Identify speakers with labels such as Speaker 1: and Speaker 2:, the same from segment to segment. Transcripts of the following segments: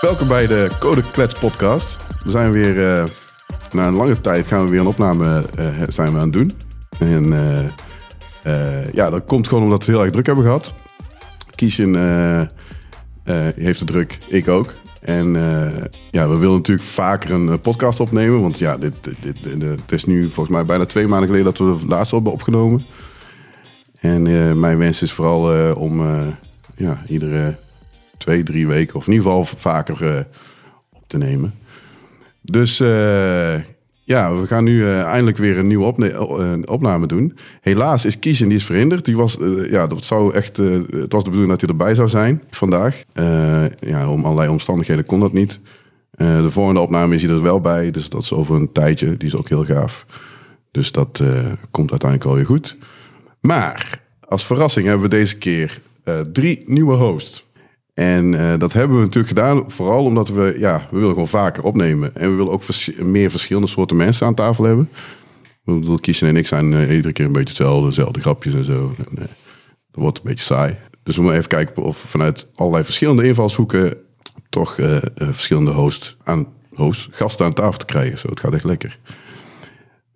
Speaker 1: welkom bij de Code Klets podcast. We zijn weer, eh, na een lange tijd gaan we weer een opname eh, zijn we aan het doen. En eh, eh, ja, dat komt gewoon omdat we heel erg druk hebben gehad. Kiesjen eh, eh, heeft de druk, ik ook. En eh, ja, we willen natuurlijk vaker een eh, podcast opnemen. Want ja, dit, dit, dit- dit- eh, het is nu volgens mij bijna twee maanden geleden dat we de laatste hebben opgenomen. En eh, mijn wens is vooral eh, om eh, ja, iedere twee, drie weken of in ieder geval vaker eh, op te nemen. Dus eh, ja, we gaan nu eh, eindelijk weer een nieuwe opne- eh, opname doen. Helaas is Kiesjen die is verhinderd. Die was, eh, ja, dat zou echt, eh, het was de bedoeling dat hij erbij zou zijn vandaag. Eh, ja, om allerlei omstandigheden kon dat niet. Eh, de volgende opname is hij er wel bij, dus dat is over een tijdje. Die is ook heel gaaf. Dus dat eh, komt uiteindelijk wel weer goed. Maar als verrassing hebben we deze keer eh, drie nieuwe hosts. En eh, dat hebben we natuurlijk gedaan, vooral omdat we, ja, we willen gewoon vaker opnemen. En we willen ook vers- meer verschillende soorten mensen aan tafel hebben. Ik bedoel, Kiezen en ik zijn eh, iedere keer een beetje hetzelfde, dezelfde grapjes en zo. En, eh, dat wordt een beetje saai. Dus we moeten even kijken of we vanuit allerlei verschillende invalshoeken toch eh, eh, verschillende hosts aan, hosts, gasten aan tafel te krijgen. Zo, het gaat echt lekker.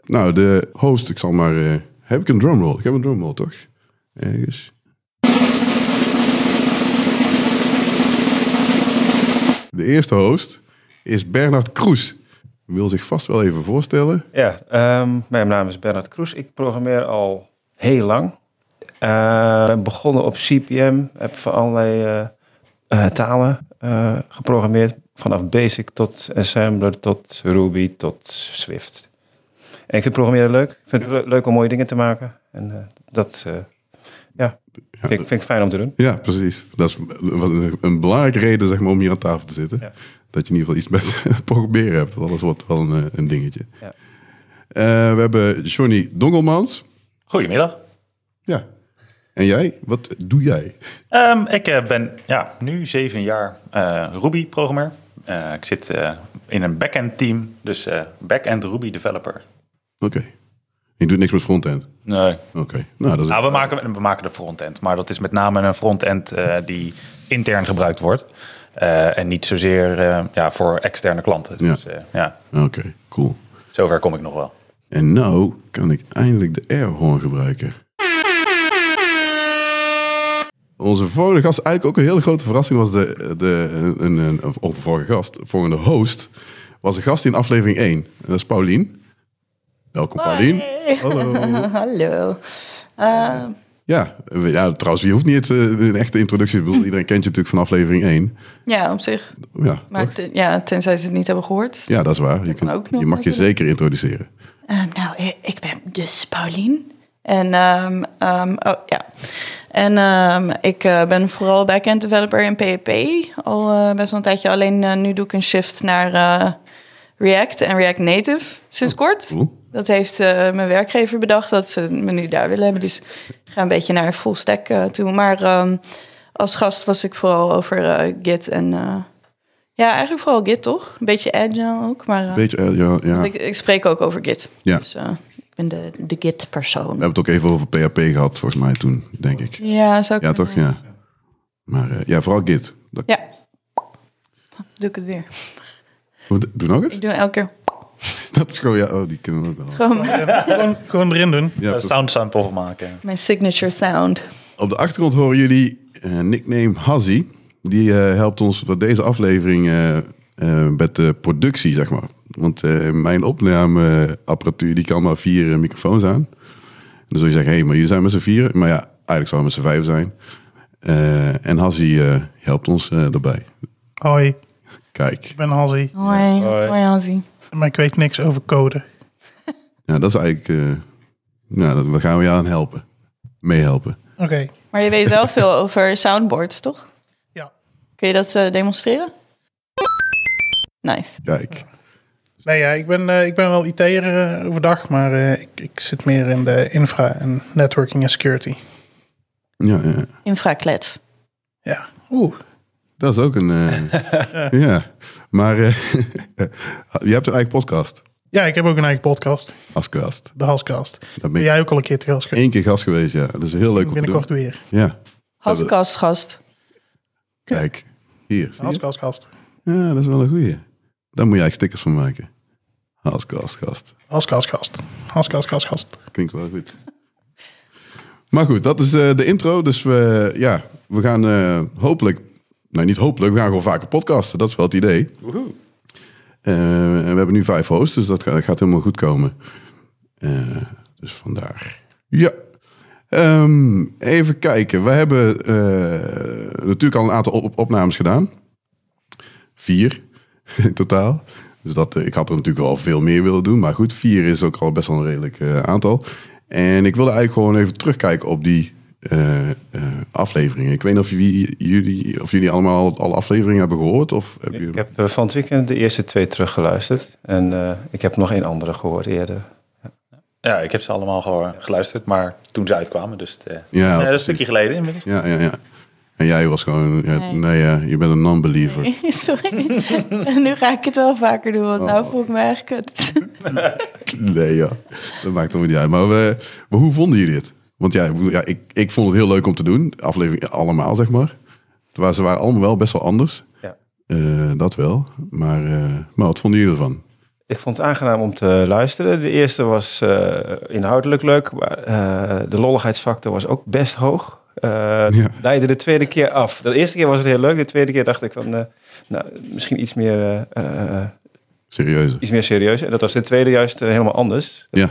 Speaker 1: Nou, de host, ik zal maar. eh, heb ik een drumroll? Ik heb een drumroll, toch? Ergens. De eerste host is Bernard Kroes. Wil zich vast wel even voorstellen.
Speaker 2: Ja, ehm, mijn naam is Bernard Kroes. Ik programmeer al heel lang. Eh, ben begonnen op CPM. Heb voor allerlei eh, eh, talen eh, geprogrammeerd. Vanaf Basic tot Assembler, tot Ruby, tot Swift. En ik vind programmeren leuk. Ik vind het le- leuk om mooie dingen te maken. En eh, dat eh, ja, vind, ik, vind ik fijn om te doen.
Speaker 1: Ja, precies. Dat is een, een belangrijke reden zeg maar, om hier aan tafel te zitten.
Speaker 2: Ja.
Speaker 1: Dat je in ieder geval iets met proberen hebt. Want anders wordt het wel een, eh, een dingetje.
Speaker 2: Ja.
Speaker 1: Eh, we hebben Johnny Dongelmans.
Speaker 3: Goedemiddag.
Speaker 1: Ja. En jij? Wat doe jij?
Speaker 3: Ehm, ik eh, ben ja, nu zeven jaar eh, Ruby-programmeur. Eh, ik zit eh, in een back-end team, dus eh back-end Ruby developer.
Speaker 1: Oké. Je doet niks met frontend.
Speaker 3: Nee.
Speaker 1: Oké. Nou, dat is
Speaker 3: Nou, we maken, we maken de frontend, maar dat is met name een frontend eh, die intern gebruikt wordt. Eh, en niet zozeer eh, ja, voor externe klanten.
Speaker 1: Ja.
Speaker 3: Dus eh, ja,
Speaker 1: Oké, cool.
Speaker 3: zover kom ik nog wel.
Speaker 1: En nou kan ik eindelijk de airhorn gebruiken. Onze volgende gast, eigenlijk ook een hele grote verrassing, was de, de een, een, of- of vorige gast, volgende host, was een gast in aflevering 1. En dat is Paulien. Welkom Paulien. Hallo.
Speaker 4: Hallo. Eh,
Speaker 1: Ja, we- ja, trouwens, je hoeft niet eh, een echte introductie. Ik bedoel, Iedereen kent je natuurlijk van aflevering 1.
Speaker 4: ja, op zich.
Speaker 1: Ja,
Speaker 4: Maar
Speaker 1: toch?
Speaker 4: ten- ja, tenzij ze het niet hebben gehoord.
Speaker 1: ja dat is waar. Je,
Speaker 4: kan
Speaker 1: kunt-
Speaker 4: ook nog
Speaker 1: je mag je
Speaker 4: natuurlijk.
Speaker 1: zeker introduceren.
Speaker 4: Ehm, nou, eh, ik ben dus Paulien. En, ehm, ehm, oh, ja. en ehm, ik eh, ben vooral backend developer in PHP. Al eh, best wel een tijdje. Alleen eh, nu doe ik een shift naar eh, React en React Native sinds kort.
Speaker 1: Oh, cool.
Speaker 4: Dat heeft eh, mijn werkgever bedacht dat ze me nu daar willen hebben. Dus ik ga een beetje naar full stack eh, toe. Maar ehm, als gast was ik vooral over eh, Git en... eh, ja, eigenlijk vooral Git, toch? Een beetje agile ook, maar... eh,
Speaker 1: Beetje, eh, ja, ja.
Speaker 4: ik, ik spreek ook over Git.
Speaker 1: Ja.
Speaker 4: Dus eh, ik ben de, de Git-persoon.
Speaker 1: We hebben het ook even over PHP gehad, volgens mij toen, denk ik.
Speaker 4: Ja, zou ik
Speaker 1: Ja, toch? Ja. Maar eh, ja, vooral Git. Dat,
Speaker 4: Ja. Doe ik het weer.
Speaker 1: Wat- Doe nog eens.
Speaker 4: Ik doe elke keer.
Speaker 1: Dat is gewoon, ja, oh, die kunnen we ook wel.
Speaker 4: Gewoon
Speaker 5: Gewoon, gewoon erin doen.
Speaker 1: Ja,
Speaker 3: Een
Speaker 1: precies.
Speaker 3: Eh, sound sample van maken.
Speaker 4: mijn signature sound.
Speaker 1: Op de achtergrond horen jullie eh, nickname Hazzy. Die eh, helpt ons voor deze aflevering eh, eh, met de productie, zeg maar. Want eh, mijn opnameapparatuur die kan maar vier eh, microfoons aan. En dan zul je zeggen, hé, hey, maar jullie zijn met z'n vieren. Maar ja, eigenlijk zou het met z'n vijf zijn. Eh, en Hazzy eh, helpt ons eh daarbij.
Speaker 5: Hoi,
Speaker 1: Kijk,
Speaker 5: ik ben Halsey.
Speaker 4: Hoi,
Speaker 2: Hoi.
Speaker 4: hoi Hansie.
Speaker 5: Maar ik weet niks over code.
Speaker 1: ja, dat is eigenlijk... eh, nou, daar gaan we jou aan helpen. Meehelpen.
Speaker 5: Oké,
Speaker 4: Maar je weet wel veel over soundboards, toch?
Speaker 5: Ja.
Speaker 4: Kun je dat eh, demonstreren? Nice.
Speaker 1: Kijk.
Speaker 5: nee ja, ik ben, eh, ik ben wel IT'er eh, overdag, maar eh, ik, ik zit meer in de infra en networking en security.
Speaker 1: Ja, ja.
Speaker 4: Infraklets.
Speaker 5: Ja, oeh.
Speaker 1: dat is ook een. eh, ja, maar eh, je hebt een eigen podcast
Speaker 5: Ja, ik heb ook een eigen podcast,
Speaker 1: als gast.
Speaker 5: de Hascast.
Speaker 1: Daar ben
Speaker 5: Ben
Speaker 1: ik
Speaker 5: jij ook al een keer te gast geweest?
Speaker 1: één keer gast geweest, ja. Dat is heel leuk om te doen.
Speaker 5: Binnenkort weer.
Speaker 1: Ja,
Speaker 4: Haskast gast.
Speaker 1: kijk. Hier, zie je?
Speaker 5: Hascast gast.
Speaker 1: Ja, dat is wel een goeie. Daar moet je eigenlijk stickers van maken. Haaskast, gast.
Speaker 5: Als kast, kast. Als kast, kast, kast.
Speaker 1: Klinkt wel goed. Maar goed, dat is eh, de intro. Dus we, ja, we gaan eh, hopelijk... Nou, niet hopelijk. We gaan gewoon vaker podcasten. Dat is wel het idee.
Speaker 3: Woehoe.
Speaker 1: Eh, en we hebben nu vijf hosts, dus dat ga- gaat helemaal goed komen. Eh, dus vandaar. Ja. Ehm, even kijken. We hebben eh, natuurlijk al een aantal op- opnames gedaan. Vier in totaal. Dus dat, eh, ik had er natuurlijk al veel meer willen doen. Maar goed, vier is ook al best wel een redelijk eh, aantal. En ik wilde eigenlijk gewoon even terugkijken op die eh, eh, afleveringen. Ik weet niet of jullie, jullie, of jullie allemaal alle afleveringen hebben gehoord. Of hebben
Speaker 2: Ik
Speaker 1: jullie-
Speaker 2: heb eh, van het weekend de eerste twee teruggeluisterd. En eh, ik heb nog één andere gehoord eerder.
Speaker 3: Ja, ik heb ze allemaal gewoon geluisterd, maar toen ze uitkwamen. Dus het, eh,
Speaker 1: Ja,
Speaker 3: eh, dat is een
Speaker 1: precies.
Speaker 3: stukje geleden inmiddels.
Speaker 1: Ja, ja, ja. En jij was gewoon... Ja, nee,
Speaker 4: Nee.
Speaker 1: ja, je bent een non-believer.
Speaker 4: Sorry. nu ga ik het wel vaker doen, want
Speaker 1: Oh.
Speaker 4: nou voel ik me echt kut.
Speaker 1: Nee, ja. Dat maakt helemaal niet uit. Maar, we, maar hoe vonden jullie het? Want ja, ik bedoel, ja ik, ik vond het heel leuk om te doen. De Aflevering eh, allemaal, zeg maar. Het waren- Ze waren allemaal wel best wel anders.
Speaker 2: Ja.
Speaker 1: Eh, dat wel. Maar, eh, maar wat vonden jullie ervan?
Speaker 2: Ik vond het aangenaam om te luisteren. De eerste was eh, inhoudelijk leuk, maar eh, de lolligheidsfactor was ook best hoog. Eh
Speaker 1: Ja.
Speaker 2: Leidde de tweede keer af. De eerste keer was het heel leuk, de tweede keer dacht ik van, eh, nou, misschien iets meer, eh, eh, eh,
Speaker 1: Serieuze.
Speaker 2: iets meer serieus. En dat was de tweede juist eh, helemaal anders.
Speaker 1: Ja.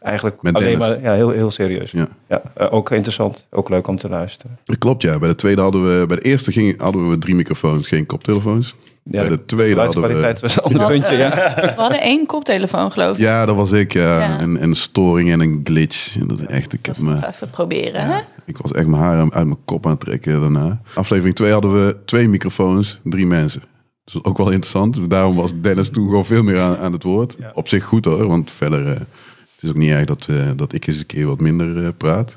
Speaker 2: Eigenlijk
Speaker 1: Met
Speaker 2: alleen
Speaker 1: Dennis.
Speaker 2: maar ja, heel, heel serieus.
Speaker 1: Ja.
Speaker 2: eh, ook interessant, ook leuk om te luisteren.
Speaker 1: Dat klopt, ja. Bij de tweede hadden we... Bij de eerste ging, hadden we drie microfoons, geen koptelefoons.
Speaker 2: Ja,
Speaker 1: bij de tweede hadden we...
Speaker 2: geluidskwaliteit was een ander puntje, ja.
Speaker 4: We hadden één koptelefoon, geloof ik.
Speaker 1: Ja, dat was ik. Ja.
Speaker 4: Ja.
Speaker 1: En, en een storing en een glitch. En dat is echt... Ik heb
Speaker 4: Dat
Speaker 1: me...
Speaker 4: is Dus even proberen, hè?
Speaker 1: Ik was echt mijn haar uit mijn kop aan het trekken daarna. Aflevering 2 hadden we twee microfoons, drie mensen. Dus ook wel interessant. Dus daarom was Dennis toen gewoon veel meer aan, aan het woord.
Speaker 2: Ja.
Speaker 1: Op zich goed hoor, want verder... eh, het is ook niet erg dat, eh, dat ik eens een keer wat minder eh, praat.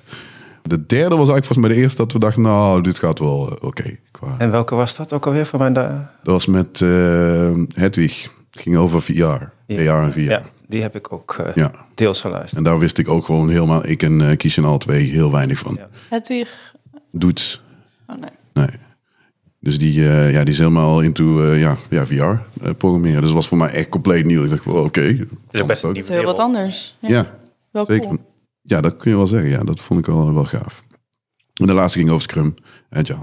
Speaker 1: De derde was eigenlijk volgens mij de eerste dat we dachten... Nou, dit gaat wel eh, oké. qua-
Speaker 2: En welke was dat ook alweer van mijn... da-
Speaker 1: Dat was met eh Hedwig. Het ging over VR. AR en VR.
Speaker 2: Ja,
Speaker 1: Ja.
Speaker 2: die heb ik ook eh, deels geluisterd.
Speaker 1: En daar wist ik ook gewoon helemaal... Ik en eh Kiesjen alle twee heel weinig van.
Speaker 2: Ja.
Speaker 4: Het weer.
Speaker 1: Doets.
Speaker 4: Oh nee.
Speaker 1: Nee. Dus die, eh, ja, die is helemaal into eh, ja, ja, VR eh, programmeren. Dus dat was voor mij echt compleet nieuw. Ik dacht, wow, oké.
Speaker 3: Het is ook best een
Speaker 4: Het
Speaker 3: nieuwe
Speaker 4: is heel wat
Speaker 3: wereld.
Speaker 4: anders. Ja,
Speaker 1: Ja,
Speaker 4: wel
Speaker 1: zeker.
Speaker 4: cool.
Speaker 1: Ja, dat kun je wel zeggen. Ja, dat vond ik wel, wel gaaf. En de laatste ging over Scrum Agile.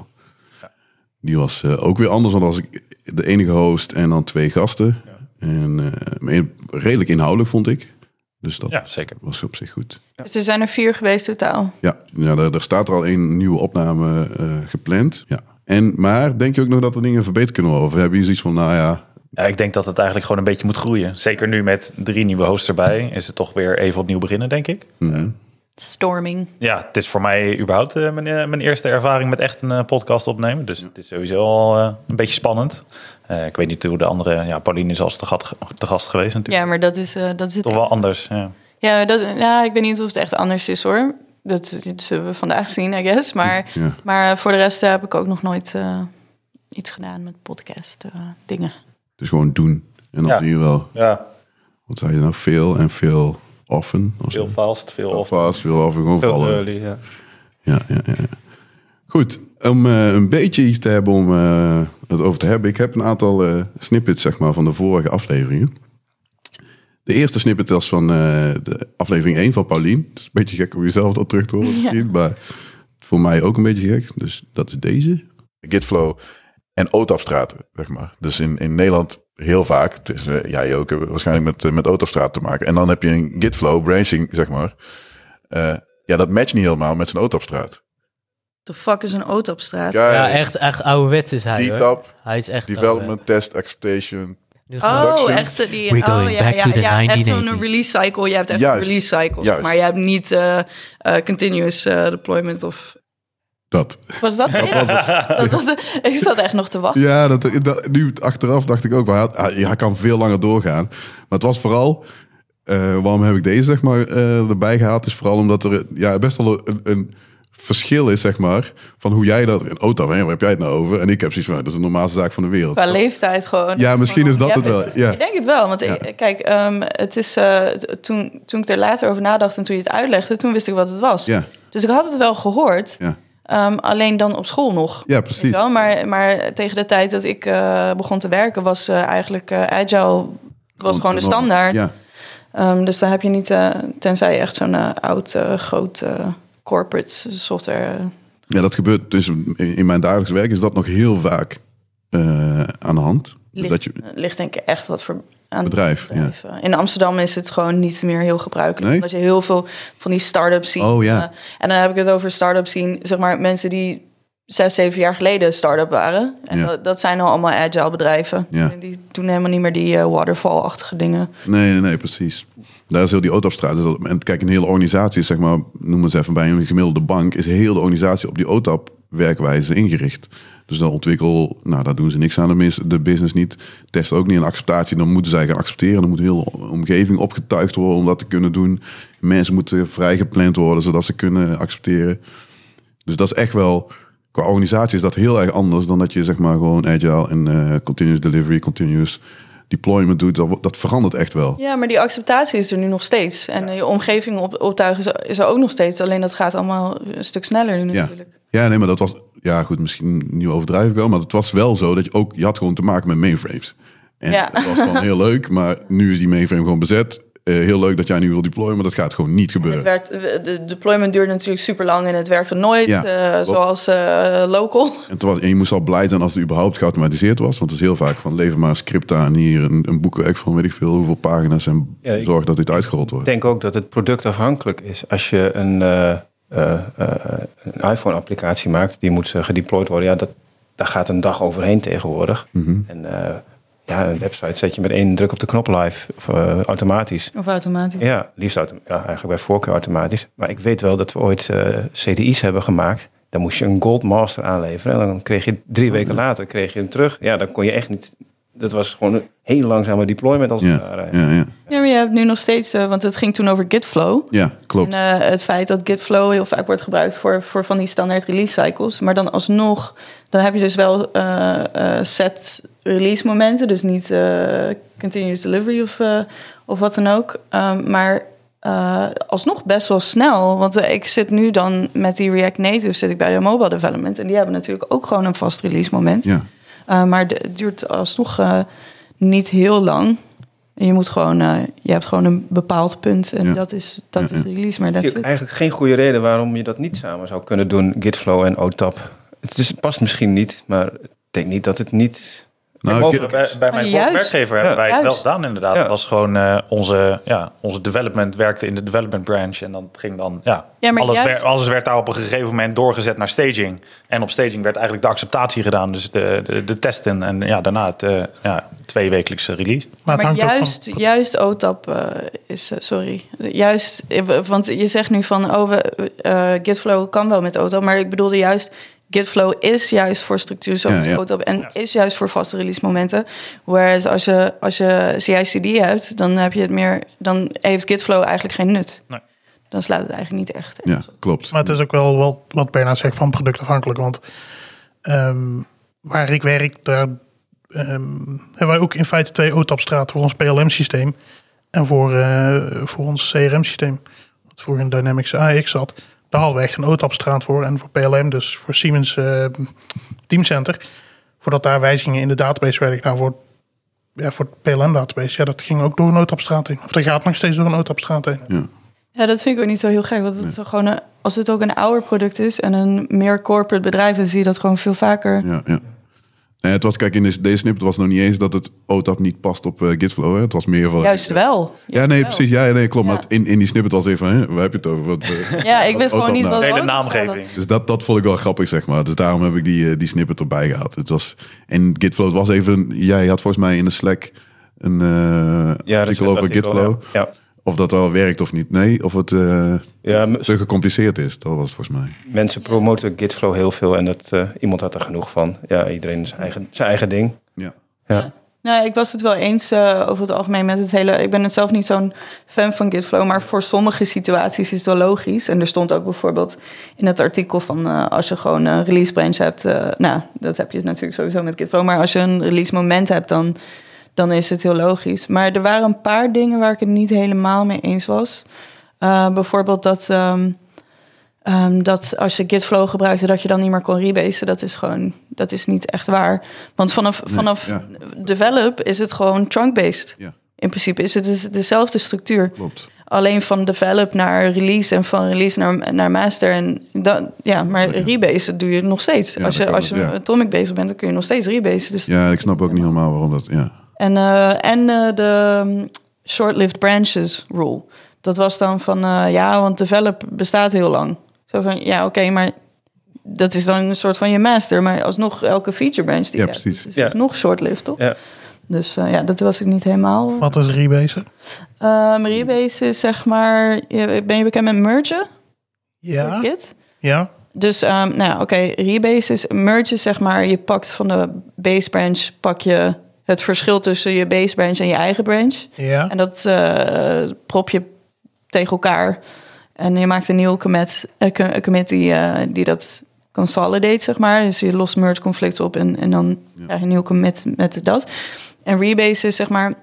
Speaker 1: Die was eh, ook weer anders, want dan was ik de enige host en dan twee gasten. En eh, maar in- redelijk inhoudelijk vond ik. Dus dat
Speaker 3: Ja, zeker.
Speaker 1: was op zich goed.
Speaker 4: Dus er zijn er vier geweest totaal.
Speaker 1: Ja, ja er, er staat er al één nieuwe opname eh, gepland. Ja. En, maar denk je ook nog dat er dingen verbeterd kunnen worden? Of heb je zoiets van, nou ja,
Speaker 3: Ja, ik denk dat het eigenlijk gewoon een beetje moet groeien. Zeker nu met drie nieuwe hosts erbij is het toch weer even opnieuw beginnen, denk ik.
Speaker 1: mm,
Speaker 4: Storming.
Speaker 3: Ja, het is voor mij überhaupt eh, mijn, eh, mijn eerste ervaring met echt een eh, podcast opnemen. Dus het is sowieso al eh, een beetje spannend. Eh, ik weet niet hoe de andere... Ja, Pauline is als te, gat- te gast geweest natuurlijk.
Speaker 4: Ja, maar dat is, eh, dat is het.
Speaker 3: Toch wel anders, ja.
Speaker 4: Ja, dat, ja, ik weet niet of het echt anders is hoor. Dat, dat zullen we vandaag zien, I guess. Maar,
Speaker 1: Ja.
Speaker 4: maar eh, voor de rest eh, heb ik ook nog nooit eh, iets gedaan met podcast eh, dingen.
Speaker 1: het is gewoon doen. En dan
Speaker 3: Ja.
Speaker 1: zie je wel,
Speaker 3: Ja,
Speaker 1: wat zei je nou, veel en veel often. Of
Speaker 3: veel
Speaker 1: zo.
Speaker 3: vast, veel
Speaker 1: Veel
Speaker 3: off.
Speaker 1: fast, veel often, gewoon
Speaker 2: Veel
Speaker 1: vallen.
Speaker 2: early, ja.
Speaker 1: Ja, ja, ja. Goed, om eh, een beetje iets te hebben om eh, het over te hebben. Ik heb een aantal eh, snippets zeg maar, van de vorige afleveringen. De eerste snippet was van eh, de aflevering 1 van Paulien. Het is een beetje gek om jezelf dat terug te horen misschien, maar voor mij ook een beetje gek. Dus dat is deze. Gitflow en Ootafstraten, zeg maar. Dus in, in Nederland heel vaak. Het is, eh, jij ook, eh, waarschijnlijk met, eh, met Ootafstraat te maken. En dan heb je een Gitflow, branching, zeg maar. Eh, ja, dat matcht niet helemaal met zijn Ootafstraat.
Speaker 4: The fuck is een auto op straat?
Speaker 1: Kijk,
Speaker 6: Ja, echt, echt ouderwets is hij hoor.
Speaker 1: D-Tap,
Speaker 6: Hij is echt
Speaker 1: development, test, acceptation.
Speaker 4: Oh,
Speaker 1: Production.
Speaker 4: echt eh, die.
Speaker 6: We're
Speaker 4: oh,
Speaker 6: going
Speaker 4: ja,
Speaker 6: back
Speaker 4: ja,
Speaker 6: to the
Speaker 4: ja, echt
Speaker 6: 1980s.
Speaker 4: zo'n release cycle. Je hebt echt
Speaker 1: Juist,
Speaker 4: release cycles,
Speaker 1: juist.
Speaker 4: maar je hebt niet eh, eh, continuous eh, deployment of.
Speaker 1: Dat.
Speaker 4: Was dat? dat was Dat was het. Ik zat echt nog te wachten.
Speaker 1: Ja, dat, dat- nu achteraf dacht ik ook, maar hij, had- hij, hij kan veel langer doorgaan. Maar het was vooral, eh, waarom heb ik deze zeg maar, eh, erbij gehaald, is vooral omdat er eh, ja, best wel een, een verschil is, zeg maar, van hoe jij dat... Een auto, hè, waar heb jij het nou over? En ik heb zoiets van, dat is de normaalste zaak van de wereld.
Speaker 4: Qua leeftijd gewoon.
Speaker 1: Ja, misschien is dat het wel. Ja.
Speaker 4: Ik denk het wel, want
Speaker 1: Ja.
Speaker 4: ik- kijk, ehm, het is, eh, t- toen, toen ik er later over nadacht en toen je het uitlegde, toen wist ik wat het was.
Speaker 1: Ja,
Speaker 4: Dus ik had het wel gehoord,
Speaker 1: ja.
Speaker 4: eh, Ehm, alleen dan op school nog.
Speaker 1: Ja,
Speaker 4: Weet
Speaker 1: precies.
Speaker 4: je wel? Maar, maar tegen de tijd dat ik eh, begon te werken, was eh, eigenlijk eh, agile was gewoon de standaard.
Speaker 1: Ja,
Speaker 4: Ehm, dus daar heb je niet, eh, tenzij je echt zo'n eh, oud, eh, groot eh, corporate software.
Speaker 1: ja, dat gebeurt dus in- in mijn dagelijks werk is dat nog heel vaak eh, aan de hand. Dus
Speaker 4: Ligt, eh,
Speaker 1: dat je
Speaker 4: ligt denk ik echt wat voor aan
Speaker 1: bedrijf, ja.
Speaker 4: bedrijven. In Amsterdam is het gewoon niet meer heel gebruikelijk.
Speaker 1: Nee?
Speaker 4: Omdat je heel veel van die start-ups ziet.
Speaker 1: Oh, ja.
Speaker 4: Eh, en dan heb ik het over start-ups zien, zeg maar mensen die zes, zeven jaar geleden start-up waren. En
Speaker 1: Ja.
Speaker 4: dat, dat zijn al allemaal agile bedrijven.
Speaker 1: Ja.
Speaker 4: Die doen helemaal niet meer die eh, waterfall-achtige dingen.
Speaker 1: Nee, nee, nee, precies. Daar is heel die OTAP-straat. Dus dat- en kijk, een hele organisatie, is, zeg maar, noem eens even bij een gemiddelde bank, is heel de organisatie op die OTAP-werkwijze ingericht. Dus dan ontwikkel, nou, daar doen ze niks aan de, mis- de business niet. Testen ook niet een acceptatie, dan moeten zij gaan accepteren. Dan moet heel de omgeving opgetuigd worden om dat te kunnen doen. Mensen moeten vrijgepland worden, zodat ze kunnen accepteren. Dus dat is echt wel, qua organisatie is dat heel erg anders dan dat je zeg maar gewoon agile en eh, continuous delivery, continuous deployment doet. Dat, wo- dat verandert echt wel.
Speaker 4: Ja, maar die acceptatie is er nu nog steeds. En eh, je omgeving op, optuigen is, is er ook nog steeds. Alleen dat gaat allemaal een stuk sneller nu
Speaker 1: Ja.
Speaker 4: natuurlijk.
Speaker 1: Ja, nee, maar dat was. Ja, goed, misschien nu overdrijf ik wel. Maar het was wel zo dat je ook. Je had gewoon te maken met mainframes. En
Speaker 4: Ja.
Speaker 1: dat was dan heel leuk. Maar nu is die mainframe gewoon bezet. Eh, heel leuk dat jij nu wil deployen. Maar dat gaat gewoon niet
Speaker 4: Het
Speaker 1: gebeuren.
Speaker 4: werd, de deployment duurde natuurlijk super lang en het werkte nooit.
Speaker 1: Ja,
Speaker 4: eh,
Speaker 1: klopt.
Speaker 4: zoals eh, local.
Speaker 1: En, het was, en je moest al blij zijn als het überhaupt geautomatiseerd was. Want het is heel vaak van. Lever maar een script aan hier. Een, een boekwerk van weet ik veel hoeveel pagina's. En
Speaker 2: Ja, ik-
Speaker 1: zorg dat dit uitgerold
Speaker 2: Ik
Speaker 1: wordt.
Speaker 2: denk ook dat het productafhankelijk is. Als je een, eh, eh, eh, een iPhone-applicatie maakt, die moet eh, gedeployed worden. Ja, dat, daar gaat een dag overheen tegenwoordig.
Speaker 1: Mhm.
Speaker 2: En eh, ja, een website zet je met één druk op de knop live, of, eh, automatisch.
Speaker 4: Of automatisch.
Speaker 2: Ja, liefst autom- ja, eigenlijk bij voorkeur automatisch. Maar ik weet wel dat we ooit eh, CDI's hebben gemaakt. Dan moest je een Gold Master aanleveren. En dan kreeg je
Speaker 1: Oh,
Speaker 2: drie weken later kreeg je hem terug. Ja, dan kon je echt niet. Dat was gewoon een heel langzame deployment als het ware.
Speaker 1: Ja, ja, ja.
Speaker 4: Ja, maar je hebt nu nog steeds, eh, want het ging toen over Gitflow.
Speaker 1: ja klopt.
Speaker 4: En eh, het feit dat Gitflow heel vaak wordt gebruikt voor, voor van die standaard release cycles. Maar dan alsnog, dan heb je dus wel eh, eh, set release momenten. Dus niet eh, continuous delivery of, eh, of wat dan ook. Ehm, maar eh, alsnog best wel snel. Want eh, ik zit nu dan met die React Native zit ik bij de mobile development. En die hebben natuurlijk ook gewoon een vast release moment.
Speaker 1: Ja.
Speaker 4: Eh, maar de- het duurt alsnog eh, niet heel lang. En Je, moet gewoon, eh, je hebt gewoon een bepaald punt en
Speaker 1: Ja.
Speaker 4: dat is, dat
Speaker 1: Ja,
Speaker 4: is
Speaker 1: ja.
Speaker 4: de release. Maar
Speaker 2: Ik
Speaker 4: dat
Speaker 2: zie ook eigenlijk geen goede reden waarom je dat niet samen zou kunnen doen, Gitflow en OTAP. Het is, past misschien niet, maar ik denk niet dat het niet
Speaker 1: Nou,
Speaker 3: Mogen
Speaker 1: ik-
Speaker 3: we bij, bij mijn
Speaker 4: Ah,
Speaker 3: vorige
Speaker 4: juist.
Speaker 3: werkgever
Speaker 2: Ja.
Speaker 3: hebben wij het wel
Speaker 4: Juist.
Speaker 3: gedaan inderdaad.
Speaker 2: Ja.
Speaker 3: Het was gewoon eh, onze, ja, onze development werkte in de development branch. En dan ging dan, ja,
Speaker 4: Ja, maar
Speaker 3: alles,
Speaker 4: juist-
Speaker 3: werd, alles werd daar op een gegeven moment doorgezet naar staging. En op staging werd eigenlijk de acceptatie gedaan. Dus de, de, de testen en ja, daarna het eh ja, tweewekelijkse release.
Speaker 5: Maar
Speaker 4: maar
Speaker 5: het hangt
Speaker 4: juist,
Speaker 5: ook van...
Speaker 4: juist OTAP eh, is, eh, sorry, juist, eh, want je zegt nu van, oh, we, eh, Gitflow kan wel met OTAP, maar ik bedoelde juist, Gitflow is juist voor structuur zoals
Speaker 1: Ja, ja.
Speaker 4: OTAP en is juist voor vaste release momenten. Whereas als je, als je CI/CD hebt, dan heb je het meer, dan heeft Gitflow eigenlijk geen nut.
Speaker 3: Nee.
Speaker 4: Dan slaat het eigenlijk niet echt.
Speaker 1: Ja, klopt.
Speaker 5: Maar het is ook wel wat, wat Bernard zegt van productafhankelijk. Want ehm, waar ik werk, daar ehm, hebben wij ook in feite twee OTAP-straten voor ons PLM-systeem en voor, eh, voor ons CRM-systeem. Wat voor in Dynamics AX zat. Daar hadden we echt een OTAP-straat voor. En voor PLM, dus voor Siemens eh, Teamcenter. Voordat daar wijzigingen in de database werden gedaan voor, ja, voor het PLM-database. Ja, dat ging ook door een OTAP-straat heen. Of dat gaat nog steeds door een OTAP-straat heen.
Speaker 4: Ja, dat vind ik ook niet zo heel gek. Want het is gewoon een- als het ook een ouder product is en een meer corporate bedrijf, dan zie je dat gewoon veel vaker.
Speaker 1: Ja, ja. Nee, het was, kijk, in deze, deze snippet was het nog niet eens dat het OTAP niet past op eh, Gitflow. Hè? Het was meer van...
Speaker 4: Juist wel.
Speaker 1: Ja, nee, precies. Ja, ja, nee, klopt.
Speaker 4: Ja.
Speaker 1: Maar het- in, in die snippet was even, hè, waar heb je het over? Wat, eh,
Speaker 4: Ja, ik wist
Speaker 1: OTAP
Speaker 4: gewoon niet
Speaker 1: nou?
Speaker 4: wat
Speaker 3: Nee, de
Speaker 4: ook
Speaker 3: naamgeving.
Speaker 1: Dus dat, dat vond ik wel grappig, zeg maar. Dus daarom heb ik die, eh, die snippet erbij gehaald. Het was, en Gitflow was even... Jij had volgens mij in de Slack een eh artikel
Speaker 2: dat
Speaker 1: over
Speaker 2: is het artikel,
Speaker 1: Gitflow.
Speaker 2: Ja,
Speaker 1: Of dat wel werkt of niet. Nee, of het eh,
Speaker 2: ja. Ja, m-
Speaker 1: te gecompliceerd is. Dat was het volgens mij.
Speaker 2: mensen promoten Gitflow heel veel en dat, eh, iemand had er genoeg van. Ja, iedereen zijn eigen, zijn eigen ding.
Speaker 1: Ja.
Speaker 2: Ja.
Speaker 4: Nou, ik was het wel eens eh, over het algemeen met het hele. Ik ben het zelf niet zo'n fan van Gitflow, maar voor sommige situaties is het wel logisch. En er stond ook bijvoorbeeld in het artikel van eh, als je gewoon een release branch hebt. eh, nou, dat heb je natuurlijk sowieso met Gitflow, maar als je een release moment hebt, dan, dan is het heel logisch. Maar er waren een paar dingen waar ik het niet helemaal mee eens was. Eh, bijvoorbeeld dat. ehm, ehm, dat als je Gitflow gebruikte, dat je dan niet meer kon rebasen. Dat is gewoon, dat is niet echt waar. Want vanaf,
Speaker 1: Nee,
Speaker 4: vanaf
Speaker 1: ja.
Speaker 4: develop is het gewoon trunk-based.
Speaker 1: Ja.
Speaker 4: In principe is het is het dezelfde structuur.
Speaker 1: Klopt.
Speaker 4: Alleen van develop naar release en van release naar, naar master. En dan, ja, maar rebase doe je nog steeds.
Speaker 1: Ja,
Speaker 4: als
Speaker 1: dat
Speaker 4: je,
Speaker 1: kan
Speaker 4: als je
Speaker 1: ook, ja.
Speaker 4: atomic bezig bent, dan kun je nog steeds rebasen. Dus
Speaker 1: Ja, ik snap ook niet helemaal waarom dat... Ja,
Speaker 4: en, eh, en eh, de mm, short-lived branches rule. Dat was dan van, eh, ja, want develop bestaat heel lang. Zo van, ja, oké, maar dat is dan een soort van je master. Maar alsnog elke feature branch die
Speaker 1: Ja,
Speaker 4: je
Speaker 1: precies.
Speaker 4: hebt, Dus is
Speaker 2: Ja.
Speaker 4: nog short-lived, toch?
Speaker 2: Ja.
Speaker 4: Dus eh, ja, dat was ik niet helemaal.
Speaker 5: Wat is rebasen?
Speaker 4: Ehm rebase is zeg maar, je- ben je bekend met mergen?
Speaker 5: Ja.
Speaker 4: Kit?
Speaker 5: Ja.
Speaker 4: Dus ehm, nou ja, oké, rebase is merge is zeg maar, je pakt van de base branch, pak je het verschil tussen je base branch en je eigen branch.
Speaker 5: Ja.
Speaker 4: En dat eh, prop je tegen elkaar. En je maakt een nieuwe commit, eh, co- eh, commit die, eh, die dat consolidate, zeg maar. Dus je lost merge conflicten op en, en dan krijg je een nieuwe commit met dat. En rebase is zeg maar...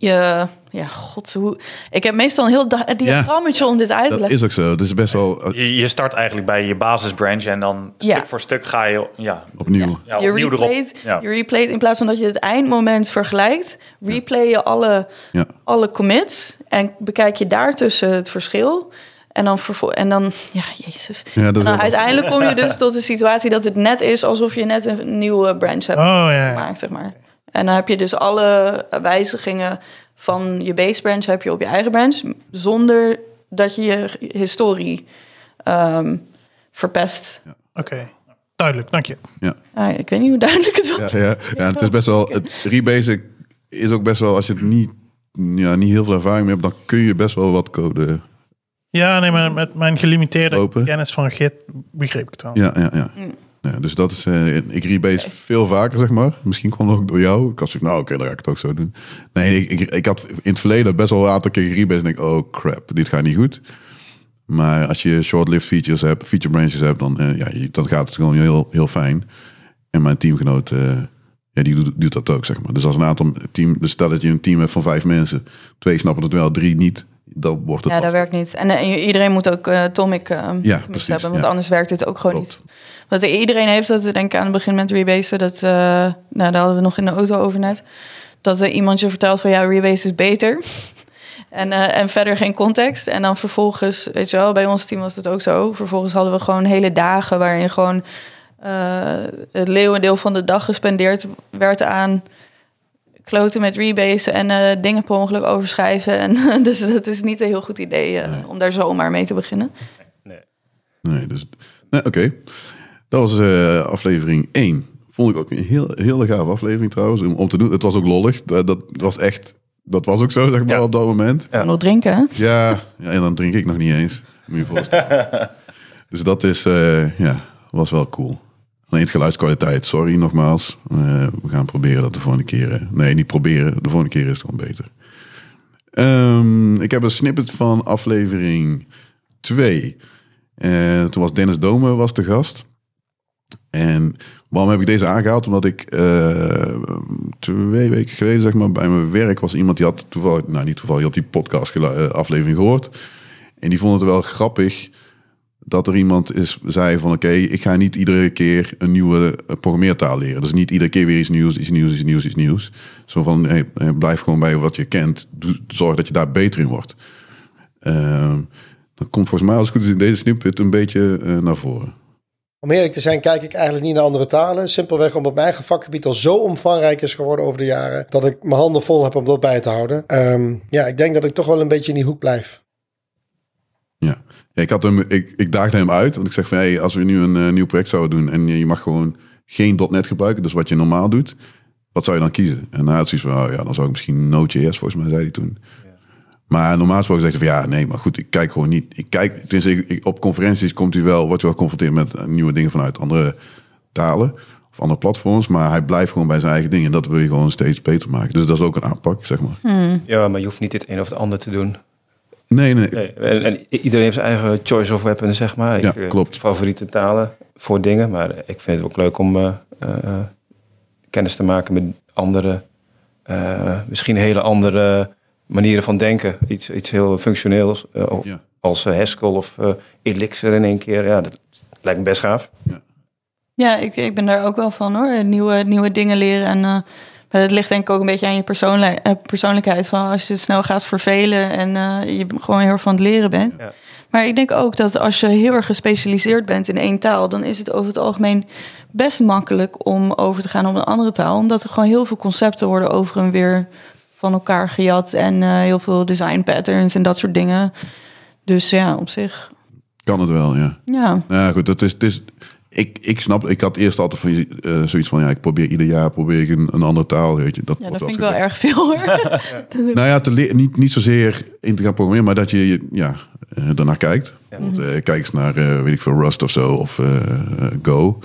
Speaker 4: Je, ja, god, hoe... Ik heb meestal een heel da- diagrammetje om dit uit te
Speaker 1: dat
Speaker 4: leggen.
Speaker 1: is ook zo. Het is best wel eh,
Speaker 3: Je, je start eigenlijk bij je basisbranch en dan
Speaker 4: Ja.
Speaker 3: stuk voor stuk ga je ja,
Speaker 1: opnieuw.
Speaker 3: ja,
Speaker 4: je
Speaker 3: opnieuw erop.
Speaker 4: replayt,
Speaker 3: Ja.
Speaker 4: je replayt in plaats van dat je het eindmoment vergelijkt, replay je alle,
Speaker 1: Ja.
Speaker 4: alle commits en bekijk je daartussen het verschil. En dan, vervol- en dan ja,
Speaker 1: Ja,
Speaker 4: jezus.
Speaker 1: dat is
Speaker 4: en dan
Speaker 1: wel-
Speaker 4: uiteindelijk kom je dus tot de situatie dat het net is alsof je net een nieuwe branch hebt
Speaker 5: Oh ja.
Speaker 4: gemaakt, zeg maar. En dan heb je dus alle wijzigingen van je base branch heb je op je eigen branch, zonder dat je je historie ehm, verpest.
Speaker 5: Oké. Duidelijk, dank je.
Speaker 4: Ah, ik weet niet hoe duidelijk het was.
Speaker 1: Ja, ja, ja, het is best wel. Het rebasic is ook best wel. Als je het niet, ja, niet heel veel ervaring mee hebt, dan kun je best wel wat code.
Speaker 5: Ja, nee, maar met mijn gelimiteerde
Speaker 1: Open.
Speaker 5: kennis van Git begreep ik het wel.
Speaker 1: Ja, ja, ja. Ja, dus dat is. eh, ik rebase veel vaker, zeg maar. Misschien kwam het ook door jou. Ik had zoiets, nou oké, dan ga ik het ook zo doen. Nee, ik, ik, ik had in het verleden best wel een aantal keer gerebased. En denk, oh crap, dit gaat niet goed. Maar als je short-lived features hebt, feature branches hebt, dan, eh, ja, je- dan gaat het gewoon heel, heel fijn. En mijn teamgenoot, eh, ja, die doet, doet dat ook, zeg maar. Dus als een aantal team, dus stel dat je een team hebt van vijf mensen, twee snappen het wel, drie niet, dan wordt het
Speaker 4: Ja,
Speaker 1: lastig.
Speaker 4: dat werkt niet. En eh, iedereen moet ook eh Atomic eh, mix
Speaker 1: precies,
Speaker 4: hebben, want
Speaker 1: ja.
Speaker 4: anders werkt dit ook gewoon
Speaker 1: Klopt.
Speaker 4: niet. Want iedereen heeft dat, denk ik aan het begin met rebasen, dat, eh, nou, daar hadden we nog in de auto over net, dat er iemand je vertelt van ja, rebase is beter. En, eh, en verder geen context. En dan vervolgens, weet je wel, bij ons team was dat ook zo. Vervolgens hadden we gewoon hele dagen waarin gewoon eh, het leeuwendeel van de dag gespendeerd werd aan kloten met rebasen en eh, dingen per ongeluk overschrijven. En, dus dat is niet een heel goed idee eh, om daar zomaar mee te beginnen.
Speaker 1: Nee, dus... Nee, oké. Dat was eh, aflevering 1. Vond ik ook een heel, heel gave aflevering trouwens, om, om te doen. Het was ook lollig. Dat, dat was echt... Dat was ook zo, zeg maar,
Speaker 2: Ja.
Speaker 1: op dat moment.
Speaker 2: Ja.
Speaker 4: Nog drinken, hè?
Speaker 1: Ja, ja, en dan drink ik nog niet eens. Moet je je voorstellen. dus dat is... eh, ja, was wel cool. Alleen het geluidskwaliteit, sorry nogmaals. Eh, we gaan proberen dat de volgende keer... eh, nee, niet proberen. De volgende keer is het gewoon beter. Ehm, ik heb een snippet van aflevering 2. Eh, toen was Dennis Dome was de gast. En waarom heb ik deze aangehaald? Omdat ik eh, twee weken geleden, zeg maar, bij mijn werk was iemand die had toevallig, nou niet toevallig, die had die podcast gelu- eh, aflevering gehoord. En die vond het wel grappig dat er iemand is, zei van oké, ik ga niet iedere keer een nieuwe eh, programmeertaal leren. Dus niet iedere keer weer iets nieuws, iets nieuws, iets nieuws, iets nieuws. Zo van hey, eh, blijf gewoon bij wat je kent. Doe- Zorg dat je daar beter in wordt. Ehm, dat komt volgens mij als het goed is in deze snippet een beetje eh, naar voren.
Speaker 7: Om eerlijk te zijn, kijk ik eigenlijk niet naar andere talen. Simpelweg omdat mijn eigen vakgebied al zo omvangrijk is geworden over de jaren. dat ik mijn handen vol heb om dat bij te houden. Ehm, ja, ik denk dat ik toch wel een beetje in die hoek blijf.
Speaker 1: Ja. Ja, ik, had hem, ik, ik daagde hem uit, want ik zeg van hey, als we nu een eh, nieuw project zouden doen en je mag gewoon geen .NET gebruiken, dus wat je normaal doet, wat zou je dan kiezen? En hij had zoiets van, oh ja, dan zou ik misschien Node.js, volgens mij zei hij toen. Maar normaal gesproken zegt hij van ja, nee, maar goed, ik kijk gewoon niet. Ik kijk, tenminste, ik, ik- op conferenties komt hij wel, wordt hij wel geconfronteerd met eh, nieuwe dingen vanuit andere talen of andere platforms, maar hij blijft gewoon bij zijn eigen dingen. En dat wil je gewoon steeds beter maken. Dus dat is ook een aanpak, zeg maar.
Speaker 2: ja, maar je hoeft niet het een of het ander te doen.
Speaker 1: Nee, nee,
Speaker 2: Nee, en, en iedereen heeft zijn eigen choice of weapon, zeg maar.
Speaker 1: Ja,
Speaker 2: Ik, eh,
Speaker 1: klopt.
Speaker 2: Favoriete talen voor dingen. Maar ik vind het ook leuk om eh, eh, eh, kennis te maken met andere, eh, misschien hele andere manieren van denken. Iets, iets heel functioneels eh, of
Speaker 1: Ja.
Speaker 2: als eh, Haskell of eh, Elixir in één keer. Ja, dat lijkt me best gaaf.
Speaker 4: Ja, ik, ik ben daar ook wel van hoor. Nieuwe, nieuwe dingen leren. En, eh, maar dat ligt denk ik ook een beetje aan je persoonlij- eh, persoonlijkheid. Van als je snel gaat vervelen en eh, je gewoon heel erg van het leren bent.
Speaker 2: Ja.
Speaker 4: Maar ik denk ook dat als je heel erg gespecialiseerd bent in één taal, dan is het over het algemeen best makkelijk om over te gaan op een andere taal. Omdat er gewoon heel veel concepten worden over en weer van elkaar gejat. En eh, heel veel design patterns en dat soort dingen. Dus ja, op zich.
Speaker 1: Kan het wel, ja.
Speaker 4: Ja,
Speaker 1: Nou ja, goed, dat is, het is, ik, ik snap, ik had eerst altijd van, eh, zoiets van, ja, ik probeer ieder jaar probeer ik een, een andere taal, weet je. Dat,
Speaker 4: ja
Speaker 1: wordt
Speaker 4: dat vind ik
Speaker 1: lastig.
Speaker 4: wel erg veel hoor.
Speaker 1: Nou ja, te leer- niet, niet zozeer in te gaan programmeren, maar dat je je, ja, eh, daarnaar kijkt. Want, eh, kijk eens naar, eh, weet ik veel, Rust of zo, of eh, eh, Go.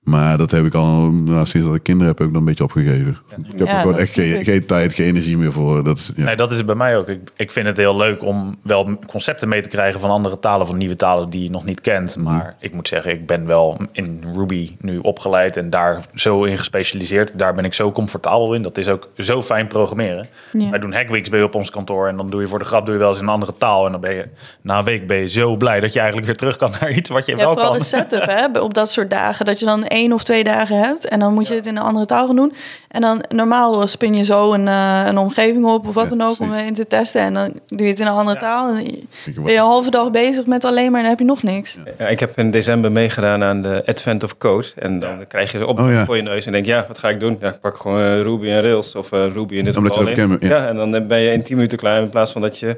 Speaker 1: Maar dat heb ik al, nou, sinds dat ik kinderen heb, heb ik dat een beetje opgegeven. Ik heb
Speaker 4: Ja,
Speaker 1: er gewoon
Speaker 4: dat
Speaker 1: echt
Speaker 4: snap
Speaker 1: geen,
Speaker 4: ik.
Speaker 1: geen tijd, geen energie meer voor. Dat is, ja.
Speaker 3: Nee, dat is het bij mij ook. Ik, ik vind het heel leuk om wel concepten mee te krijgen van andere talen, van nieuwe talen die je nog niet kent.
Speaker 4: Mhm.
Speaker 3: Maar ik moet zeggen, ik ben wel in Ruby nu opgeleid en daar zo in gespecialiseerd. Daar ben ik zo comfortabel in. Dat is ook zo fijn programmeren.
Speaker 4: Ja.
Speaker 3: Wij doen Hackweeks bij op ons kantoor en dan doe je voor de grap doe je wel eens in een andere taal. En dan ben je na een week ben je zo blij dat je eigenlijk weer terug kan naar iets wat je
Speaker 4: Ja,
Speaker 3: wel
Speaker 4: vooral
Speaker 3: kan.
Speaker 4: de setup hè, op dat soort dagen. Dat je dan één of twee dagen hebt en dan moet je het in een andere taal gaan doen. En dan normaal spin je zo een, eh, een omgeving op of wat
Speaker 1: Ja,
Speaker 4: dan ook om
Speaker 1: precies.
Speaker 4: in te testen. En dan doe je het in een andere taal. En dan
Speaker 1: je
Speaker 4: ben je een halve dag bezig met alleen maar en dan heb je nog niks.
Speaker 2: Ja, ik heb in december meegedaan aan de Advent of Code. En dan krijg je ze op
Speaker 1: Oh, ja.
Speaker 2: voor je neus en denk ja, wat ga ik doen? Ja, ik pak gewoon eh, Ruby en Rails of eh, Ruby in dit
Speaker 1: Omdat
Speaker 2: geval.
Speaker 1: je dat
Speaker 2: alleen.
Speaker 1: bekend bent, ja.
Speaker 2: ja, en dan eh, ben je in 10 minuten klaar in plaats van dat je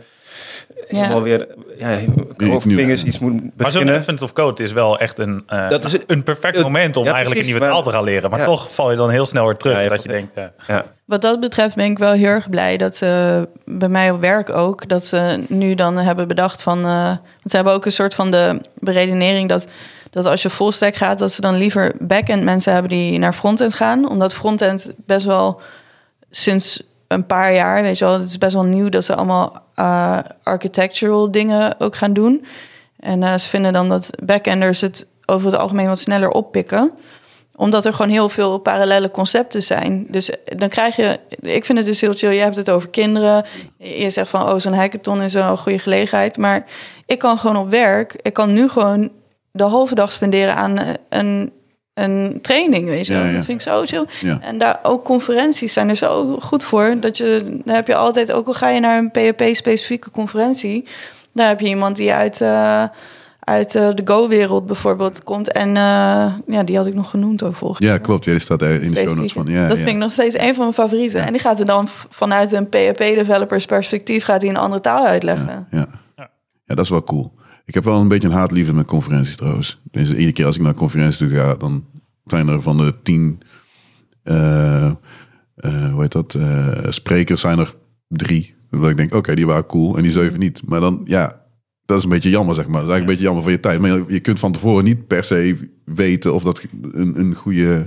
Speaker 2: eh, helemaal weer ja, hoofdvingers iets moet
Speaker 3: Maar zo'n
Speaker 2: beginnen.
Speaker 3: Advent of Code is wel echt een, eh,
Speaker 2: Dat is het-
Speaker 3: een perfect
Speaker 2: het-
Speaker 3: moment om
Speaker 2: ja,
Speaker 3: eigenlijk
Speaker 2: precies,
Speaker 3: een nieuwe taal
Speaker 2: maar-
Speaker 3: te gaan leren. Maar
Speaker 2: ja.
Speaker 3: toch val je dan heel snel weer terug.
Speaker 2: Ja, je
Speaker 3: dat
Speaker 2: hebt
Speaker 3: je
Speaker 2: het-
Speaker 3: denkt, ja.
Speaker 2: Ja.
Speaker 4: Wat dat betreft ben ik wel heel erg blij dat ze bij mij op werk ook, dat ze nu dan hebben bedacht van. eh, want ze hebben ook een soort van de beredenering dat, dat als je full stack gaat, dat ze dan liever back-end mensen hebben die naar frontend gaan. Omdat frontend best wel sinds een paar jaar, weet je wel, het is best wel nieuw dat ze allemaal eh, architectural dingen ook gaan doen. En eh, ze vinden dan dat backenders het over het algemeen wat sneller oppikken omdat er gewoon heel veel parallele concepten zijn. Dus dan krijg je, ik vind het dus heel chill. Je hebt het over kinderen. Je zegt van, oh, zo'n hackathon is een goede gelegenheid. Maar ik kan gewoon op werk, ik kan nu gewoon de halve dag spenderen aan eh, een, een training. Weet je? wel.
Speaker 1: Ja, ja.
Speaker 4: Dat vind ik zo chill.
Speaker 1: Ja.
Speaker 4: En daar ook conferenties zijn er zo goed voor. Dat je, daar heb je altijd, ook al ga je naar een PHP-specifieke conferentie, daar heb je iemand die uit, eh, uit eh, de Go-wereld bijvoorbeeld komt. En eh, ja, die had ik nog genoemd ook volgens
Speaker 1: Ja, klopt. Ja, die staat er in de show notes van. Ja,
Speaker 4: dat
Speaker 1: ja.
Speaker 4: vind ik nog steeds een van mijn favorieten.
Speaker 1: Ja.
Speaker 4: En die gaat er dan v- vanuit een PHP-developers perspectief gaat hij een andere taal uitleggen.
Speaker 1: Ja. Ja. ja, dat is wel cool. Ik heb wel een beetje een haatliefde met conferenties trouwens. Dus iedere keer als ik naar een conferentie toe ga, dan zijn er van de tien, eh, eh, hoe heet dat, eh, sprekers zijn er drie. Dat ik denk, oké, die waren cool en die zeven niet. Maar dan, ja, dat is een beetje jammer, zeg maar. Dat is eigenlijk een beetje jammer voor je tijd. Maar je- je kunt van tevoren niet per se weten of dat een, een goede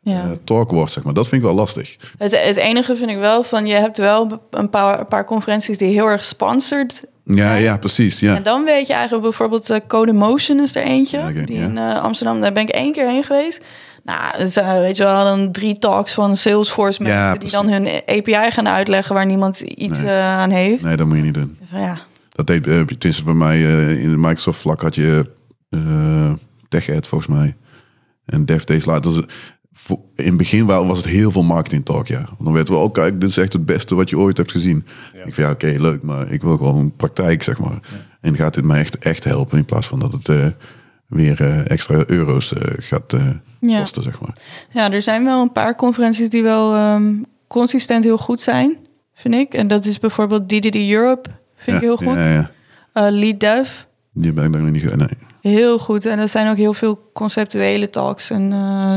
Speaker 4: Ja.
Speaker 1: eh, talk wordt, zeg maar. Dat vind ik wel lastig.
Speaker 4: Het, het enige vind ik wel van, je hebt wel een paar, een paar conferenties die heel erg sponsored
Speaker 1: Ja, ja, precies. Ja.
Speaker 4: En dan weet je eigenlijk bijvoorbeeld eh, Code Motion is er eentje.
Speaker 1: Ja, oké,
Speaker 4: die
Speaker 1: ja.
Speaker 4: in eh, Amsterdam, daar ben ik één keer heen geweest. Nou, dus, eh, weet je wel, dan drie talks van Salesforce mensen
Speaker 1: Ja,
Speaker 4: die
Speaker 1: precies.
Speaker 4: dan hun API gaan uitleggen waar niemand iets
Speaker 1: Nee.
Speaker 4: eh, aan heeft.
Speaker 1: Nee, dat moet je niet doen.
Speaker 4: Van, ja,
Speaker 1: Dat deed, eh, tenminste bij mij eh, in de Microsoft vlak had je eh TechEd volgens mij. En Dev Days later. Dat is- voor- in het begin wa- was het heel veel marketing talk, ja. Want Dan werd wel, oh kijk, dit is echt het beste wat je ooit hebt gezien. Ik vind ja, oké, leuk, maar ik wil gewoon praktijk, zeg maar. En gaat dit mij echt, echt helpen in plaats van dat het eh, weer eh, extra euro's eh, gaat eh,
Speaker 4: Ja.
Speaker 1: kosten, zeg maar.
Speaker 4: Ja, er zijn wel een paar conferenties die wel ehm, consistent heel goed zijn, vind ik. En dat is bijvoorbeeld DDD Europe, vind ik
Speaker 1: Ja,
Speaker 4: heel goed.
Speaker 1: Ja, ja.
Speaker 4: Eh, Lead Dev,
Speaker 1: Die ben ik nog niet... ge- Nee.
Speaker 4: heel goed. En er zijn ook heel veel conceptuele talks en eh,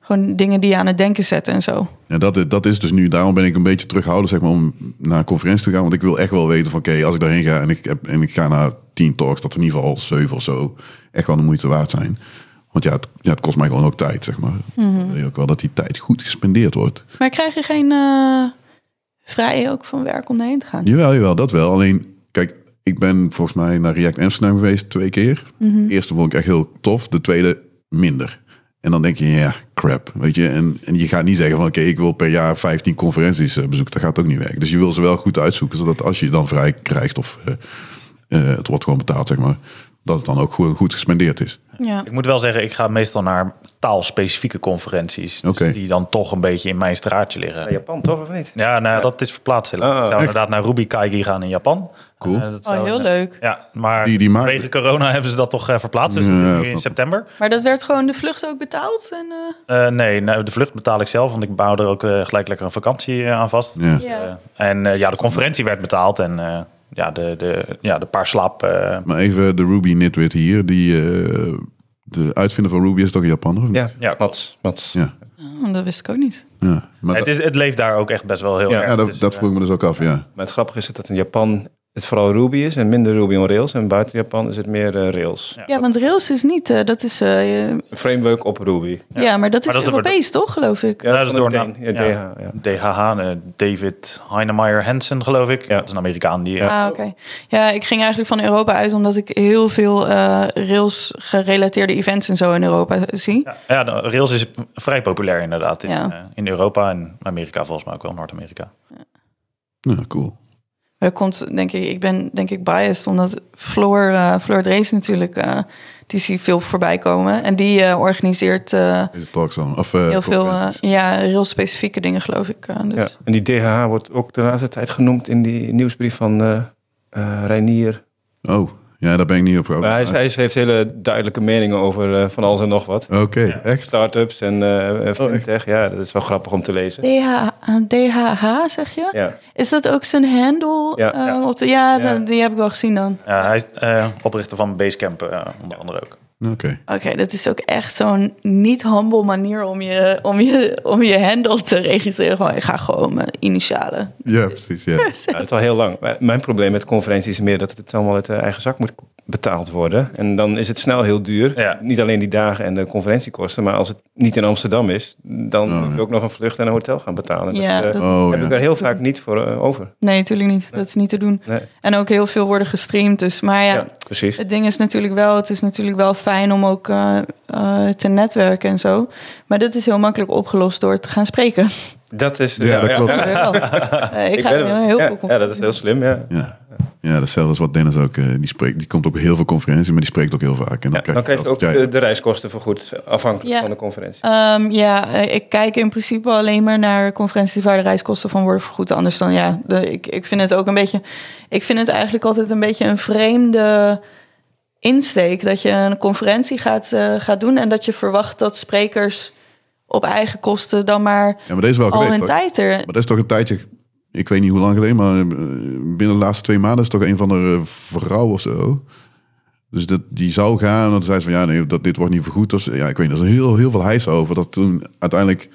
Speaker 4: gewoon dingen die je aan het denken zetten en zo.
Speaker 1: Ja, dat, is- dat is dus nu, daarom ben ik een beetje terughoudend zeg maar, om naar een conferentie te gaan. Want ik wil echt wel weten van oké, als ik daarheen ga en ik, heb, en ik ga naar tien talks, dat er in ieder geval zeven of zo echt wel de moeite waard zijn. Want ja, het, ja, het kost mij gewoon ook tijd, zeg maar. Dan wil je ook wel dat die tijd goed gespendeerd wordt.
Speaker 4: Maar krijg je geen eh vrij ook van werk om heen te gaan?
Speaker 1: Jawel, jawel, dat wel. Alleen, kijk, ik ben volgens mij naar React Amsterdam geweest twee keer. De eerste vond ik echt heel tof, de tweede minder. En dan denk je, ja, crap, weet je. En, en je gaat niet zeggen van, oké, ik wil per jaar 15 conferenties eh, bezoeken. Dat gaat ook niet werken. Dus je wil ze wel goed uitzoeken, zodat als je je dan vrij krijgt of eh, eh, het wordt gewoon betaald, zeg maar, dat het dan ook gewoon goed gespendeerd is.
Speaker 4: Ja.
Speaker 3: Ik moet wel zeggen, ik ga meestal naar taalspecifieke conferenties. Dus
Speaker 1: Oké.
Speaker 3: Die dan toch een beetje in mijn straatje liggen.
Speaker 2: Naar Japan toch, of niet?
Speaker 3: Ja, nou, dat is verplaatst helaas.
Speaker 2: Oh,
Speaker 3: ik zou
Speaker 1: Ah, echt?
Speaker 3: inderdaad naar Ruby Kaigi gaan in Japan.
Speaker 1: Cool.
Speaker 3: Eh, dat zou-
Speaker 4: Oh, heel leuk.
Speaker 3: Ja, maar
Speaker 1: Die- die maken-
Speaker 3: vanwege corona hebben ze dat toch eh, verplaatst. Dus
Speaker 1: Ja,
Speaker 3: dat is nu
Speaker 1: snap
Speaker 3: in
Speaker 1: ik.
Speaker 3: september.
Speaker 4: Maar dat werd gewoon de vlucht ook betaald. En, eh,
Speaker 3: Eh, nee, nou, de vlucht betaal ik zelf, want ik bouw er ook eh, gelijk lekker een vakantie eh, aan vast.
Speaker 1: Ja.
Speaker 4: Ja.
Speaker 3: Eh, en eh, ja, de conferentie werd betaald en eh, ja, de, de, ja, de paar slaap. eh,
Speaker 1: Maar even de Ruby Nitwit hier, die eh, de uitvinder van Ruby is toch een Japaner? of niet?
Speaker 2: Ja,
Speaker 3: ja,
Speaker 2: Mats. Mats.
Speaker 1: Ja.
Speaker 4: oh, dat wist ik ook niet.
Speaker 1: ja. Maar
Speaker 3: het,
Speaker 1: dat-
Speaker 3: is, het leeft daar ook echt best wel heel
Speaker 2: Ja,
Speaker 3: erg.
Speaker 1: ja, dat,
Speaker 3: Het is,
Speaker 1: dat
Speaker 3: eh,
Speaker 1: vroeg ik me dus ook af, ja.
Speaker 2: Maar het grappige is dat in Japan het vooral Ruby is en minder Ruby on Rails. En buiten Japan is het meer eh, Rails.
Speaker 4: Ja, want Rails is niet, eh, dat is, eh, eh,
Speaker 2: Een framework op Ruby.
Speaker 4: ja. maar dat is
Speaker 3: Maar dat wordt-
Speaker 4: Europees toch, geloof ik?
Speaker 2: Ja,
Speaker 3: dat is
Speaker 2: van
Speaker 3: door
Speaker 2: de
Speaker 3: naam.
Speaker 2: D- ja,
Speaker 3: Ja.
Speaker 2: DH, ja.
Speaker 3: DHH, eh, David Heinemeyer Hansen, geloof ik.
Speaker 2: Ja.
Speaker 3: Dat is een Amerikaan die. eh,
Speaker 4: Ah, oké. Ja, ik ging eigenlijk van Europa uit omdat ik heel veel eh, Rails-gerelateerde events en zo in Europa zie.
Speaker 3: Ja, ja, de- Rails is vrij populair inderdaad in,
Speaker 4: Ja.
Speaker 3: eh, in Europa en Amerika volgens mij ook wel, Noord-Amerika.
Speaker 1: ja cool.
Speaker 4: Maar dat komt, denk ik, ik ben denk ik biased, omdat Floor, eh Floor Drees natuurlijk, eh, die zie ik veel voorbij komen. En die eh, organiseert eh,
Speaker 1: Is het talks dan? Of, eh,
Speaker 4: heel veel eh,
Speaker 1: conferenties.
Speaker 4: ja, Rails-specifieke dingen, geloof ik. eh, dus.
Speaker 2: Ja. En die DHH wordt ook de laatste tijd genoemd in die nieuwsbrief van eh eh, Reinier.
Speaker 1: Oh, ja, daar ben ik niet op. Ah,
Speaker 2: Maar hij, is- hij is- heeft hele duidelijke meningen over eh, van alles en nog wat.
Speaker 1: Oké, echt?
Speaker 2: Startups en eh,
Speaker 1: Oh,
Speaker 2: fintech. ja, dat is wel grappig om te lezen.
Speaker 4: DH, DHH, zeg je?
Speaker 2: Ja.
Speaker 4: Is dat ook zijn handle?
Speaker 2: Ja.
Speaker 4: eh, op de, ja, dan- die heb ik wel gezien dan.
Speaker 3: Ja, hij is eh, oprichter van Basecamp eh, onder andere ook.
Speaker 1: Oké.
Speaker 4: Oké, dat is ook echt zo'n niet-humble manier om je, om, je, om je handle te registreren. Gewoon, ik ga gewoon mijn initialen.
Speaker 1: Ja, precies. Ja.
Speaker 2: Ja, dat is al heel lang. Maar Mijn probleem met conferenties is meer dat het allemaal uit de eigen zak moet betaald worden. En dan is het snel heel duur.
Speaker 3: Ja.
Speaker 2: Niet alleen die dagen en de conferentiekosten, maar als het niet in Amsterdam is, dan
Speaker 1: Oh,
Speaker 2: moet
Speaker 1: ja.
Speaker 2: je ook nog een vlucht en een hotel gaan betalen.
Speaker 4: Ja,
Speaker 2: dat, eh,
Speaker 4: dat-
Speaker 1: Oh,
Speaker 2: heb ik
Speaker 1: ja.
Speaker 2: er heel vaak niet voor eh, over.
Speaker 4: Nee, natuurlijk niet. Dat is niet te doen.
Speaker 2: Nee.
Speaker 4: En ook heel veel worden gestreamd. Dus, maar ja,
Speaker 2: Ja, precies.
Speaker 4: het ding is natuurlijk wel... Het is natuurlijk wel fijn om ook eh, eh, te netwerken en zo. Maar dat is heel makkelijk opgelost door te gaan spreken.
Speaker 2: Dat is.
Speaker 1: Ja, dat klopt.
Speaker 4: Dat wel. Eh, ik,
Speaker 2: Ik
Speaker 4: ga
Speaker 2: ben
Speaker 4: heel
Speaker 2: er-
Speaker 4: veel
Speaker 2: ja,
Speaker 4: conferenties.
Speaker 2: ja, dat is heel slim. Ja.
Speaker 1: Ja. ja, datzelfde als wat Dennis ook. eh, die, spreekt, die komt op heel veel conferenties, maar die spreekt ook heel vaak. En dan
Speaker 2: Ja,
Speaker 1: krijg
Speaker 2: dan krijg je ook
Speaker 1: zelfs- ja,
Speaker 2: de, de reiskosten vergoed, afhankelijk
Speaker 4: Ja.
Speaker 2: van de conferentie.
Speaker 4: Ehm, ja, eh, ik kijk in principe alleen maar naar conferenties waar de reiskosten van worden vergoed. Anders dan ja, de- ik, ik vind het ook een beetje. Ik vind het eigenlijk altijd een beetje een vreemde insteek. Dat je een conferentie gaat, eh, gaat doen en dat je verwacht dat sprekers op eigen kosten dan maar
Speaker 1: Ja, maar deze is wel
Speaker 4: al
Speaker 1: geweest.
Speaker 4: hun
Speaker 1: toch?
Speaker 4: tijd er.
Speaker 1: Maar dat is toch een tijdje. Ik weet niet hoe lang geleden, maar eh, binnen de laatste twee maanden is toch een van de eh, vrouwen of zo. Dus dat, die zou gaan. En dan zei ze van ja, nee, dat, dit wordt niet vergoed. Of, ja, ik weet niet. Er is heel, heel veel heis over. Dat toen uiteindelijk.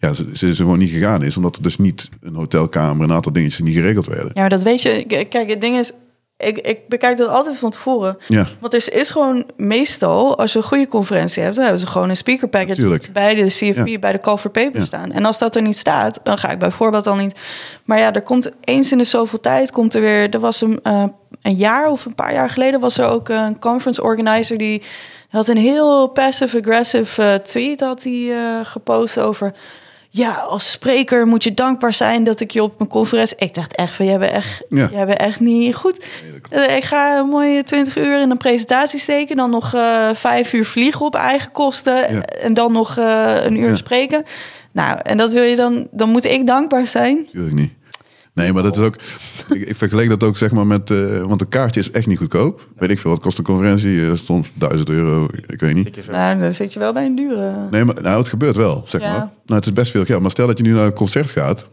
Speaker 1: Ja, ze, ze is er gewoon niet gegaan is. Omdat er dus niet een hotelkamer, een aantal dingetjes niet geregeld werden.
Speaker 4: Ja, maar dat weet je. K- Kijk, het ding is. Ik, ik bekijk dat altijd van tevoren.
Speaker 1: Ja,
Speaker 4: Want er is gewoon meestal, als je een goede conferentie hebt, dan hebben ze gewoon een speaker package
Speaker 1: Natuurlijk.
Speaker 4: bij de CFP,
Speaker 1: Ja.
Speaker 4: bij de call for paper
Speaker 1: Ja.
Speaker 4: staan. En als dat er niet staat, dan ga ik bijvoorbeeld al niet. Maar ja, er komt eens in de zoveel tijd, komt er weer, er was een, eh, een jaar of een paar jaar geleden, was er ook een conference organizer die had een heel passive-aggressive eh, tweet had hij eh, gepost over. Ja, als spreker moet je dankbaar zijn dat ik je op mijn conferentie. Ik dacht echt van, jij bent echt,
Speaker 1: Ja.
Speaker 4: jij bent echt niet goed. Eh, Ik ga een mooie 20 uur in een presentatie steken. Dan nog eh vijf uur vliegen op eigen kosten.
Speaker 1: Ja.
Speaker 4: En dan nog eh, een uur
Speaker 1: Ja.
Speaker 4: spreken. Nou, en dat wil je dan, dan moet ik dankbaar zijn.
Speaker 1: natuurlijk niet. Nee, maar dat is ook. Ik, ik vergelijk dat ook zeg maar met. eh, want een kaartje is echt niet goedkoop. Weet ik veel. Wat kost een conferentie? Eh, soms 1000 euro. Ik weet niet.
Speaker 4: Nou, dan zit je wel bij een dure. eh,
Speaker 1: Nee, maar nou, het gebeurt wel, zeg
Speaker 4: Ja.
Speaker 1: maar. Nou, het is best veel geld. Maar stel dat je nu naar een concert gaat,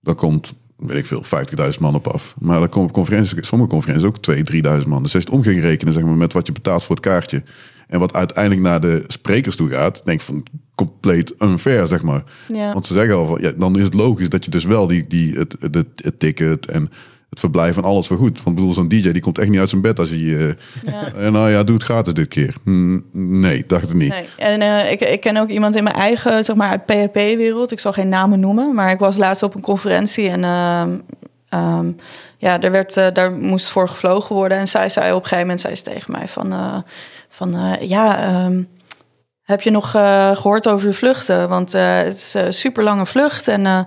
Speaker 1: dan komt, weet ik veel, 50.000 man op af. Maar dan komen op conferenties, sommige conferenties ook 2.000, 3.000 man. Dus als je het om ging rekenen, zeg maar, met wat je betaalt voor het kaartje... en wat uiteindelijk naar de sprekers toe gaat, denk ik van compleet unfair, zeg maar.
Speaker 4: Ja.
Speaker 1: Want ze zeggen al van, ja, dan is het logisch dat je dus wel die, die, het, het, het, het ticket en het verblijf en alles vergoedt. Want ik bedoel, zo'n DJ die komt echt niet uit zijn bed als hij... eh, eh, nou ja, doe het gratis dit keer. Hm, nee, dacht het niet.
Speaker 4: Nee. En eh, ik, ik ken ook iemand in mijn eigen, zeg maar, PHP-wereld. Ik zal geen namen noemen, maar ik was laatst op een conferentie en ehm, ehm, ja, er werd, eh, daar moest voor gevlogen worden. En zij zei op een gegeven moment zei ze tegen mij van, eh, van eh, ja, ehm, heb je nog eh, gehoord over de vluchten? Want eh, het is een super lange vlucht en eh,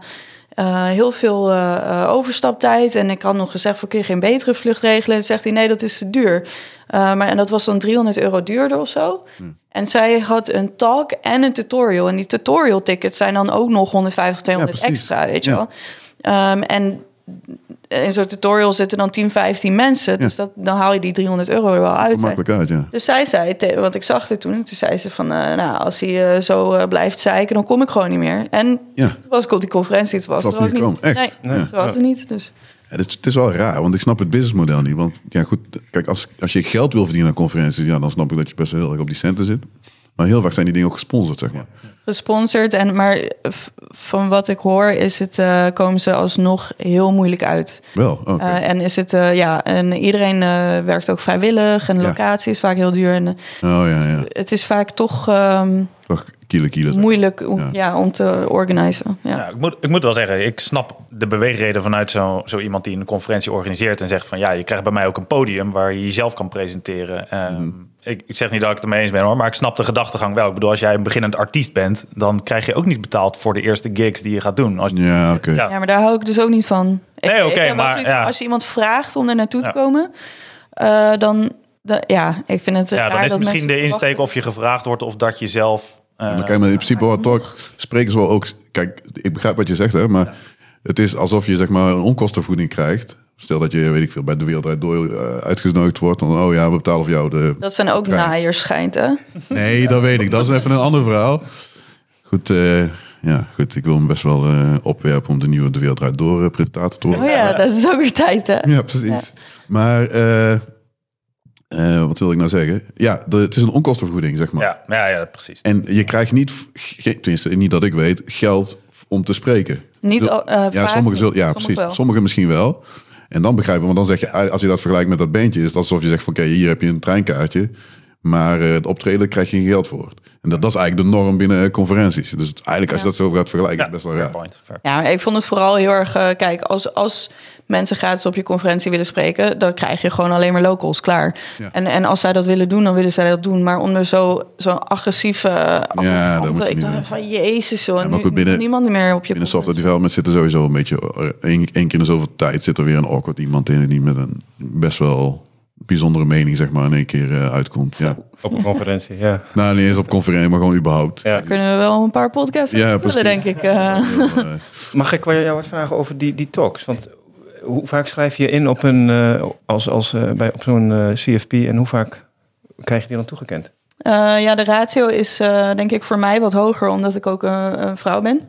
Speaker 4: eh, heel veel eh, eh, overstaptijd. En ik had nog gezegd, voor kun je geen betere vlucht regelen? En zegt hij, nee, dat is te duur. Eh, maar, en dat was dan 300 euro duurder of zo.
Speaker 1: Hmm.
Speaker 4: En zij had een talk en een tutorial. En die tutorial tickets zijn dan ook nog 150, 200
Speaker 1: precies.
Speaker 4: extra, weet je
Speaker 1: Ja.
Speaker 4: wel. Ehm, en in zo'n tutorial zitten dan 10, 15 mensen. Dus dat, dan haal je die 300 euro er wel uit. hè.
Speaker 1: Makkelijk uit, ja.
Speaker 4: Dus zij zei, te- want ik zag het toen, en toen zei ze van, eh, nou, als hij eh, zo eh, blijft zeiken, dan kom ik gewoon niet meer. En
Speaker 1: Ja,
Speaker 4: toen was ik op die conferentie, toen was
Speaker 1: Het
Speaker 4: het
Speaker 1: was
Speaker 4: ook
Speaker 1: niet
Speaker 4: niet.
Speaker 1: gekomen,
Speaker 4: Nee,
Speaker 1: echt?
Speaker 4: nee,
Speaker 1: Ja.
Speaker 4: toen was het niet. Dus
Speaker 1: het is, het is wel raar, want ik snap het businessmodel niet. Want ja, goed, kijk, als, als je geld wil verdienen aan conferenties, ja, dan snap ik dat je best wel heel erg op die centen zit. Maar heel vaak zijn die dingen ook gesponsord, zeg maar.
Speaker 4: gesponsord. En, maar eh, v- van wat ik hoor, is het, eh, komen ze alsnog heel moeilijk uit.
Speaker 1: Wel, oh, oké.
Speaker 4: Eh, en is het, eh, ja, en iedereen eh, werkt ook vrijwillig. En de
Speaker 1: Ja.
Speaker 4: locatie is vaak heel duur. En eh,
Speaker 1: oh ja, ja.
Speaker 4: het is vaak toch ehm,
Speaker 1: Toch kielen, kielen. zeg.
Speaker 4: moeilijk om,
Speaker 1: Ja.
Speaker 4: ja. om te organiseren. Ja.
Speaker 3: Ja, ik, moet, ik moet wel zeggen, ik snap de beweegreden vanuit zo, zo iemand die een conferentie organiseert en zegt van ja, je krijgt bij mij ook een podium waar je jezelf kan presenteren. Ehm, ik, ik zeg niet dat ik het ermee eens ben hoor, maar ik snap de gedachtegang wel. Ik bedoel, als jij een beginnend artiest bent, dan krijg je ook niet betaald voor de eerste gigs die je gaat doen. Als,
Speaker 1: Ja, oké.
Speaker 3: Ja.
Speaker 4: Ja, maar daar hou ik dus ook niet van. Ik-
Speaker 3: Nee, oké,
Speaker 4: ik heb wel
Speaker 3: maar,
Speaker 4: zoiets,
Speaker 3: ja.
Speaker 4: als je iemand vraagt om er naartoe
Speaker 3: Ja.
Speaker 4: te komen, eh, dan, da- ja, ik vind het.
Speaker 3: ja,
Speaker 4: raar
Speaker 3: dan is het
Speaker 4: dat
Speaker 3: misschien de
Speaker 4: mensen
Speaker 3: insteek
Speaker 4: verwachten-
Speaker 3: of je gevraagd wordt of dat je zelf. eh,
Speaker 1: Maar kijk, maar in principe wat toch spreken ze wel ook. Kijk, ik begrijp wat je zegt, hè, maar het is alsof je zeg maar een onkostenvergoeding krijgt. Stel dat je, weet ik veel, bij de wereld Draait door eh, uitgenodigd wordt. Dan, oh ja, we betalen voor jou de.
Speaker 4: Dat zijn ook
Speaker 1: Trein.
Speaker 4: naaiers, schijnt hè?
Speaker 1: Nee, dat weet ik. Dat is even een ander verhaal. Goed, eh, ja, goed. Ik wil hem best wel eh, opwerpen om de nieuwe de wereld Draait door eh, presentator te worden.
Speaker 4: Oh ja, dat is ook weer tijd, hè?
Speaker 1: Ja, precies. Maar eh, eh, wat wil ik nou zeggen? Ja, de- het is een onkostenvergoeding, zeg maar.
Speaker 3: ja, ja, ja, precies.
Speaker 1: En je krijgt niet, v- ge- tenminste niet dat ik weet, geld om te spreken.
Speaker 4: Niet,
Speaker 1: Zul-
Speaker 4: eh,
Speaker 1: ja,
Speaker 4: vaak
Speaker 1: sommigen
Speaker 4: niet.
Speaker 1: zullen, ja
Speaker 4: Sommigen
Speaker 1: precies.
Speaker 4: wel.
Speaker 1: Sommigen misschien wel. En dan begrijpen, want dan zeg je, als je dat vergelijkt met dat bandje, is het alsof je zegt van oké, hier heb je een treinkaartje. Maar eh, het optreden krijg je geen geld voor. En dat, dat is eigenlijk de norm binnen eh, conferenties. Dus het- eigenlijk als je dat zo gaat vergelijken,
Speaker 3: Ja,
Speaker 1: is het best wel
Speaker 3: fair
Speaker 1: raar.
Speaker 3: point, fair.
Speaker 4: Ja, maar ik vond het vooral heel erg. eh, kijk, als, als mensen gratis op je conferentie willen spreken, dan krijg je gewoon alleen maar locals klaar.
Speaker 1: Ja.
Speaker 4: En, en als zij dat willen doen, dan willen zij dat doen. Maar onder zo'n zo agressieve. arrogante-
Speaker 1: dat moet je
Speaker 4: ik
Speaker 1: niet
Speaker 4: dacht
Speaker 1: doen.
Speaker 4: van jezus, joh.
Speaker 1: Ja, maar
Speaker 4: nu-
Speaker 1: goed, binnen-
Speaker 4: niemand meer op je.
Speaker 1: Binnen software development zit er sowieso een beetje, eh, één één keer in de zoveel tijd zit er weer een awkward iemand in die met een best wel bijzondere mening zeg maar in één keer eh, uitkomt. Ja.
Speaker 2: Op een conferentie, ja.
Speaker 1: Nou, niet eens op conferentie, maar gewoon überhaupt.
Speaker 2: ja.
Speaker 4: kunnen we wel een paar podcasts
Speaker 1: Ja,
Speaker 4: aan vullen,
Speaker 1: precies.
Speaker 4: denk ik. eh.
Speaker 1: Heel, eh,
Speaker 2: Mag ik wel jou wat vragen over die, die talks? Want eh, hoe vaak schrijf je in op, een, eh, als, als, eh, bij, op zo'n eh, CFP en hoe vaak krijg je die dan toegekend?
Speaker 4: Eh, ja, de ratio is eh, denk ik voor mij wat hoger, omdat ik ook een, een vrouw ben.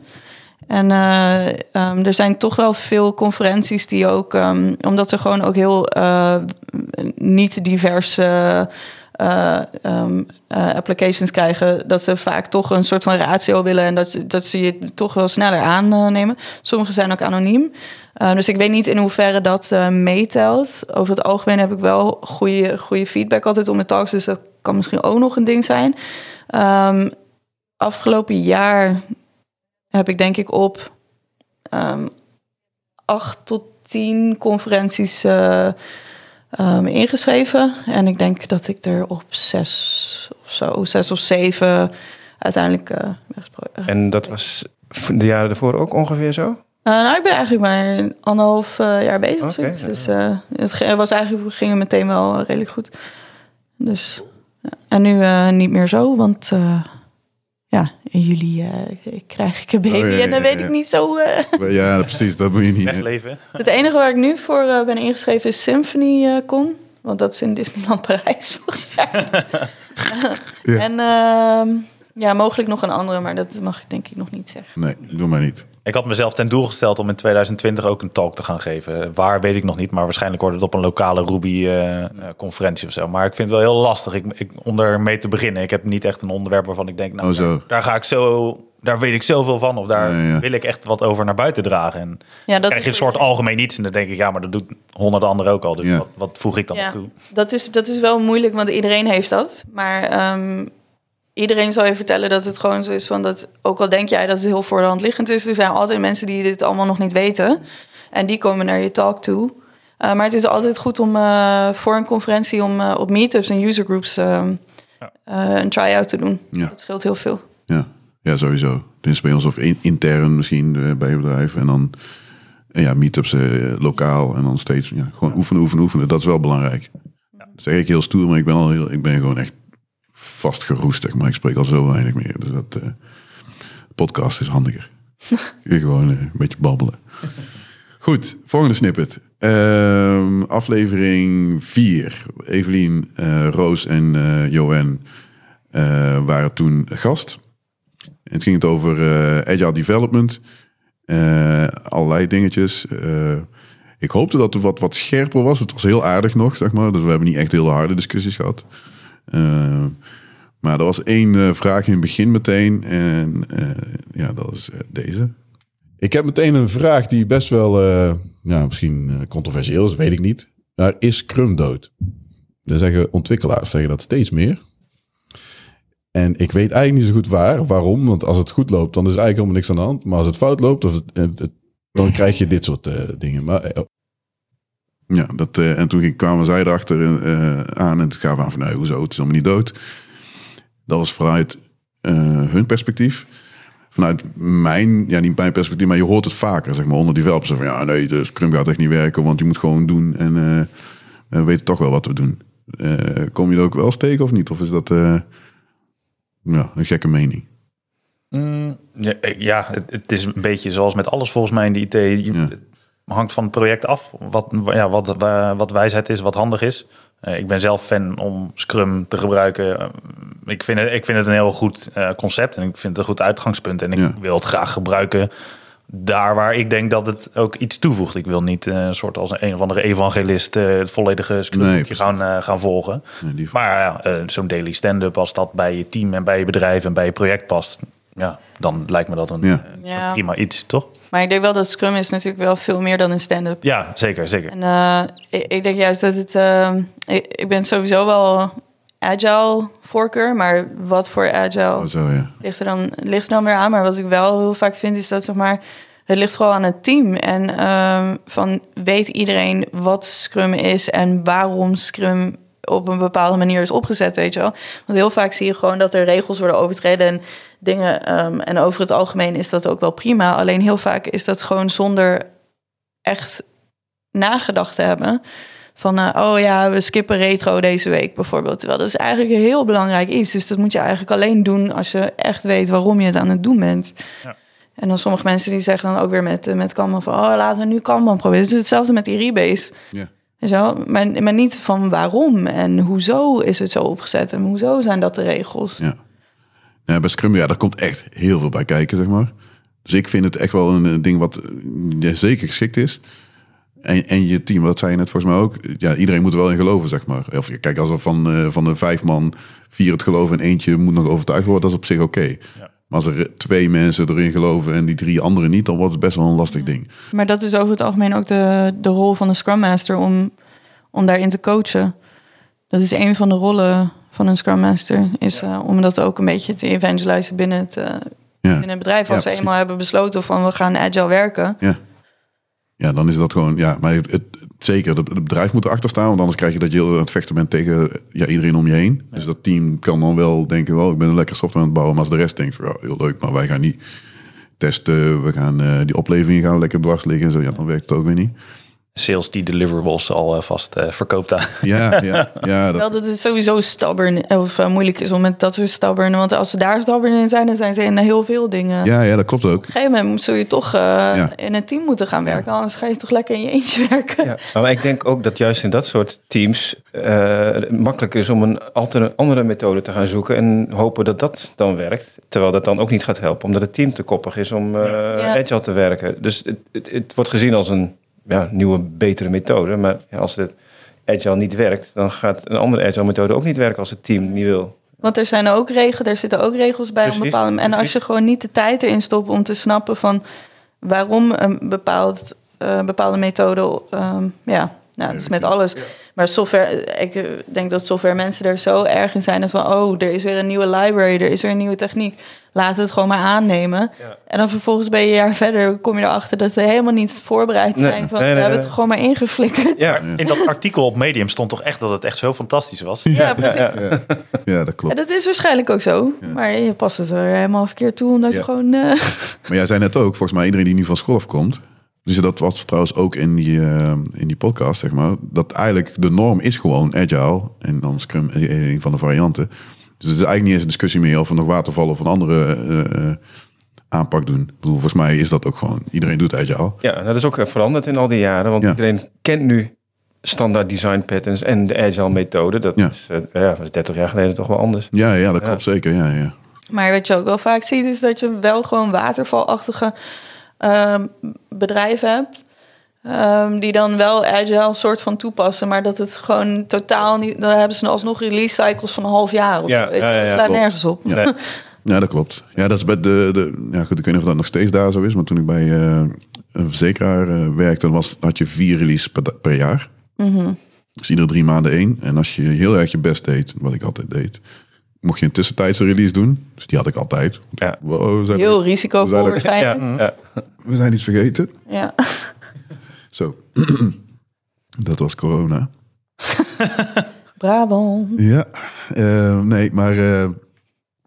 Speaker 4: En eh, ehm, er zijn toch wel veel conferenties die ook, ehm, omdat ze gewoon ook heel eh, niet diverse eh, ehm, eh, applications krijgen, dat ze vaak toch een soort van ratio willen en dat, ze- dat ze je toch wel sneller aannemen. Sommige zijn ook anoniem. Eh, dus ik weet niet in hoeverre dat eh, meetelt. Over het algemeen heb ik wel goede, goede feedback altijd om mijn talks. Dus dat kan misschien ook nog een ding zijn. Ehm, afgelopen jaar heb ik denk ik op ehm, acht tot tien conferenties eh, ehm, ingeschreven. En ik denk dat ik er op zes of zo, zes of zeven uiteindelijk eh wegspro- eh,
Speaker 2: En dat was de jaren daarvoor ook ongeveer zo?
Speaker 4: eh, nou, ik ben eigenlijk maar een anderhalf eh, jaar bezig.
Speaker 2: Oké,
Speaker 4: zoiets.
Speaker 2: ja.
Speaker 4: Dus eh, het ge- was eigenlijk, ging het meteen wel eh, redelijk goed. Dus, ja. En nu eh, niet meer zo, want eh, ja, in juli eh, krijg ik een baby.
Speaker 1: Oh, ja, ja,
Speaker 4: en dan
Speaker 1: ja,
Speaker 4: weet
Speaker 1: ja.
Speaker 4: ik niet zo... eh.
Speaker 1: ja, precies, dat moet je niet.
Speaker 3: Wegleven.
Speaker 4: Het enige waar ik nu voor eh, ben ingeschreven is SymphonyCon. want dat is in Disneyland Parijs volgens mij.
Speaker 1: Ja.
Speaker 4: En ehm, ja, mogelijk nog een andere, maar dat mag ik denk ik nog niet zeggen.
Speaker 1: Nee, doe maar niet.
Speaker 3: Ik had mezelf ten doel gesteld om in 2020 ook een talk te gaan geven. Waar weet ik nog niet, maar waarschijnlijk wordt het op een lokale Ruby-conferentie of zo. Maar ik vind het wel heel lastig ik, ik, om ermee te beginnen. Ik heb niet echt een onderwerp waarvan ik denk, nou,
Speaker 1: Oh, zo.
Speaker 3: Daar, daar ga ik zo, daar weet ik zoveel van. Of daar
Speaker 1: Ja, ja.
Speaker 3: wil ik echt wat over naar buiten dragen. En
Speaker 4: Ja, dat
Speaker 3: krijg je een
Speaker 4: is-
Speaker 3: soort algemeen iets en dan denk ik, ja, maar dat doet honderden anderen ook al. Dus
Speaker 1: Ja.
Speaker 3: wat, wat voeg ik dan nog toe?
Speaker 4: Dat is, dat is wel moeilijk, want iedereen heeft dat. Maar ehm, iedereen zal je vertellen dat het gewoon zo is van dat, ook al denk jij dat het heel voor de hand liggend is, er zijn altijd mensen die dit allemaal nog niet weten. En die komen naar je talk toe. Eh, maar het is altijd goed om eh, voor een conferentie om eh, op meetups en usergroups ehm,
Speaker 3: Ja.
Speaker 4: eh, een try-out te doen.
Speaker 1: Ja.
Speaker 4: Dat scheelt heel veel.
Speaker 1: Ja, ja sowieso. Dus bij ons of in- intern misschien eh, bij je bedrijf. En dan eh, ja, meetups eh, lokaal en dan steeds ja, gewoon oefenen, oefenen, oefenen. Dat is wel belangrijk. Dat zeg ik heel stoer, maar ik ben, al heel, ik ben gewoon echt vastgeroest, zeg maar. Ik spreek al zo weinig meer. Dus dat eh, podcast is handiger. Kun je gewoon eh, een beetje babbelen. Goed, volgende snippet. Ehm, aflevering 4. Evelien, eh, Roos en eh Johan eh, waren toen gast. En het ging het over eh, agile development. eh, allerlei dingetjes. Eh, ik hoopte dat het wat, wat scherper was. Het was heel aardig nog, zeg maar. Dus we hebben niet echt heel harde discussies gehad. Eh, maar er was één eh, vraag in het begin meteen. En eh, ja, dat is eh, deze.
Speaker 8: Ik heb meteen een vraag die best wel, eh, nou, misschien eh, controversieel is, weet ik niet. Maar is Scrum dood? Dan zeggen ontwikkelaars zeggen dat steeds meer. En ik weet eigenlijk niet zo goed waar, waarom. Want als het goed loopt, dan is er eigenlijk helemaal niks aan de hand. Maar als het fout loopt, of het- het- het- dan krijg je dit soort eh, dingen. Maar eh,
Speaker 1: Ja, dat, eh, en toen ging- kwamen zij erachter eh, aan en het gaven aan van nee, hoezo, het is allemaal niet dood. Dat was vanuit eh, hun perspectief. Vanuit mijn, ja niet mijn perspectief, maar je hoort het vaker, zeg maar, onder developers. Van ja, nee, de Scrum gaat echt niet werken, want je moet gewoon doen en eh, we weten toch wel wat we doen. Eh, kom je er ook wel eens tegen of niet? Of is dat eh, ja, een gekke mening?
Speaker 3: Mm, ja, eh, ja, het, het is een beetje zoals met alles volgens mij in de IT. Je-
Speaker 1: Ja.
Speaker 3: Het hangt van het project af. Wat, ja, wat, wa- wat wijsheid is, wat handig is. Eh, ik ben zelf fan om Scrum te gebruiken. Eh, ik, vind het, ik vind het een heel goed eh, concept en ik vind het een goed uitgangspunt. En ik
Speaker 1: Ja.
Speaker 3: wil het graag gebruiken daar waar ik denk dat het ook iets toevoegt. Ik wil niet eh, een soort als een, een of andere evangelist eh, het volledige Scrum
Speaker 1: Nee,
Speaker 3: boekje gaan, eh, gaan volgen.
Speaker 1: Nee, die-
Speaker 3: Maar ja, eh, zo'n daily stand-up, als dat bij je team en bij je bedrijf en bij je project past, ja, dan lijkt me dat een,
Speaker 1: Ja.
Speaker 3: eh,
Speaker 4: Ja.
Speaker 3: een prima iets, toch?
Speaker 4: Maar ik denk wel dat Scrum is natuurlijk wel veel meer dan een stand-up.
Speaker 3: Ja, zeker, zeker.
Speaker 4: En eh, ik, ik denk juist dat het. eh, ik, ik ben sowieso wel agile voorkeur, maar wat voor agile
Speaker 1: Oh, zo ja.
Speaker 4: ligt, er dan, ligt er dan weer aan. Maar wat ik wel heel vaak vind is dat zeg maar. Het ligt vooral aan het team. En ehm, van weet iedereen wat Scrum is en waarom Scrum op een bepaalde manier is opgezet, weet je wel. Want heel vaak zie je gewoon dat er regels worden overtreden en dingen. ehm, en over het algemeen is dat ook wel prima. Alleen heel vaak is dat gewoon zonder echt nagedacht te hebben. Van, eh, oh ja, we skippen retro deze week bijvoorbeeld. Terwijl dat is eigenlijk een heel belangrijk iets. Dus dat moet je eigenlijk alleen doen als je echt weet waarom je het aan het doen bent.
Speaker 3: Ja.
Speaker 4: En dan sommige mensen die zeggen dan ook weer met, eh, met Kanban van... oh, laten we nu Kanban proberen. Dus hetzelfde met die rebase.
Speaker 1: Ja.
Speaker 4: Weet je wel? Maar, maar niet van waarom en hoezo is het zo opgezet... en hoezo zijn dat de regels.
Speaker 1: Ja. Ja, bij Scrum, ja, daar komt echt heel veel bij kijken, zeg maar. Dus ik vind het echt wel een, eh, ding wat eh, ja, zeker geschikt is. En, en je team, dat zei je net volgens mij ook. Ja, iedereen moet er wel in geloven, zeg maar. Of je- kijk, als er van, eh, van de vijf man vier het geloven en eentje moet nog overtuigd worden, dat is op zich oké. Maar als er eh, twee mensen erin geloven en die drie anderen niet, dan wordt het best wel een lastig ding.
Speaker 4: Maar dat is over het algemeen ook de, de rol van de Scrum Master om, om daarin te coachen. Dat is een van de rollen van een Scrum Master. Is eh, om dat ook een beetje te evangelizen binnen het, eh,
Speaker 1: Ja.
Speaker 4: binnen het bedrijf.
Speaker 1: Ja,
Speaker 4: Als ze
Speaker 1: precies.
Speaker 4: eenmaal hebben besloten van we gaan agile werken.
Speaker 1: Ja. Ja, dan is dat gewoon, ja, maar het, het- zeker, het het bedrijf moet erachter staan, want anders krijg je dat je heel aan het vechten bent tegen ja, iedereen om je heen. Dus dat team kan dan wel denken, wel, ik ben een lekker software aan het bouwen, maar als de rest denkt, van, ja, heel leuk, maar wij gaan niet testen, we gaan eh, die opleveringen gaan lekker dwars liggen en zo, ja, dan werkt het ook weer niet.
Speaker 3: Sales die deliverables al eh, vast eh, verkoopt aan.
Speaker 1: Ja, ja, ja, dat,
Speaker 4: Wel dat het sowieso stubborn of eh, moeilijk is om met dat soort stubborn. Want als ze daar stubborn in zijn, dan zijn ze in heel veel dingen. Op
Speaker 1: ja, ja, dat klopt ook.
Speaker 4: een gegeven moment moet- zul je toch eh,
Speaker 1: Ja.
Speaker 4: in een team moeten gaan werken. Anders ga je toch lekker in je eentje werken.
Speaker 2: Ja, maar ik denk ook dat juist in dat soort teams eh, het makkelijker is om een alter- andere methode te gaan zoeken en hopen dat dat dan werkt. Terwijl dat dan ook niet gaat helpen, omdat het team te koppig is om eh
Speaker 4: Ja.
Speaker 2: agile te werken. Dus het, het, het wordt gezien als een ja, nieuwe, betere methode. Maar ja, als het agile niet werkt, dan gaat een andere agile methode ook niet werken als het team niet wil.
Speaker 4: Want er zijn ook regels, er zitten ook regels bij om
Speaker 2: Precies,
Speaker 4: bepaalde. En als
Speaker 2: precies.
Speaker 4: je gewoon niet de tijd erin stopt om te snappen van waarom een bepaald, eh, bepaalde methode. ehm, ja, nou, het is met alles. Maar software, ik eh, denk dat software mensen er zo erg in zijn. Dat van, oh, er is weer een nieuwe library, er is weer een nieuwe techniek. Laten we het gewoon maar aannemen.
Speaker 2: Ja.
Speaker 4: En dan vervolgens ben je een jaar verder, kom je erachter dat ze helemaal niet voorbereid
Speaker 2: Nee.
Speaker 4: zijn. Van,
Speaker 2: Nee, nee,
Speaker 4: we hebben
Speaker 2: nee.
Speaker 4: het gewoon maar ingeflikkerd.
Speaker 2: Ja,
Speaker 3: In dat artikel op Medium stond toch echt dat het echt zo fantastisch was.
Speaker 4: Ja, precies.
Speaker 1: Ja, ja dat
Speaker 4: En
Speaker 1: klopt.
Speaker 4: dat is waarschijnlijk ook zo. Maar je past het er helemaal verkeerd toe, omdat
Speaker 1: Ja.
Speaker 4: je gewoon... eh,
Speaker 1: Maar jij zei net ook, volgens mij iedereen die nu van school afkomt... Dus dat was trouwens ook in die, eh, in die podcast, zeg maar. Dat eigenlijk de norm is gewoon agile. En dan Scrum is een van de varianten. Dus het is eigenlijk niet eens een discussie meer of we nog waterval of een andere eh, eh, aanpak doen. Ik bedoel, volgens mij is dat ook gewoon... Iedereen doet agile.
Speaker 2: Ja, dat is ook eh, veranderd in al die jaren. Want
Speaker 1: Ja.
Speaker 2: iedereen kent nu standaard design patterns en de agile methode. Dat
Speaker 1: Ja.
Speaker 2: is, eh, ja, was 30 jaar geleden toch wel anders.
Speaker 1: Ja, ja, dat
Speaker 2: Ja.
Speaker 1: klopt zeker. Ja, ja.
Speaker 4: Maar wat je ook wel vaak ziet, is dat je wel gewoon watervalachtige ehm, bedrijven hebt. ehm, die dan wel agile soort van toepassen, maar dat het gewoon totaal niet. Dan hebben ze alsnog release cycles van een half jaar. Of
Speaker 2: Ja,
Speaker 4: zo, weet je
Speaker 2: ja,
Speaker 4: wel.
Speaker 2: ja,
Speaker 4: Het
Speaker 2: ja,
Speaker 4: slaat
Speaker 1: klopt.
Speaker 4: nergens op.
Speaker 1: Ja.
Speaker 2: Nee.
Speaker 1: Ja, dat klopt. Ja, dat is bij de, de. Ja, goed, ik weet niet of dat nog steeds daar zo is, maar toen ik bij eh, een verzekeraar eh, werkte, dan was, had je vier releases per, da- per jaar. Dus iedere drie maanden één. En als je heel erg je best deed, wat ik altijd deed, mocht je een tussentijdse release doen. Dus die had ik altijd.
Speaker 2: Ja.
Speaker 1: Wow, we, zijn,
Speaker 4: Heel
Speaker 1: We zijn
Speaker 4: risicovol
Speaker 1: er-
Speaker 2: Ja,
Speaker 4: waarschijnlijk.
Speaker 2: ja.
Speaker 1: we zijn iets vergeten.
Speaker 4: Ja.
Speaker 1: Zo. dat was corona.
Speaker 4: Brabant.
Speaker 1: Ja, eh, nee, maar eh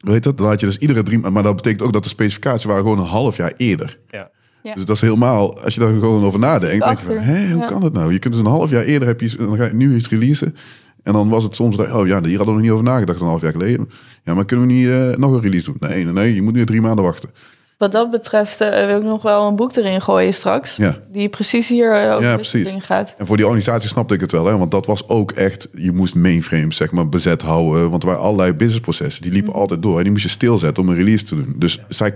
Speaker 1: weet dat, dan had je dus iedere drie Maar dat betekent ook dat de specificaties waren gewoon een half jaar eerder.
Speaker 2: Ja.
Speaker 4: Ja.
Speaker 1: Dus dat is helemaal, als je daar gewoon over nadenkt, denk je van,
Speaker 4: Achter,
Speaker 1: hé, hoe
Speaker 4: ja.
Speaker 1: kan dat nou? Je kunt dus een half jaar eerder, heb je, iets- dan ga je nu iets releasen. En dan was het soms, dat- oh ja, hier hadden we nog niet over nagedacht een half jaar geleden. Ja, maar kunnen we niet eh, nog een release doen? Nee, nee, nee, je moet weer drie maanden wachten.
Speaker 4: Wat dat betreft eh, wil ik nog wel een boek erin gooien straks.
Speaker 1: Ja.
Speaker 4: Die precies hier eh, over
Speaker 1: Ja,
Speaker 4: dit
Speaker 1: precies.
Speaker 4: ding gaat.
Speaker 1: En voor die organisatie snapte ik het wel, hè, want dat was ook echt, je moest mainframes zeg maar bezet houden, want er waren allerlei businessprocessen, die liepen altijd door en die moest je stilzetten om een release te doen. Dus zij,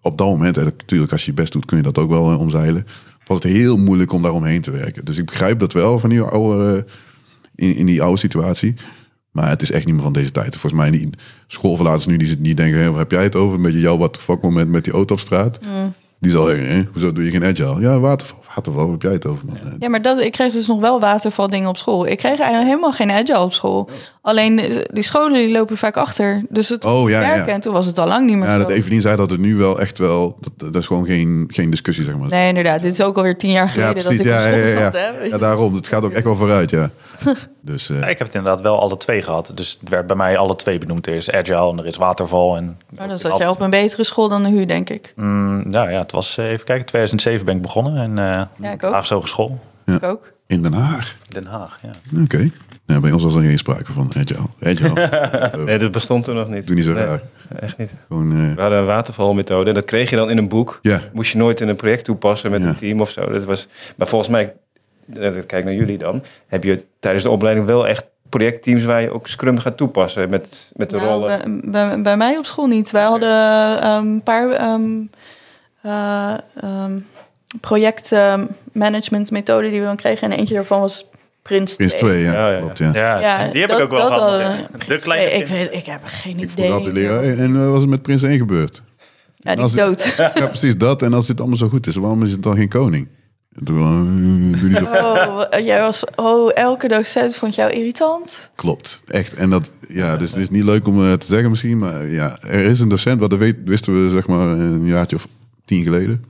Speaker 1: op dat moment, hè, natuurlijk als je je best doet kun je dat ook wel eh, omzeilen, was het heel moeilijk om daar omheen te werken. Dus ik begrijp dat wel van die oude, eh, in, in die oude situatie, maar het is echt niet meer van deze tijd. Volgens mij, die schoolverlaters nu, die, zitten- die denken, hé, waar heb jij het over? Een beetje jouw what the fuck moment met die auto op straat. Die zal zeggen, hè, hoezo doe je geen agile? Ja, waterval, waterval, waar heb jij het over? Man? Eh,
Speaker 4: Ja, maar dat, ik kreeg dus nog wel watervaldingen op school. Ik kreeg eigenlijk helemaal geen agile op
Speaker 1: Oh.
Speaker 4: school. Alleen eh, die scholen die lopen vaak achter. Dus het
Speaker 1: Oh, ja,
Speaker 4: werken,
Speaker 1: ja.
Speaker 4: en toen was het al lang niet meer
Speaker 1: Ja,
Speaker 4: zo.
Speaker 1: dat Evelien zei dat het nu wel echt wel... Dat, dat is gewoon geen, geen discussie, zeg maar.
Speaker 4: Nee, inderdaad. Dit is ook alweer tien jaar
Speaker 1: ja,
Speaker 4: geleden
Speaker 1: precies.
Speaker 4: dat ik op
Speaker 1: Ja,
Speaker 4: school
Speaker 1: ja, ja,
Speaker 4: zat.
Speaker 1: ja.
Speaker 4: Hè?
Speaker 1: Ja, daarom. Het gaat ook echt wel vooruit, ja. Dus eh,
Speaker 3: Ja, ik heb het inderdaad wel alle twee gehad. Dus het werd bij mij alle twee benoemd. Er is Agile en er is Waterval. En
Speaker 4: Maar Oh, dan zat je op een betere school dan de HU, denk ik.
Speaker 3: Mm, nou ja, het was, eh, even kijken, 2007 ben ik begonnen. En eh
Speaker 4: Ja, ik ook.
Speaker 3: Haagse Hogeschool,
Speaker 4: Ik ook.
Speaker 1: in Den Haag.
Speaker 3: Den Haag. Ja.
Speaker 1: Oké. Nou, bij ons was er geen sprake van agile. Agile.
Speaker 2: Nee, dat bestond toen nog niet.
Speaker 1: Doe niet zo
Speaker 2: Nee,
Speaker 1: raar.
Speaker 2: echt niet.
Speaker 1: Gewoon... eh,
Speaker 2: We hadden een watervalmethode. Dat kreeg je dan in een boek.
Speaker 1: Ja.
Speaker 2: Moest je nooit in een project toepassen met
Speaker 1: Ja.
Speaker 2: een team of zo. Dat was, maar volgens mij, eh, ik kijk naar jullie dan, heb je tijdens de opleiding wel echt projectteams waar je ook Scrum gaat toepassen met, met de
Speaker 4: Nou,
Speaker 2: rollen.
Speaker 4: bij, bij- bij mij op school niet. Wij hadden ehm, een paar ehm eh, ehm, project ehm, management methoden die we dan kregen. En eentje daarvan was Prins 2.
Speaker 1: Prince 2, ja.
Speaker 2: Ja, ja.
Speaker 1: Klopt, ja.
Speaker 3: Ja, die heb
Speaker 4: dat-
Speaker 3: ik ook wel
Speaker 4: dat
Speaker 3: gehad.
Speaker 4: hadden we.
Speaker 3: ja. De
Speaker 4: Prins
Speaker 3: kleine
Speaker 4: twee, ik,
Speaker 3: kind.
Speaker 4: weet, ik heb geen
Speaker 1: Ik vroeg
Speaker 4: idee.
Speaker 1: altijd leraar. En en, eh, was het met Prins 1 gebeurd?
Speaker 4: Ja, die
Speaker 1: Als
Speaker 4: is
Speaker 1: het-
Speaker 4: dood.
Speaker 1: Ja, precies dat. En als dit allemaal zo goed is, waarom is het dan geen koning? En toen, eh, doe niet zo-
Speaker 4: Oh, wa- jij was, oh, elke docent vond jou irritant.
Speaker 1: Klopt, echt. En dat, ja, dus het is niet leuk om eh, te zeggen misschien, maar ja, er is een docent, wat dat weet, wisten we zeg maar een jaartje of tien geleden.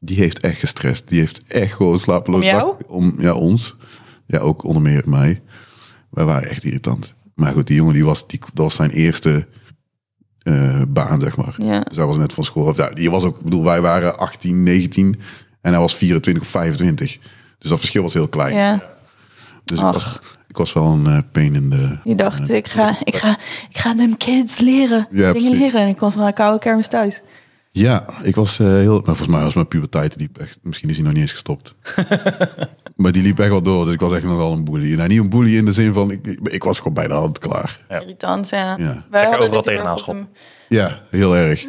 Speaker 1: Die heeft echt gestrest. Die heeft echt gewoon slapeloos.
Speaker 4: Om jou?
Speaker 1: nacht- Om ja, ons. Ja, ook onder meer mij. Wij waren echt irritant. Maar goed, die jongen, die was, die, dat was zijn eerste eh, baan, zeg maar.
Speaker 4: Ja.
Speaker 1: Dus hij was net van school. Of, nou, die was ook, ik bedoel, wij waren 18, 19 en hij was 24 of 25. Dus dat verschil was heel klein.
Speaker 4: Ja,
Speaker 1: Dus ik was,
Speaker 4: Ach.
Speaker 1: ik was wel een eh pain in de...
Speaker 4: die dacht, ik ga, ik ga, ik ga hem kids leren.
Speaker 1: Ja,
Speaker 4: dingen
Speaker 1: precies.
Speaker 4: leren. En ik kwam van een koude kermis thuis.
Speaker 1: Ja, ik was eh, heel. Maar volgens mij was mijn puberteit diep echt. Misschien is hij nog niet eens gestopt. maar die liep echt wel door. Dus ik was echt nog wel een bully. Nou, niet een bully in de zin van. Ik, ik was gewoon bij de hand klaar.
Speaker 3: Ja.
Speaker 4: Irritant, ja.
Speaker 1: Ja.
Speaker 4: Wij hadden
Speaker 3: overal
Speaker 4: het heel
Speaker 3: tegenaan
Speaker 4: erg op de-
Speaker 1: Ja, heel erg.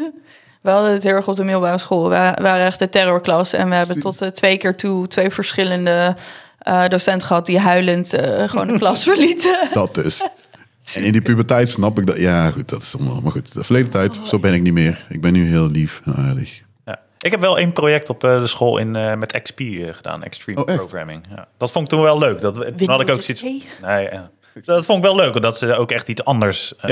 Speaker 4: We hadden het heel erg op de middelbare school. We waren echt de terrorklas. En we hebben tot eh, twee keer toe twee verschillende eh, docenten gehad... die huilend eh, gewoon de klas verlieten.
Speaker 1: Dat dus. En in die puberteit snap ik dat. Ja, goed, dat is allemaal. Maar goed, de verleden tijd. Zo ben ik niet meer. Ik ben nu heel lief en aardig.
Speaker 3: Ja. Ik heb wel één project op eh, de school in, eh, met XP eh, gedaan, Extreme
Speaker 1: Oh, echt?
Speaker 3: Programming. Ja. Dat vond ik toen wel leuk. Dat, toen had ik ook
Speaker 4: Windows
Speaker 3: zoiets.
Speaker 4: XP?
Speaker 3: Nee, ja. Dat vond ik wel leuk, omdat ze ook echt iets anders. eh,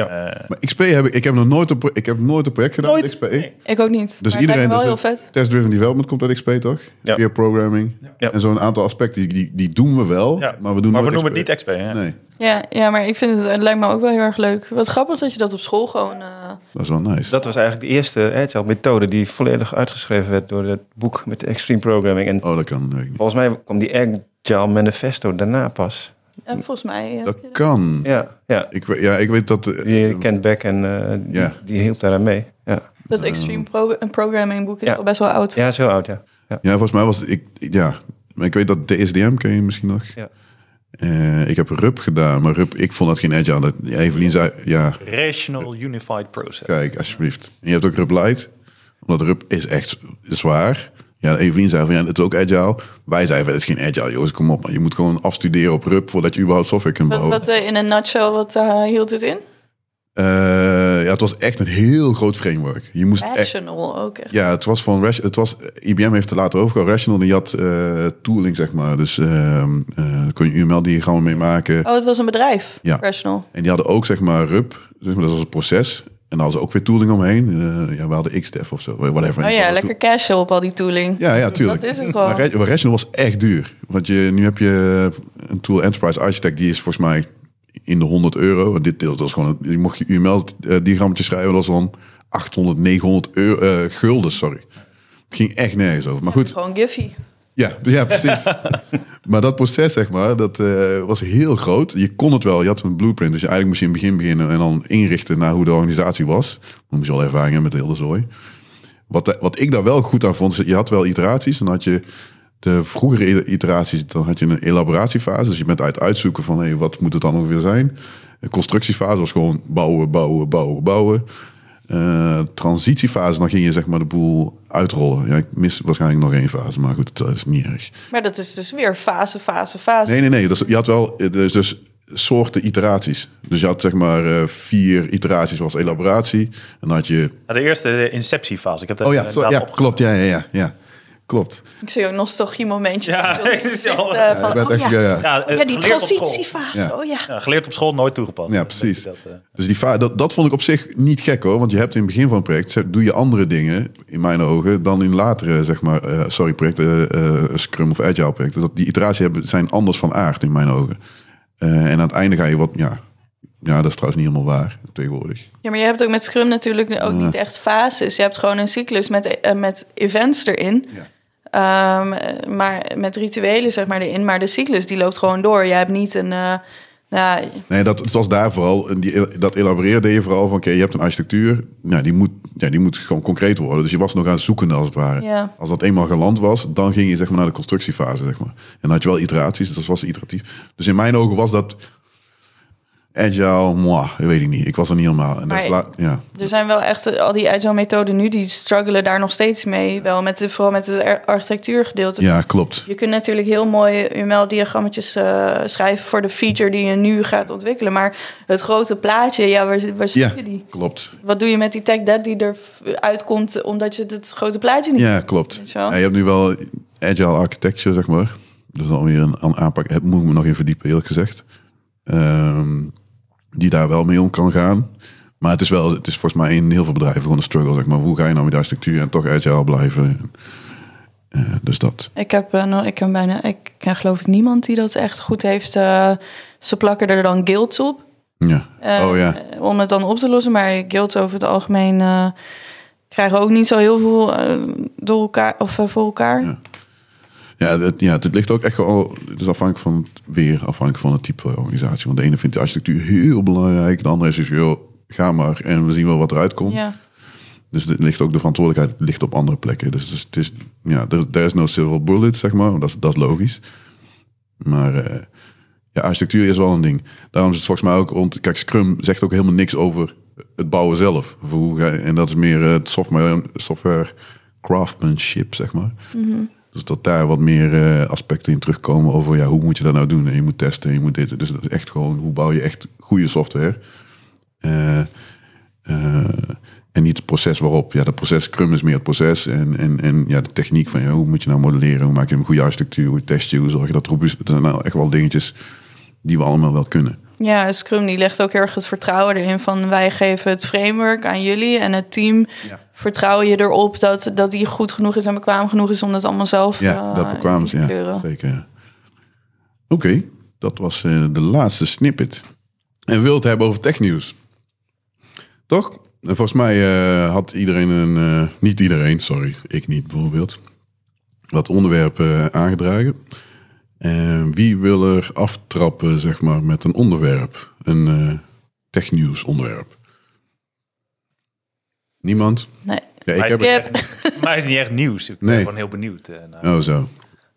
Speaker 1: Maar XP heb ik, ik heb nog nooit een, pro- ik heb nooit een project gedaan
Speaker 3: Nooit?
Speaker 1: met XP.
Speaker 3: Nee.
Speaker 4: Ik ook niet.
Speaker 1: Dus
Speaker 4: maar
Speaker 1: iedereen
Speaker 4: het lijkt me wel heel
Speaker 1: dus dat-
Speaker 4: vet.
Speaker 1: Test-driven development komt uit XP, toch?
Speaker 2: Ja.
Speaker 1: Peer programming.
Speaker 2: Ja.
Speaker 1: En zo'n aantal aspecten, die, die, die doen we wel.
Speaker 3: ja.
Speaker 1: Maar we, doen nooit
Speaker 3: noemen het
Speaker 1: XP.
Speaker 3: niet XP. hè?
Speaker 1: Nee,
Speaker 4: Ja, ja, maar ik vind het, het lijkt me ook wel heel erg leuk. Wat grappig dat je dat op school gewoon... eh,
Speaker 1: dat is wel nice.
Speaker 2: Dat was eigenlijk de eerste Agile-methode die volledig uitgeschreven werd door het boek met Extreme Programming. En
Speaker 1: Oh, dat kan. weet ik niet.
Speaker 2: volgens mij kwam die Agile Manifesto daarna pas.
Speaker 4: ja, volgens mij... eh,
Speaker 1: Dat kan.
Speaker 2: Ja, ja.
Speaker 1: Ik, weet- ja, ik weet dat... eh,
Speaker 2: Die kent Beck en eh, die,
Speaker 1: Ja.
Speaker 2: die hielp daar aan mee. Ja.
Speaker 4: dat
Speaker 1: ehm,
Speaker 4: Extreme pro- Programming boek is
Speaker 2: Ja.
Speaker 4: al best wel oud.
Speaker 2: ja, is heel oud, ja. ja.
Speaker 1: Ja, volgens mij was het- ik... Ja, maar ik weet dat DSDM ken je misschien nog.
Speaker 2: Ja.
Speaker 1: Eh, ik heb RUP gedaan, maar RUP, ik vond dat geen agile. Dat, ja, Evelien zei, ja,
Speaker 3: Rational Unified Process.
Speaker 1: kijk, alsjeblieft. En je hebt ook RUP Light, omdat RUP is echt zwaar. Ja, Evelien zei van, ja, het is ook agile. Wij zeiden, het is geen agile, jongens, kom op. Man. Je moet gewoon afstuderen op RUP voordat je überhaupt software kunt
Speaker 4: Wat,
Speaker 1: bouwen.
Speaker 4: wat, eh, in een nutshell, wat eh, hield dit in?
Speaker 1: Eh, ja, het was echt een heel groot framework. Je moest echt,
Speaker 4: Rational ook echt.
Speaker 1: ja, het was van Ration- het was, IBM heeft het later overgehouden. Rational die had eh, tooling, zeg maar. Dus ehm eh, daar kon je UML-diagrammen mee maken.
Speaker 4: Oh, het was een bedrijf.
Speaker 1: Ja.
Speaker 4: Rational.
Speaker 1: En die hadden ook, zeg maar, RUP. Dus dat was een proces. En daar hadden ze ook weer tooling omheen. Eh, ja, we hadden XDEF of zo, whatever.
Speaker 4: Oh ja, lekker cashen op al die tooling.
Speaker 1: Ja, ja, tuurlijk.
Speaker 4: Dat is het gewoon.
Speaker 1: Maar Ra- maar Rational was echt duur. Want je, nu heb je een tool Enterprise Architect, die is volgens mij in de 100 euro. Want dit deel was gewoon, een- je mocht je UML-diagrammetje eh, schrijven, dat was dan 800, 900 euro, eh, gulden, sorry. Het ging echt nergens over. Maar goed,
Speaker 4: Gewoon Giphy.
Speaker 1: ja, ja precies. maar dat proces, zeg maar, dat eh, was heel groot. Je kon het wel, je had een blueprint. Dus je eigenlijk moest je in het begin beginnen en dan inrichten naar hoe de organisatie was. Dan moest je al ervaring hebben met de hele zooi. Wat, eh, wat ik daar wel goed aan vond, is je had wel iteraties. Dan had je de vroegere iteraties, dan had je een elaboratiefase. Dus je bent uit het uitzoeken van, hey, wat moet het dan ongeveer zijn? De constructiefase was gewoon bouwen, bouwen, bouwen, bouwen. Eh, transitiefase, dan ging je zeg maar de boel uitrollen. Ja, ik mis waarschijnlijk nog één fase, maar goed, dat is niet erg.
Speaker 4: Maar dat is dus weer fase, fase, fase.
Speaker 1: Nee, nee, nee. Dat is- je had wel eh, dus, dus soorten iteraties. Dus je had zeg maar eh, vier iteraties was elaboratie. En dan had je...
Speaker 3: Nou, de eerste de inceptiefase. Ik heb dat
Speaker 1: Oh ja,
Speaker 3: inderdaad
Speaker 1: sorry, ja
Speaker 3: opgeschreven.
Speaker 1: klopt. Ja, ja, ja, ja. Klopt.
Speaker 4: Ik zie ook nostalgie-momentje.
Speaker 3: Ja,
Speaker 4: Op Jules'
Speaker 3: ik
Speaker 4: gezicht,
Speaker 3: zie al.
Speaker 4: eh,
Speaker 1: Je
Speaker 4: van,
Speaker 1: bent
Speaker 4: oh
Speaker 1: echt-
Speaker 4: ja.
Speaker 1: ja, ja.
Speaker 3: Ja, eh,
Speaker 4: Ja, die
Speaker 3: geleerd op school.
Speaker 4: transitiefase.
Speaker 1: Ja.
Speaker 4: Oh ja.
Speaker 3: Ja, geleerd op school, nooit toegepast.
Speaker 1: Ja, precies.
Speaker 3: Dat, eh,
Speaker 1: Dus die va- dat, dat vond ik op zich niet gek hoor. Want je hebt in het begin van het project, ze- doe je andere dingen, in mijn ogen, dan in latere, zeg maar, eh, sorry, projecten, eh, eh, Scrum of Agile projecten. Dat die iteraties hebben, zijn anders van aard in mijn ogen. Eh, en aan het einde ga je wat, ja, ja, dat is trouwens niet helemaal waar tegenwoordig.
Speaker 4: Ja, maar je hebt ook met Scrum natuurlijk ook niet echt fases. Je hebt gewoon een cyclus met, eh, met events erin.
Speaker 1: Ja.
Speaker 4: Ehm, eh, maar met rituelen zeg maar erin. Maar de cyclus die loopt gewoon door. Je hebt niet een... eh, nou,
Speaker 1: Nee, dat het was daar vooral, en die, dat elaboreren deed je vooral van, oké, je hebt een architectuur, nou, die, moet, ja, die moet gewoon concreet worden. Dus je was nog aan het zoeken als het ware.
Speaker 4: Ja.
Speaker 1: Als dat eenmaal geland was, dan ging je zeg maar, naar de constructiefase. Zeg maar. En dan had je wel iteraties, dus dat was iteratief. Dus in mijn ogen was dat agile, moi, weet ik niet. Ik was er niet helemaal. En dat is
Speaker 4: Maar-
Speaker 1: la- ja.
Speaker 4: er zijn wel echt eh, al die agile methoden nu... die struggelen daar nog steeds mee. Wel met de, vooral met het ar- architectuurgedeelte.
Speaker 1: ja, klopt.
Speaker 4: Je kunt natuurlijk heel mooie UML-diagrammetjes eh, schrijven... voor de feature die je nu gaat ontwikkelen. Maar het grote plaatje, ja, waar, waar zie
Speaker 1: Ja,
Speaker 4: je die?
Speaker 1: klopt.
Speaker 4: Wat doe je met die tech debt die er uitkomt... omdat je het grote plaatje niet
Speaker 1: Ja, klopt.
Speaker 4: Weet je wel?
Speaker 1: Ja, je hebt nu wel agile architecture, zeg maar. Dus dan weer een een aanpak. Het moet ik me nog in verdiepen, eerlijk gezegd. Ehm, die daar wel mee om kan gaan. Maar het is wel, het is volgens mij in heel veel bedrijven gewoon een struggle. Zeg maar. Hoe ga je nou met de architectuur en toch agile blijven? Eh, dus dat.
Speaker 4: Ik heb, eh, nog, ik ken bijna, ik ken geloof ik niemand die dat echt goed heeft. eh, ze plakken er dan guilds op.
Speaker 1: Ja.
Speaker 4: eh,
Speaker 1: oh ja.
Speaker 4: eh, Om het dan op te lossen. Maar guilds over het algemeen eh, krijgen ook niet zo heel veel eh, door elkaar of eh, voor elkaar.
Speaker 1: Ja. Ja, het, ja, het ligt ook echt wel. Het is afhankelijk van het weer, afhankelijk van het type organisatie. Want de ene vindt de architectuur heel belangrijk, de andere is dus, joh, ga maar en we zien wel wat eruit komt.
Speaker 4: Ja.
Speaker 1: Dus het ligt ook de verantwoordelijkheid ligt op andere plekken. Dus, dus het is, ja, there, there is no silver bullet, zeg maar. Dat is, dat is logisch. Maar eh, ja, architectuur is wel een ding. Daarom is het volgens mij ook rond... Kijk, Scrum zegt ook helemaal niks over het bouwen zelf. Of hoe ga je- en dat is meer eh, het software, software craftsmanship, zeg maar. Dus dat daar wat meer eh, aspecten in terugkomen over... Ja, hoe moet je dat nou doen? En je moet testen, en je moet dit. Dus dat is echt gewoon... Hoe bouw je echt goede software? Eh, eh, En niet het proces waarop. Ja, dat proces Scrum is meer het proces. En, en, en ja, de techniek van ja, hoe moet je nou modelleren? Hoe maak je een goede architectuur? Hoe test je? Hoe zorg je dat robuust? Dat zijn nou echt wel dingetjes die we allemaal wel kunnen.
Speaker 4: Ja, Scrum die legt ook heel erg het vertrouwen erin van wij geven het framework aan jullie en het team.
Speaker 1: Ja.
Speaker 4: Vertrouwen je erop dat, dat die goed genoeg is en bekwaam genoeg is om dat allemaal zelf
Speaker 1: Ja,
Speaker 4: eh,
Speaker 1: dat bekwamen ze.
Speaker 4: in te
Speaker 1: Ja,
Speaker 4: kleuren.
Speaker 1: zeker. ja. Oké, dat was eh, de laatste snippet. En wilt hebben over technieuws. Toch? En volgens mij eh, had iedereen een... eh, niet iedereen, sorry. Ik niet bijvoorbeeld. Wat onderwerpen eh, aangedragen. En wie wil er aftrappen, zeg maar, met een onderwerp? Een eh technieuws onderwerp. Niemand?
Speaker 4: Nee.
Speaker 1: Ja, ik
Speaker 3: Maar
Speaker 1: heb
Speaker 3: het is
Speaker 4: Yep.
Speaker 3: echt- maar het is niet echt nieuws. Ik ben
Speaker 1: Nee.
Speaker 3: gewoon heel benieuwd. eh, naar-
Speaker 1: Oh, zo.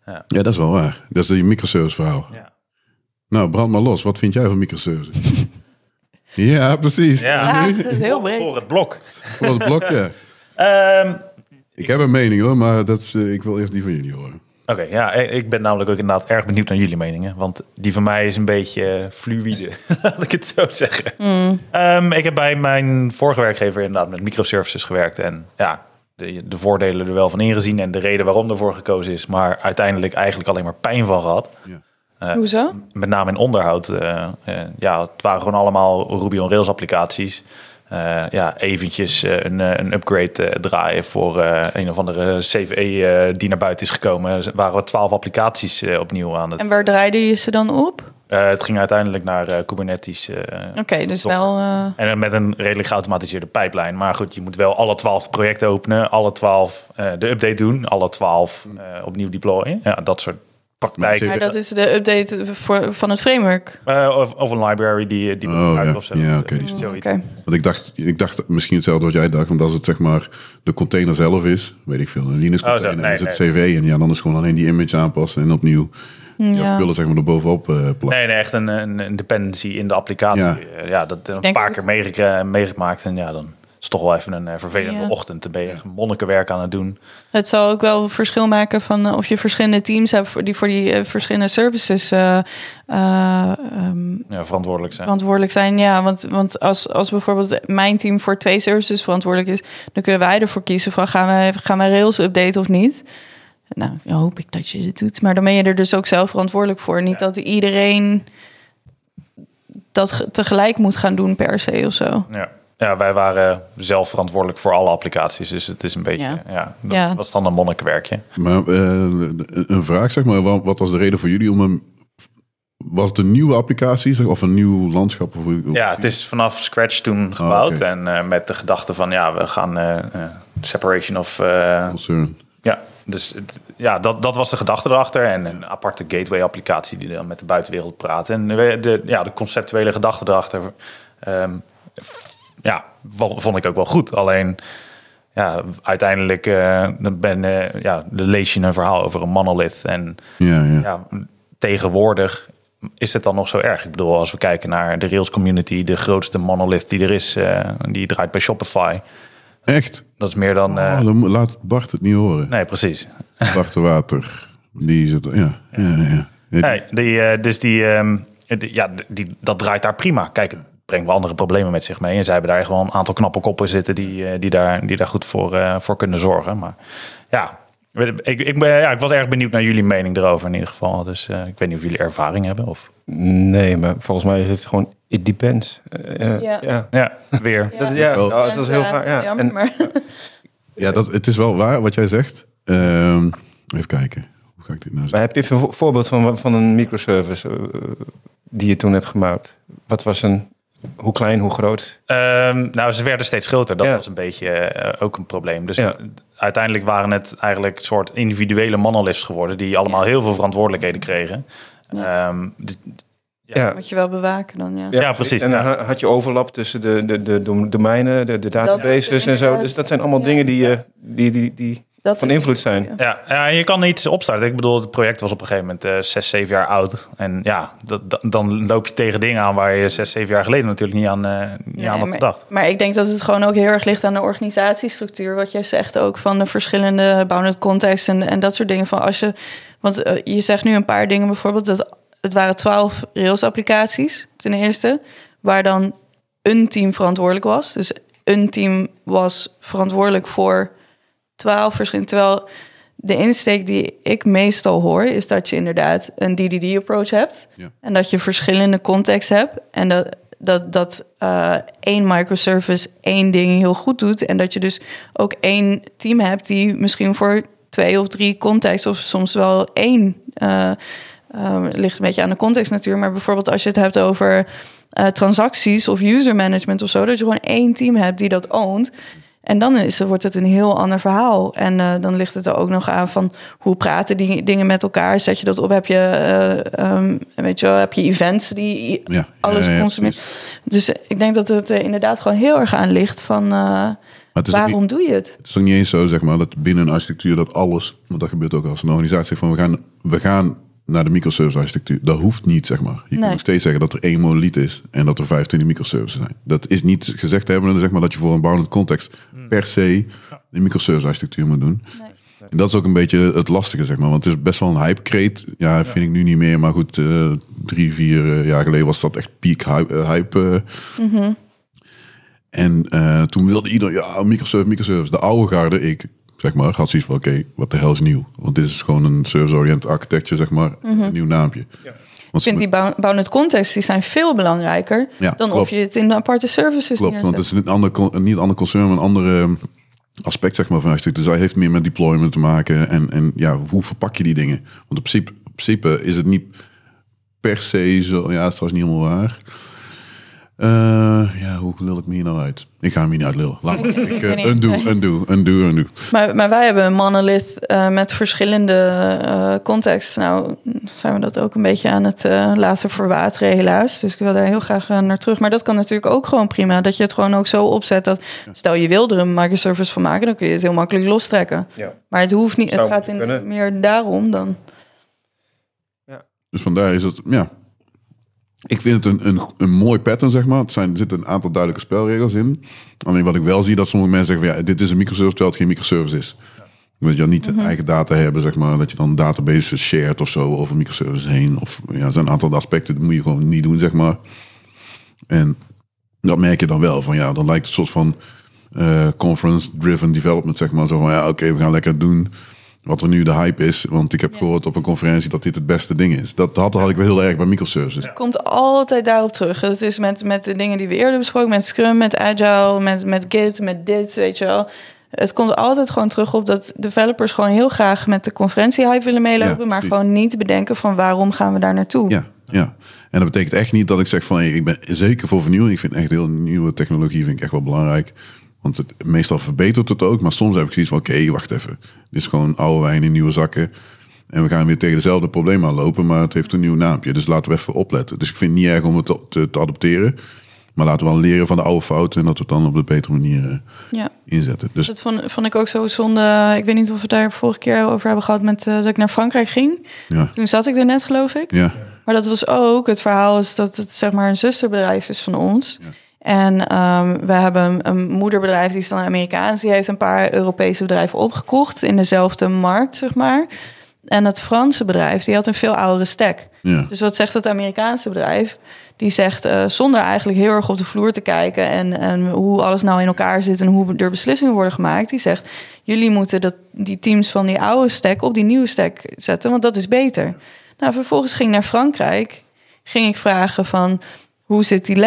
Speaker 1: Ja.
Speaker 3: Ja.
Speaker 1: dat is wel waar. Dat is die microservice verhaal.
Speaker 3: Ja.
Speaker 1: Nou, brand maar los. Wat vind jij van microservices? ja, precies.
Speaker 3: Ja.
Speaker 4: Ja, Ah, dat is heel breed.
Speaker 3: Voor het blok.
Speaker 1: Voor het blokje.
Speaker 3: Ehm,
Speaker 1: Ik heb een mening hoor, maar dat is, eh, ik wil eerst die van jullie horen.
Speaker 3: Oké, ja, ik ik ben namelijk ook inderdaad erg benieuwd naar jullie meningen. Want die van mij is een beetje eh, fluïde, laat ik het zo zeggen. Ehm, ik heb bij mijn vorige werkgever inderdaad met microservices gewerkt. En ja, de, de voordelen er wel van ingezien en de reden waarom ervoor gekozen is. Maar uiteindelijk eigenlijk alleen maar pijn van gehad.
Speaker 4: Hoezo?
Speaker 3: Met name in onderhoud. eh, eh, ja, het waren gewoon allemaal Ruby on Rails applicaties. Eh, ja, eventjes eh, een, eh, een upgrade eh, draaien voor eh, een of andere CVE eh, die naar buiten is gekomen. Er waren we twaalf applicaties eh, opnieuw aan het.
Speaker 4: En waar draaide je ze dan op? Oké,
Speaker 3: Eh, het ging uiteindelijk naar eh, Kubernetes. eh,
Speaker 4: dus
Speaker 3: Docker.
Speaker 4: wel... eh,
Speaker 3: En dan met een redelijk geautomatiseerde pijplijn. Maar goed, je moet wel alle twaalf projecten openen, alle twaalf eh, de update doen, alle twaalf eh, opnieuw deployen. Ja, dat soort praktijken.
Speaker 4: Mm. maar dat is de update voor, van het framework.
Speaker 3: Eh, of, of een library die, die
Speaker 1: Oh,
Speaker 3: gebruikt
Speaker 1: ja.
Speaker 3: of zo.
Speaker 1: Ja, oké.
Speaker 3: Dus
Speaker 4: Mm, Oké.
Speaker 3: zoiets.
Speaker 1: Want ik dacht, ik dacht misschien hetzelfde wat jij dacht, want als het zeg maar de container zelf is, weet ik veel, een Linux
Speaker 3: Oh, zo.
Speaker 1: container,
Speaker 3: Nee,
Speaker 1: dan is het CV en ja, dan is gewoon alleen die image aanpassen en opnieuw ja.
Speaker 4: Ja.
Speaker 1: spullen zeg maar erbovenop eh plakken.
Speaker 3: Nee, nee, echt een, een, een dependency in de applicatie.
Speaker 1: Ja.
Speaker 3: Eh, Ja, dat een
Speaker 4: Denk
Speaker 3: paar
Speaker 4: ik-
Speaker 3: keer meegekre- meegemaakt. En ja, dan is toch wel even een eh, vervelende
Speaker 4: Ja.
Speaker 3: ochtend. Dan ben je echt monnikenwerk aan het doen.
Speaker 4: Het zal ook wel verschil maken van eh, of je verschillende teams hebt voor die voor die eh, verschillende services eh, eh, ehm,
Speaker 3: Ja, verantwoordelijk zijn.
Speaker 4: verantwoordelijk zijn. Ja, want, want als, als bijvoorbeeld mijn team voor twee services verantwoordelijk is, dan kunnen wij ervoor kiezen van gaan wij, gaan wij Rails updaten of niet. Nou, ja, hoop ik dat je dit doet. Maar dan ben je er dus ook zelf verantwoordelijk voor. Niet dat iedereen dat ge- tegelijk moet gaan doen per se of zo.
Speaker 3: Ja. ja, wij waren zelf verantwoordelijk voor alle applicaties. Dus het is een beetje,
Speaker 4: Ja.
Speaker 3: ja, dat
Speaker 4: Ja.
Speaker 3: was dan een monnikenwerkje.
Speaker 1: Maar eh, een vraag zeg maar, wa- wat was de reden voor jullie om een, was het een nieuwe applicatie zeg, of een nieuw landschap? Of, hoe-
Speaker 3: Ja, het is vanaf scratch toen gebouwd.
Speaker 1: Oh, oké.
Speaker 3: En eh, met de gedachte van, ja, we gaan eh, eh, separation of... eh,
Speaker 1: concern.
Speaker 3: ja, dus het- ja, dat, dat was de gedachte erachter. En een aparte gateway-applicatie die dan met de buitenwereld praat. En de, de- ja, de conceptuele gedachte erachter... ehm, f- ja, wa- vond ik ook wel goed. Alleen... Ja, uiteindelijk eh, dan ben, eh, ja, dan lees je een verhaal over een monolith. En
Speaker 1: Ja, ja.
Speaker 3: ja, tegenwoordig is het dan nog zo erg. Ik bedoel, als we kijken naar de Rails community, de grootste monolith die er is, eh, die draait bij Shopify.
Speaker 1: Echt?
Speaker 3: Dat is meer dan. eh,
Speaker 1: Oh, dan moet- laat Bart het niet horen.
Speaker 3: nee, precies.
Speaker 1: Bart de Water. Die zit... Ja, ja, ja.
Speaker 3: Nee, die, eh, dus die, ehm, die- ja, die, dat draait daar prima. Kijk, het brengt wel andere problemen met zich mee. En zij hebben daar echt wel een aantal knappe koppen zitten die, eh, die, daar, die daar goed voor, eh, voor kunnen zorgen. Maar ja. Ik, ik, ben, ja, ik was erg benieuwd naar jullie mening erover in ieder geval. Dus eh, ik weet niet of jullie ervaring hebben. Of...
Speaker 2: Nee, maar volgens mij is het gewoon... It depends. Eh,
Speaker 4: Ja.
Speaker 2: ja.
Speaker 3: Ja, weer.
Speaker 2: Dat is, ja,
Speaker 1: Oh.
Speaker 2: nou, het was heel
Speaker 4: En, eh,
Speaker 2: vaak. Ja.
Speaker 4: jammer,
Speaker 2: En,
Speaker 4: maar-
Speaker 1: Ja, dat, het is wel waar wat jij zegt. Ehm, even kijken. Hoe ga ik dit nou
Speaker 2: maar
Speaker 1: zeggen?
Speaker 2: heb je een vo- voorbeeld van, van een microservice eh, die je toen hebt gemaakt? Wat was een... Hoe klein, hoe groot?
Speaker 3: Ehm, nou, ze werden steeds groter. Dat
Speaker 2: Ja.
Speaker 3: was een beetje eh, ook een probleem. Dus
Speaker 2: Ja.
Speaker 3: uiteindelijk waren het eigenlijk een soort individuele monoliths geworden... die allemaal heel veel verantwoordelijkheden kregen.
Speaker 4: Ja.
Speaker 3: Ehm, d-
Speaker 2: Ja,
Speaker 4: Moet je wel bewaken dan, ja.
Speaker 3: Ja, precies,
Speaker 2: En dan ha- had je overlap tussen de, de, de dom- domeinen, de, de databases en zo.
Speaker 4: inderdaad-
Speaker 2: Dus dat zijn allemaal
Speaker 4: ja.
Speaker 2: dingen die, eh, die, die, die
Speaker 4: Dat
Speaker 2: van
Speaker 4: is-
Speaker 2: invloed zijn.
Speaker 4: Ja.
Speaker 3: ja, ja, en je kan iets opstarten. Ik bedoel, het project was op een gegeven moment eh, zes, zeven jaar oud. En ja, dat, dat- dan loop je tegen dingen aan waar je zes, zeven jaar geleden natuurlijk niet aan, eh, niet aan had
Speaker 4: Nee, maar,
Speaker 3: gedacht.
Speaker 4: maar ik denk dat het gewoon ook heel erg ligt aan de organisatiestructuur. Wat jij zegt ook van de verschillende bounded context en, en dat soort dingen. Van als je, want eh, je zegt nu een paar dingen bijvoorbeeld. Dat, het waren twaalf Rails-applicaties ten eerste. Waar dan een team verantwoordelijk was. Dus een team was verantwoordelijk voor twaalf verschillende. Terwijl de insteek die ik meestal hoor, is dat je inderdaad een DDD-approach hebt.
Speaker 1: Ja.
Speaker 4: En dat je verschillende contexten hebt. En dat, dat, dat eh, één microservice één ding heel goed doet. En dat je dus ook één team hebt die misschien voor twee of drie contexten, of soms wel één. eh, eh, ligt een beetje aan de context natuurlijk. Maar bijvoorbeeld als je het hebt over eh, transacties of user management of zo, dat je gewoon één team hebt die dat oont. En dan is, wordt het een heel ander verhaal. En eh, dan ligt het er ook nog aan van hoe praten die dingen met elkaar. Zet je dat op? Heb je, eh, ehm, weet je, wel, heb je events die
Speaker 1: Ja,
Speaker 4: alles
Speaker 1: ja, ja,
Speaker 4: consumeren?
Speaker 1: precies.
Speaker 4: Dus eh, ik denk dat het er inderdaad gewoon heel erg aan ligt van eh,
Speaker 1: het is ook
Speaker 4: waarom
Speaker 1: niet-
Speaker 4: doe je het?
Speaker 1: Het is ook niet eens zo, zeg maar, dat binnen een architectuur dat alles, want dat gebeurt ook als een organisatie, zegt van we gaan, we gaan naar de microservice architectuur. Dat hoeft niet, zeg maar. Je
Speaker 4: Nee.
Speaker 1: kunt nog steeds zeggen dat er één monolith is en dat er 25 microservices zijn. Dat is niet gezegd hebben, zeg maar, dat je voor een bouwend context per se een microservice architectuur moet doen. En dat is ook een beetje het lastige, zeg maar. Want het is best wel een hype creet. Ja, vind ik nu niet meer. Maar goed, eh, drie, vier eh, jaar geleden was dat echt peak hype. eh, hype eh. En eh, toen wilde iedereen, ja, microservice, microservice. De oude garde, ik, zeg maar, had zoiets van, oké, wat de hel is nieuw? Want dit is gewoon een service-oriented architecture, zeg maar. Een nieuw naampje. Want
Speaker 4: Ik vind die bou- bounded context, die zijn veel belangrijker
Speaker 1: Ja,
Speaker 4: dan
Speaker 1: klopt.
Speaker 4: of je het in de aparte services
Speaker 1: Klopt, want
Speaker 4: neerzet.
Speaker 1: het is een ander, con- niet een ander concern, maar een ander ehm, aspect zeg maar, van stuk. Dus hij heeft meer met deployment te maken en, en ja, hoe verpak je die dingen? Want in principe, in principe is het niet per se zo... Ja, dat is trouwens niet helemaal waar. Eh, ja, hoe lul ik me hier nou uit? Ik ga hem hier niet uit lullen. Laat maar. Ik,
Speaker 4: weet
Speaker 1: eh,
Speaker 4: niet.
Speaker 1: undo, undo, undo, undo.
Speaker 4: Maar, maar wij hebben een monolith eh, met verschillende eh contexten. Nou zijn we dat ook een beetje aan het eh, laten verwateren helaas. Dus ik wil daar heel graag eh, naar terug. Maar dat kan natuurlijk ook gewoon prima. Dat je het gewoon ook zo opzet dat... Stel je wil er een microservice van maken, dan kun je het heel makkelijk lostrekken.
Speaker 2: Ja.
Speaker 4: Maar het hoeft niet. Het
Speaker 2: Zou
Speaker 4: gaat in,
Speaker 2: moeten kunnen.
Speaker 4: meer daarom dan...
Speaker 1: Dus vandaar is het, ja... Ik vind het een, een, een mooi pattern, zeg maar. Het zijn, er zitten een aantal duidelijke spelregels in. Alleen wat ik wel zie, dat sommige mensen zeggen... van, Ja, dit is een microservice, terwijl het geen microservice is. Dat je dan niet eigen data hebben, zeg maar. Dat je dan databases shared of zo over microservices heen. Of ja, er zijn een aantal aspecten, dat moet je gewoon niet doen, zeg maar. En dat merk je dan wel. Van ja, dan lijkt het een soort van eh, conference-driven development, zeg maar. Zo van ja, oké, we gaan lekker doen wat er nu de hype is. Want ik heb gehoord op een conferentie dat dit het beste ding is. Dat had, had ik wel heel erg bij microservices.
Speaker 4: komt altijd daarop terug. Dat is met, met de dingen die we eerder besproken, met Scrum, met Agile, met, met Git, met dit, weet je wel. Het komt altijd gewoon terug op dat developers gewoon heel graag met de conferentiehype willen meelopen,
Speaker 1: Ja,
Speaker 4: maar
Speaker 1: precies.
Speaker 4: gewoon niet bedenken van waarom gaan we daar naartoe.
Speaker 1: Ja, ja. En dat betekent echt niet dat ik zeg van hey, ik ben zeker voor vernieuwing. Ik vind echt heel nieuwe technologie vind ik echt wel belangrijk. Want het, meestal verbetert het ook, maar soms heb ik zoiets van oké, wacht even. Dit is gewoon oude wijn in nieuwe zakken. En we gaan weer tegen dezelfde problemen aanlopen, maar het heeft een nieuw naampje. Dus laten we even opletten. Dus ik vind het niet erg om het te, te, te adopteren. Maar laten we wel leren van de oude fouten en dat we het dan op de betere manier eh,
Speaker 4: Ja.
Speaker 1: inzetten. Dus
Speaker 4: Dat vond, vond ik ook zo zonde. Ik weet niet of we het daar vorige keer over hebben gehad met eh, dat ik naar Frankrijk ging.
Speaker 1: ja,
Speaker 4: Toen zat ik er net, geloof ik.
Speaker 1: ja,
Speaker 4: Maar dat was ook het verhaal is dat het zeg maar een zusterbedrijf is van ons. En ehm, we hebben een, een moederbedrijf, die is dan Amerikaans. Die heeft een paar Europese bedrijven opgekocht in dezelfde markt, zeg maar. En dat Franse bedrijf, die had een veel oudere stack.
Speaker 1: ja.
Speaker 4: Dus wat zegt het Amerikaanse bedrijf? Die zegt, eh, zonder eigenlijk heel erg op de vloer te kijken... En, en hoe alles nou in elkaar zit en hoe er beslissingen worden gemaakt... die zegt, jullie moeten dat, die teams van die oude stack op die nieuwe stack zetten... want dat is beter. Nou, vervolgens ging ik naar Frankrijk. Ging ik vragen van, hoe ziet die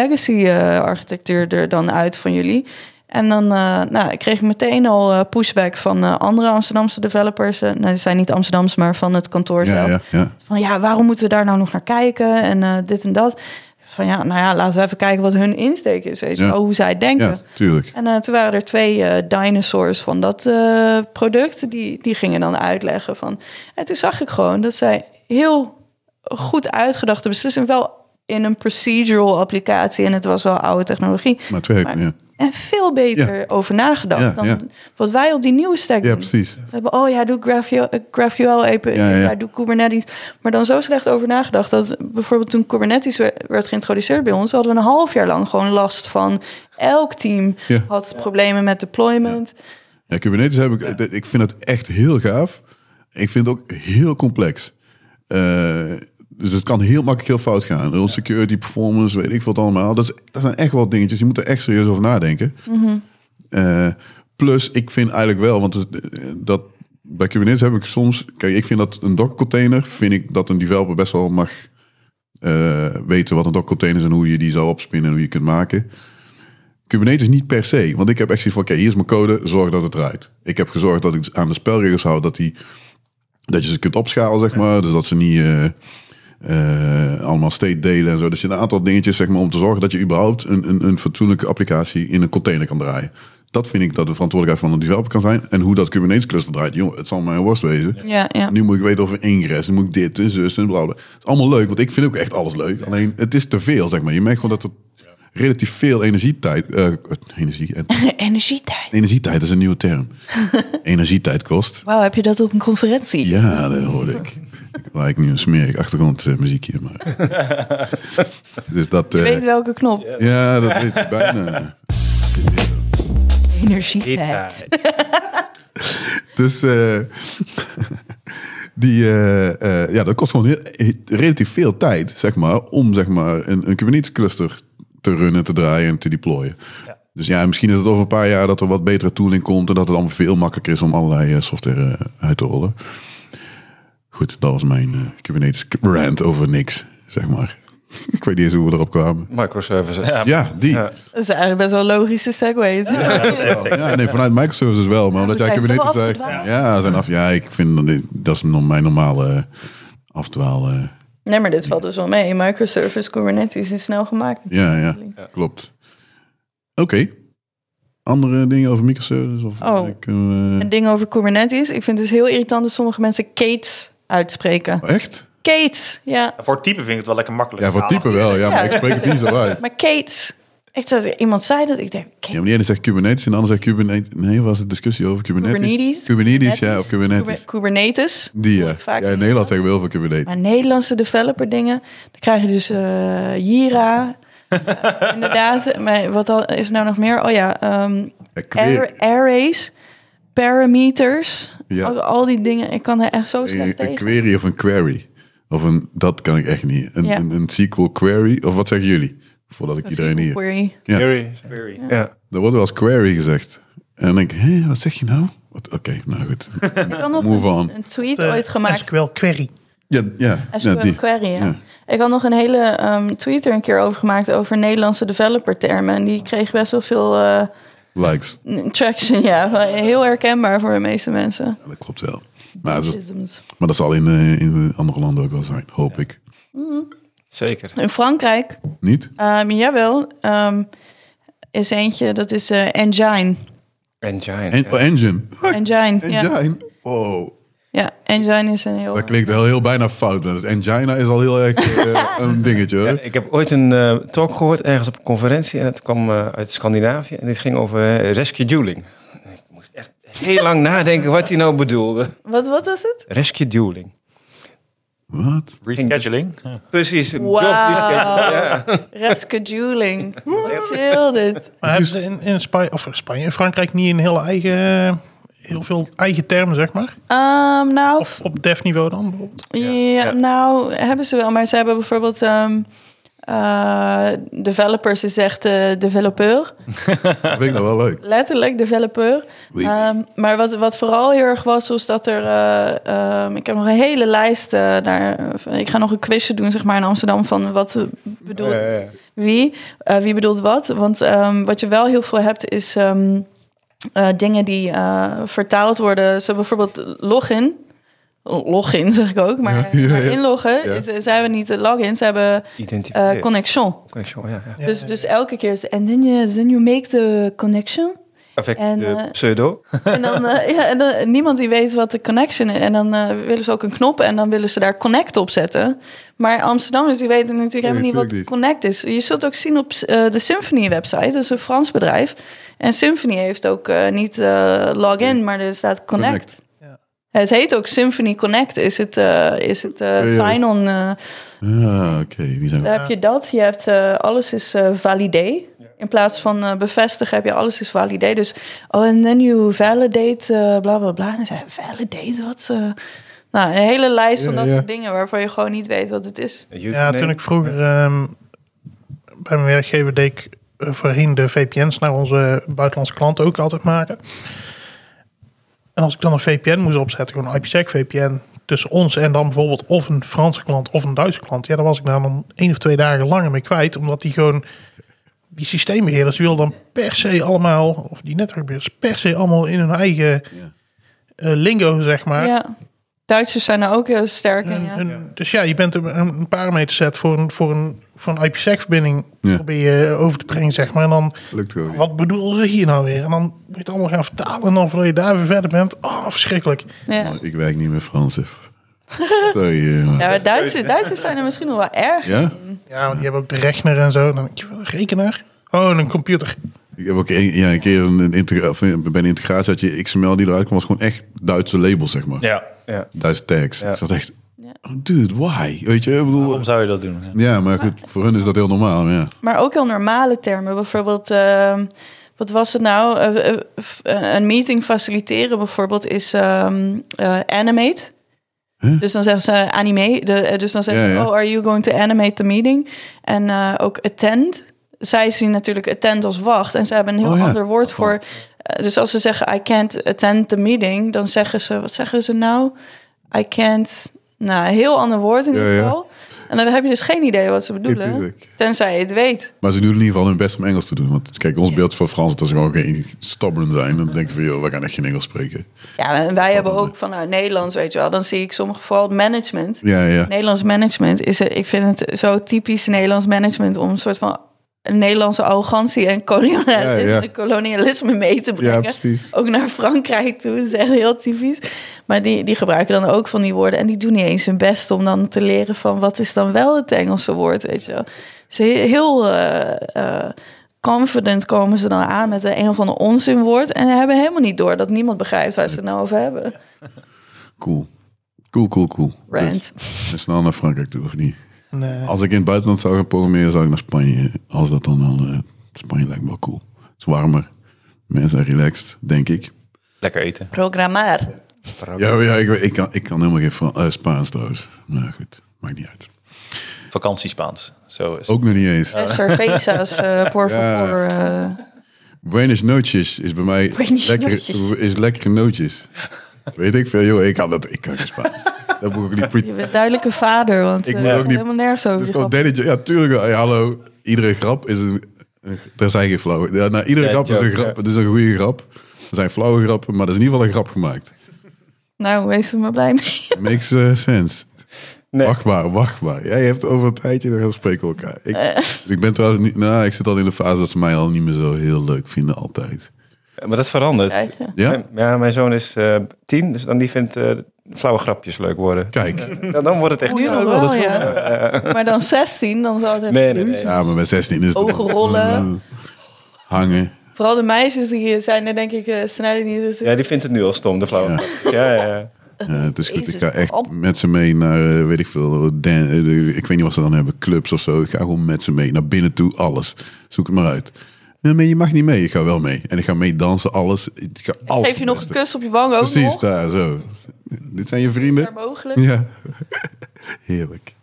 Speaker 4: legacy-architectuur er dan uit van jullie? En dan eh, nou, ik kreeg meteen al eh, pushback van eh, andere Amsterdamse developers. Eh, nou, ze zijn niet Amsterdams, maar van het kantoor
Speaker 1: ja,
Speaker 4: zelf.
Speaker 1: ja, ja.
Speaker 4: Van ja, waarom moeten we daar nou nog naar kijken? En eh, dit en dat. Dus van ja, nou ja, laten we even kijken wat hun insteek is. Weet je
Speaker 1: Ja.
Speaker 4: wel, hoe zij denken.
Speaker 1: Ja, tuurlijk.
Speaker 4: En eh, toen waren er twee eh, dinosaurs van dat eh, product. Die, die gingen dan uitleggen van... En toen zag ik gewoon dat zij heel goed uitgedachte beslissingen... wel in een procedural applicatie... en het was wel oude technologie...
Speaker 1: Maar twee, ja.
Speaker 4: en veel beter over nagedacht
Speaker 1: Ja,
Speaker 4: dan
Speaker 1: ja.
Speaker 4: wat wij op die nieuwe stack
Speaker 1: ja,
Speaker 4: doen.
Speaker 1: precies.
Speaker 4: We hebben, oh ja, doe GraphQL, eh, GraphQL apen,
Speaker 1: Ja,
Speaker 4: ja,
Speaker 1: ja.
Speaker 4: doe Kubernetes. Maar dan zo slecht over nagedacht dat bijvoorbeeld toen Kubernetes we- werd geïntroduceerd bij ons, hadden we een half jaar lang gewoon last van elk team
Speaker 1: Ja.
Speaker 4: had problemen met deployment.
Speaker 1: Ja, Kubernetes heb ik. Ik vind het echt heel gaaf. Ik vind het ook heel complex. Eh, Dus het kan heel makkelijk heel fout gaan. Rond security, performance, weet ik wat allemaal. Dat, is, dat zijn echt wel dingetjes. Je moet er echt serieus over nadenken. Eh, plus, ik vind eigenlijk wel, want het- eh, dat bij Kubernetes heb ik soms... Kijk, ik vind dat een Docker container, vind ik dat een developer best wel mag eh, weten wat een Docker container is en hoe je die zou opspinnen en hoe je kunt maken. Kubernetes niet per se, want ik heb echt zoiets van, oké, hier is mijn code, zorg dat het draait. Ik heb gezorgd dat ik aan de spelregels hou, dat, die, dat je ze kunt opschalen, zeg maar. Dus dat ze niet... eh, eh, allemaal state delen en zo. Dus je hebt een aantal dingetjes zeg maar, om te zorgen dat je überhaupt een, een, een fatsoenlijke applicatie in een container kan draaien. Dat vind ik dat de verantwoordelijkheid van een developer kan zijn. En hoe dat Kubernetes cluster draait, joh, het zal mij een worst wezen.
Speaker 4: Ja, ja.
Speaker 1: Nu moet ik weten of een ingress, nu moet ik dit en zus en bla bla. Het is allemaal leuk, want ik vind ook echt alles leuk. Alleen het is te veel, zeg maar. Je merkt gewoon dat er relatief veel energietijd, eh, energie, en,
Speaker 4: Energietijd.
Speaker 1: energietijd is een nieuwe term, energietijd kost.
Speaker 4: Wauw, heb je dat op een conferentie?
Speaker 1: Ja, dat hoorde ik. Ik maak nu een smerig achtergrondmuziekje, maar... dus dat...
Speaker 4: Je
Speaker 1: eh,
Speaker 4: weet welke knop.
Speaker 1: ja, dat weet ik bijna.
Speaker 4: Energietijd.
Speaker 1: Dus eh, die, eh, eh, ja, dat kost gewoon heel, eh, relatief veel tijd, zeg maar, om zeg maar, een, een Kubernetes cluster te runnen, te draaien en te deployen. Dus ja, misschien is het over een paar jaar dat er wat betere tooling komt en dat het allemaal veel makkelijker is om allerlei eh, software eh, uit te rollen. Goed, dat was mijn eh, Kubernetes rant over niks, zeg maar. Ik weet niet eens hoe we erop kwamen.
Speaker 2: Microservices.
Speaker 1: Ja, die.
Speaker 2: Ja.
Speaker 4: Dat is eigenlijk best wel een logische segue.
Speaker 1: Ja, nee, vanuit microservices wel, maar omdat
Speaker 4: we
Speaker 1: jij
Speaker 4: zijn
Speaker 1: Kubernetes
Speaker 4: zo
Speaker 1: zegt.
Speaker 4: afgedwaald.
Speaker 1: Ja, zijn af. Ja, ik vind dat- dat is nog mijn normale eh, afdwaal. eh.
Speaker 4: Nee, maar dit valt dus wel mee. Microservice Kubernetes is snel gemaakt.
Speaker 1: Ja, ja, klopt. Oké. Andere dingen over microservices? Of
Speaker 4: Oh.
Speaker 1: eh, kunnen we-
Speaker 4: Een ding over Kubernetes. Ik vind het dus heel irritant dat sommige mensen Kates uitspreken.
Speaker 1: Oh, echt?
Speaker 4: Kates, ja.
Speaker 3: Voor type vind ik het wel lekker makkelijk.
Speaker 1: Ja, voor type wel. Ja, maar ik spreek het niet zo uit.
Speaker 4: Maar Kates. Echt, als iemand zei dat, ik denk, Kates.
Speaker 1: Ja, maar de ene zegt Kubernetes en de ander zegt Kubernetes. Nee, was het discussie over Kubernetes?
Speaker 4: Kubernetes.
Speaker 1: Kubernetes, ja, of Kubernetes.
Speaker 4: Kuber- Kubernetes.
Speaker 1: Die, ja.
Speaker 4: Vaak.
Speaker 1: ja in Nederland zeggen we heel veel Kubernetes.
Speaker 4: Maar Nederlandse developer dingen, dan krijg je dus eh, Jira. Eh, inderdaad, maar wat al, is er nou nog meer? Oh ja, ehm
Speaker 1: Ja, query.
Speaker 4: arr- arrays, parameters,
Speaker 1: Ja.
Speaker 4: al, al die dingen. Ik kan er echt zo
Speaker 1: een,
Speaker 4: slecht
Speaker 1: een
Speaker 4: tegen.
Speaker 1: query of een query. Of een, dat kan ik echt niet. Een,
Speaker 4: Ja.
Speaker 1: een, een SQL query, of wat zeggen jullie? Voordat ik iedereen hier...
Speaker 4: Query.
Speaker 1: Ja.
Speaker 2: Query. Ja.
Speaker 1: Er wordt wel eens query gezegd. En dan denk ik, hé, wat zeg je nou? Wat- Oké, nou goed.
Speaker 4: Ik kan nog
Speaker 1: Move on.
Speaker 4: een tweet
Speaker 5: Eh,
Speaker 4: ooit gemaakt
Speaker 5: SQL query.
Speaker 1: Ja, ja,
Speaker 4: Als
Speaker 1: ja
Speaker 4: je
Speaker 1: die.
Speaker 4: query, ja.
Speaker 1: Ja.
Speaker 4: Ik had nog een hele ehm tweet er een keer over gemaakt over Nederlandse developer-termen. En die kreeg best wel veel eh,
Speaker 1: Likes.
Speaker 4: n- traction, ja. Van- Heel herkenbaar voor de meeste mensen.
Speaker 1: Ja, dat klopt wel. Maar dat, is-
Speaker 4: Systems.
Speaker 1: maar dat zal in, eh, in andere landen ook wel zijn, hoop ik.
Speaker 2: Zeker.
Speaker 4: In Frankrijk,
Speaker 1: Niet?
Speaker 4: ehm, jawel, ehm, is eentje, dat is eh, Engine.
Speaker 2: Engine.
Speaker 1: En, oh, engine. Ha,
Speaker 4: Engine, ja.
Speaker 1: engine. Wow.
Speaker 4: Ja, Engine is een heel...
Speaker 1: Dat klinkt wel heel bijna fout. want Engina is al heel erg eh, een dingetje, hoor.
Speaker 2: Ja, ik heb ooit een eh, talk gehoord ergens op een conferentie. En het kwam eh, uit Scandinavië. En dit ging over eh, rescheduling. Ik moest echt heel lang nadenken wat hij nou bedoelde.
Speaker 4: Wat, wat was het?
Speaker 2: Rescheduling.
Speaker 1: Wat?
Speaker 3: Rescheduling. Ja.
Speaker 2: Precies. job
Speaker 4: Wauw.
Speaker 2: rescheduling, ja.
Speaker 4: Rescheduling. Chill dit.
Speaker 5: Maar hebben ze in, in, Spanje, of in Spanje, in Frankrijk niet een hele eigen, eh, heel veel eigen termen, zeg maar?
Speaker 4: Ehm, nou,
Speaker 5: Of op dev niveau dan bijvoorbeeld?
Speaker 4: Ja, nou hebben ze wel, maar ze hebben bijvoorbeeld ehm, eh, developers, is echt eh, developer,
Speaker 1: Dat vind ik nou wel leuk.
Speaker 4: letterlijk developer.
Speaker 1: Oei.
Speaker 4: Ehm, maar wat, wat vooral heel erg was, was dat er, eh, ehm, ik heb nog een hele lijst eh, daar, ik ga nog een quizje doen zeg maar in Amsterdam van wat eh, bedoelt
Speaker 2: Ja, ja, ja.
Speaker 4: wie, eh, wie bedoelt wat. Want ehm, wat je wel heel veel hebt is ehm, eh, dingen die eh, vertaald worden. Zo bijvoorbeeld login. Login zeg ik ook, maar,
Speaker 1: Ja, ja,
Speaker 4: maar
Speaker 1: ja.
Speaker 4: inloggen.
Speaker 1: Ja.
Speaker 4: Is, ze hebben niet de login, ze hebben eh,
Speaker 2: Identificeer.
Speaker 4: connection.
Speaker 2: Connection, ja. ja.
Speaker 4: Dus, dus elke keer is en then you, then you make the connection.
Speaker 2: Perfect.
Speaker 4: En,
Speaker 2: eh,
Speaker 4: eh,
Speaker 2: pseudo.
Speaker 4: En dan, eh, ja, en dan niemand die weet wat de connection is. En dan eh, willen ze ook een knop en dan willen ze daar connect op zetten. Maar Amsterdammers die weten natuurlijk helemaal niet wat
Speaker 1: natuurlijk niet.
Speaker 4: connect is. Je zult ook zien op eh, de Symphony website. Dat is een Frans bedrijf. En Symphony heeft ook eh, niet eh, login, maar er staat connect.
Speaker 1: Connect.
Speaker 4: Het heet ook Symphony Connect. Is het, eh, is het eh,
Speaker 1: Serieus?
Speaker 4: sign-on? eh,
Speaker 1: Ah, oké. die zijn...
Speaker 4: dan heb je dat. Je hebt eh, alles is eh validé. In plaats van eh, bevestigen heb je alles is validé. Dus, oh, en then you validate, eh, bla bla bla. En dan zei hij, validate, wat? eh, Nou, een hele lijst van
Speaker 8: Ja,
Speaker 4: dat
Speaker 8: ja.
Speaker 4: soort dingen waarvan je gewoon niet weet wat het is.
Speaker 5: Ja, toen ik vroeger ehm, bij mijn werkgever deed ik eh, voorheen de VPN's naar onze buitenlandse klanten ook altijd maken. En als ik dan een VPN moest opzetten, gewoon een IPsec VPN tussen ons en dan bijvoorbeeld of een Franse klant of een Duitse klant, ja, daar was ik dan om één of twee dagen langer mee kwijt, omdat die gewoon die systeembeheerders wil dan per se allemaal, of die netwerkbeheerders per se allemaal in hun eigen eh, lingo, zeg maar.
Speaker 4: Ja. Duitsers zijn er ook heel sterk in.
Speaker 5: Een-
Speaker 4: Ja.
Speaker 5: een- Dus ja, je bent een, een parameter set voor een, voor een, voor een IPsec-verbinding
Speaker 1: Ja.
Speaker 5: probeer je over te brengen, zeg maar. En dan,
Speaker 1: Lukt gewoon niet.
Speaker 5: wat bedoelen ze hier nou weer? En dan moet je het allemaal gaan vertalen en dan voordat je daar weer verder bent. Oh, verschrikkelijk.
Speaker 4: Ja.
Speaker 8: Nou,
Speaker 1: Ik werk niet met Frans. F. Sorry. eh, maar-
Speaker 4: Ja, maar Duitsers, Duitsers zijn er misschien nog wel erg.
Speaker 1: Ja?
Speaker 5: Ja, want die hebben ook de rechter en zo. Dan denk je, een rekenaar? Oh, en een computer.
Speaker 1: Ik heb ook een, ja, een keer een, een integra- of een- bij een integratie had je XML die eruit kwam, was gewoon echt Duitse label, zeg maar.
Speaker 3: Ja.
Speaker 2: Ja.
Speaker 1: Duitse tags.
Speaker 2: Ja.
Speaker 1: Ik zat echt,
Speaker 4: Ja.
Speaker 1: oh, dude, why? Weet je, ik bedoel...
Speaker 3: Waarom zou je dat doen? Ja.
Speaker 1: Ja, maar goed, voor hun is dat heel normaal, maar ja.
Speaker 4: Maar ook heel normale termen. Bijvoorbeeld, ehm, wat was het nou? Eh, eh, f- eh, een meeting faciliteren bijvoorbeeld is ehm, eh, animate. Dus dan zeggen ze anime. De, eh, dus dan zeggen
Speaker 1: Ja,
Speaker 4: ze,
Speaker 1: ja.
Speaker 4: oh, are you going to animate the meeting? En eh, ook attend. Zij zien natuurlijk attend als wacht. En ze hebben een heel
Speaker 1: Oh, ja.
Speaker 4: ander woord voor. eh, dus als ze zeggen, I can't attend the meeting, dan zeggen ze, wat zeggen ze nou? I can't. Nou, een heel ander woord in
Speaker 1: Ja,
Speaker 4: ieder
Speaker 1: ja.
Speaker 4: geval. En dan heb je dus geen idee wat ze bedoelen.
Speaker 1: tuurlijk.
Speaker 4: Tenzij je het weet.
Speaker 1: Maar ze doen in ieder geval hun best om Engels te doen. Want kijk, ons beeld van Frans, dat ze gewoon geen stubborn zijn. Dan denken we, joh, we gaan echt geen Engels spreken.
Speaker 4: Ja, en wij hebben ook vanuit Nederlands, weet je wel. Dan zie ik sommige vooral management.
Speaker 1: Ja, ja.
Speaker 4: Nederlands management is, eh, ik vind het zo typisch Nederlands management om een soort van een Nederlandse arrogantie en kolonialisme,
Speaker 1: Ja, ja.
Speaker 4: kolonialisme mee te
Speaker 1: Ja,
Speaker 4: brengen.
Speaker 1: precies.
Speaker 4: ook naar Frankrijk toe, dat is echt heel typisch. Maar die, die gebruiken dan ook van die woorden en die doen niet eens hun best om dan te leren van wat is dan wel het Engelse woord, weet je wel. Ze he- heel eh, eh, confident komen ze dan aan met een of ander onzinwoord en hebben helemaal niet door dat niemand begrijpt waar ze het nou over hebben.
Speaker 1: Cool. Cool, cool, cool.
Speaker 4: Rant.
Speaker 1: Dus, en snel naar Frankrijk toe, of niet?
Speaker 5: En, eh,
Speaker 1: Als ik in het buitenland zou gaan programmeren, zou ik naar Spanje. Als dat dan wel... eh, Spanje lijkt me wel cool. Het is warmer. Mensen zijn relaxed, denk ik.
Speaker 3: Lekker eten.
Speaker 4: Programmaar.
Speaker 1: Ja, ja ik, ik, kan, ik kan helemaal geen Fran- eh, Spaans trouwens. Maar goed, maakt niet uit.
Speaker 3: Vakantiespaans. Zo is het.
Speaker 1: Ook nog niet eens.
Speaker 4: Eh, Cervezas, eh por
Speaker 1: Ja.
Speaker 4: favor. eh.
Speaker 1: Buenos noches is bij mij
Speaker 4: Buenos noches.
Speaker 1: lekker, is lekkere nootjes. Weet ik veel, joh, ik kan dat, ik kan geen Spaans. Dat moet ik ook niet. pre-
Speaker 4: je bent duidelijk een vader, want
Speaker 1: Ik
Speaker 4: ik
Speaker 1: moet ook niet-
Speaker 4: helemaal nergens
Speaker 1: Dat
Speaker 4: over.
Speaker 1: is
Speaker 4: je
Speaker 1: gewoon
Speaker 4: grap.
Speaker 1: delletje. oh, Ja, tuurlijk. wel. Hey, hallo, iedere grap is een. Er zijn geen flauwe. Ja, nou, iedere
Speaker 3: Ja,
Speaker 1: grap is
Speaker 3: joke,
Speaker 1: een grap.
Speaker 3: ja.
Speaker 1: Het is een goede grap. Er zijn flauwe grappen, maar er is in ieder geval een grap gemaakt.
Speaker 4: Nou, wees er maar blij mee.
Speaker 1: Makes eh, sense.
Speaker 2: Nee.
Speaker 1: Wacht maar, wacht maar. Jij hebt over een tijdje, dan gaan we spreken we elkaar. Ik,
Speaker 4: Eh.
Speaker 1: dus ik ben trouwens niet. Nou, ik zit al in de fase dat ze mij al niet meer zo heel leuk vinden, altijd.
Speaker 2: Maar dat verandert.
Speaker 4: Ja,
Speaker 1: Ja?
Speaker 2: Mijn- Ja, mijn zoon is eh, tien, dus dan die vindt eh, flauwe grapjes leuk worden.
Speaker 1: Kijk.
Speaker 2: Ja, dan wordt het echt
Speaker 4: nu nog
Speaker 2: leuk.
Speaker 4: wel, oh, ja. Maar dan 16, dan zou het hebben.
Speaker 2: Nee, nee, nee.
Speaker 1: Ja, maar bij 16 is het. Eh,
Speaker 4: Ogen rollen.
Speaker 1: Hangen.
Speaker 4: Vooral de meisjes die hier zijn, daar denk ik eh sneller niet. Dus
Speaker 2: Ja, die vindt het nu al stom, de flauwe
Speaker 1: Ja.
Speaker 2: grapjes. Ja, ja, ja.
Speaker 1: Ja, het is goed.
Speaker 4: Jezus,
Speaker 1: Ik ga echt
Speaker 4: kom op.
Speaker 1: met ze mee naar, eh, weet ik veel, dan, eh, de- ik weet niet wat ze dan hebben, clubs of zo. Ik ga gewoon met ze mee, naar binnen toe, alles. Zoek het maar uit. Nee, maar je mag niet mee. Ik ga wel mee. En ik ga mee dansen, alles. Ik ga alles
Speaker 4: Geef je nog een
Speaker 1: testen.
Speaker 4: kus op je wang ook
Speaker 1: Precies,
Speaker 4: nog?
Speaker 1: daar, zo. Dit zijn je vrienden.
Speaker 4: Waar mogelijk.
Speaker 1: Ja. Heerlijk.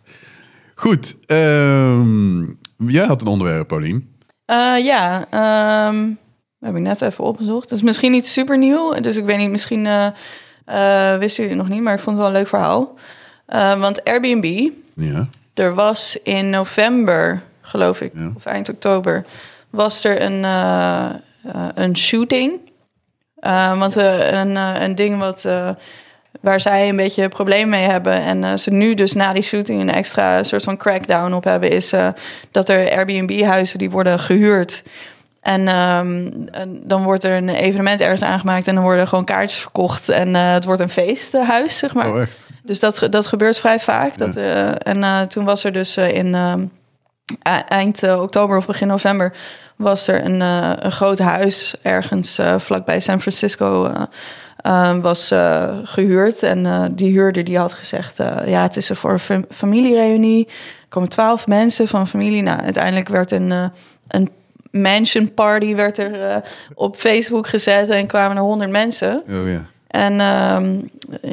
Speaker 1: Goed. ehm, jij had een onderwerp, Paulien.
Speaker 4: Eh, ja, ehm, dat heb ik net even opgezocht. Het is misschien niet super nieuw, dus ik weet niet, misschien eh, eh, wisten jullie het nog niet, maar ik vond het wel een leuk verhaal. Eh, want Airbnb,
Speaker 1: Ja.
Speaker 4: Er was in november, geloof ik,
Speaker 1: Ja.
Speaker 4: of eind oktober, was er een, eh, eh, een shooting. Eh, want eh, een, eh, een ding wat, eh, waar zij een beetje probleem mee hebben en eh, ze nu dus na die shooting een extra soort van crackdown op hebben, is eh, dat er Airbnb-huizen die worden gehuurd. En, ehm, en dan wordt er een evenement ergens aangemaakt en dan worden gewoon kaartjes verkocht en eh, het wordt een feesthuis, zeg maar.
Speaker 1: Oh, echt?
Speaker 4: Dus dat, ge- dat gebeurt vrij vaak. Dat, eh, en eh, toen was er dus eh, in ehm, e- eind eh, oktober of begin november... was er een, eh, een groot huis ergens eh, vlakbij San Francisco... eh, ehm, was eh, gehuurd. En eh, die huurder die had gezegd... eh, ja, het is er voor een fam- familiereunie. Er komen twaalf mensen van familie. Nou, uiteindelijk werd een, eh, een mansion party werd er, eh, op Facebook gezet... en kwamen er honderd mensen...
Speaker 1: Oh ja.
Speaker 4: En ehm,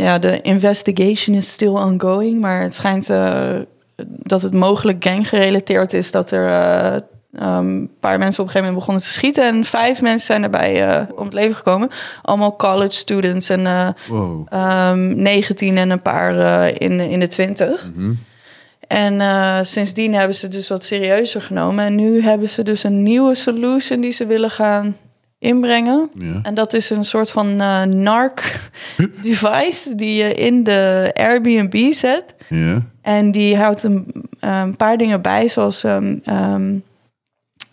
Speaker 4: ja, de investigation is still ongoing, maar het schijnt eh, dat het mogelijk ganggerelateerd is dat er eh, ehm, een paar mensen op een gegeven moment begonnen te schieten en vijf mensen zijn daarbij eh, om het leven gekomen. Allemaal college students en eh,
Speaker 1: Wow.
Speaker 4: ehm 19 en een paar eh, in, in de 20. En eh, sindsdien hebben ze dus wat serieuzer genomen. En nu hebben ze dus een nieuwe solution die ze willen gaan inbrengen.
Speaker 1: Ja.
Speaker 4: En dat is een soort van eh NARC-device die je in de Airbnb zet.
Speaker 1: Ja.
Speaker 4: En die houdt een, een paar dingen bij, zoals ehm, ehm,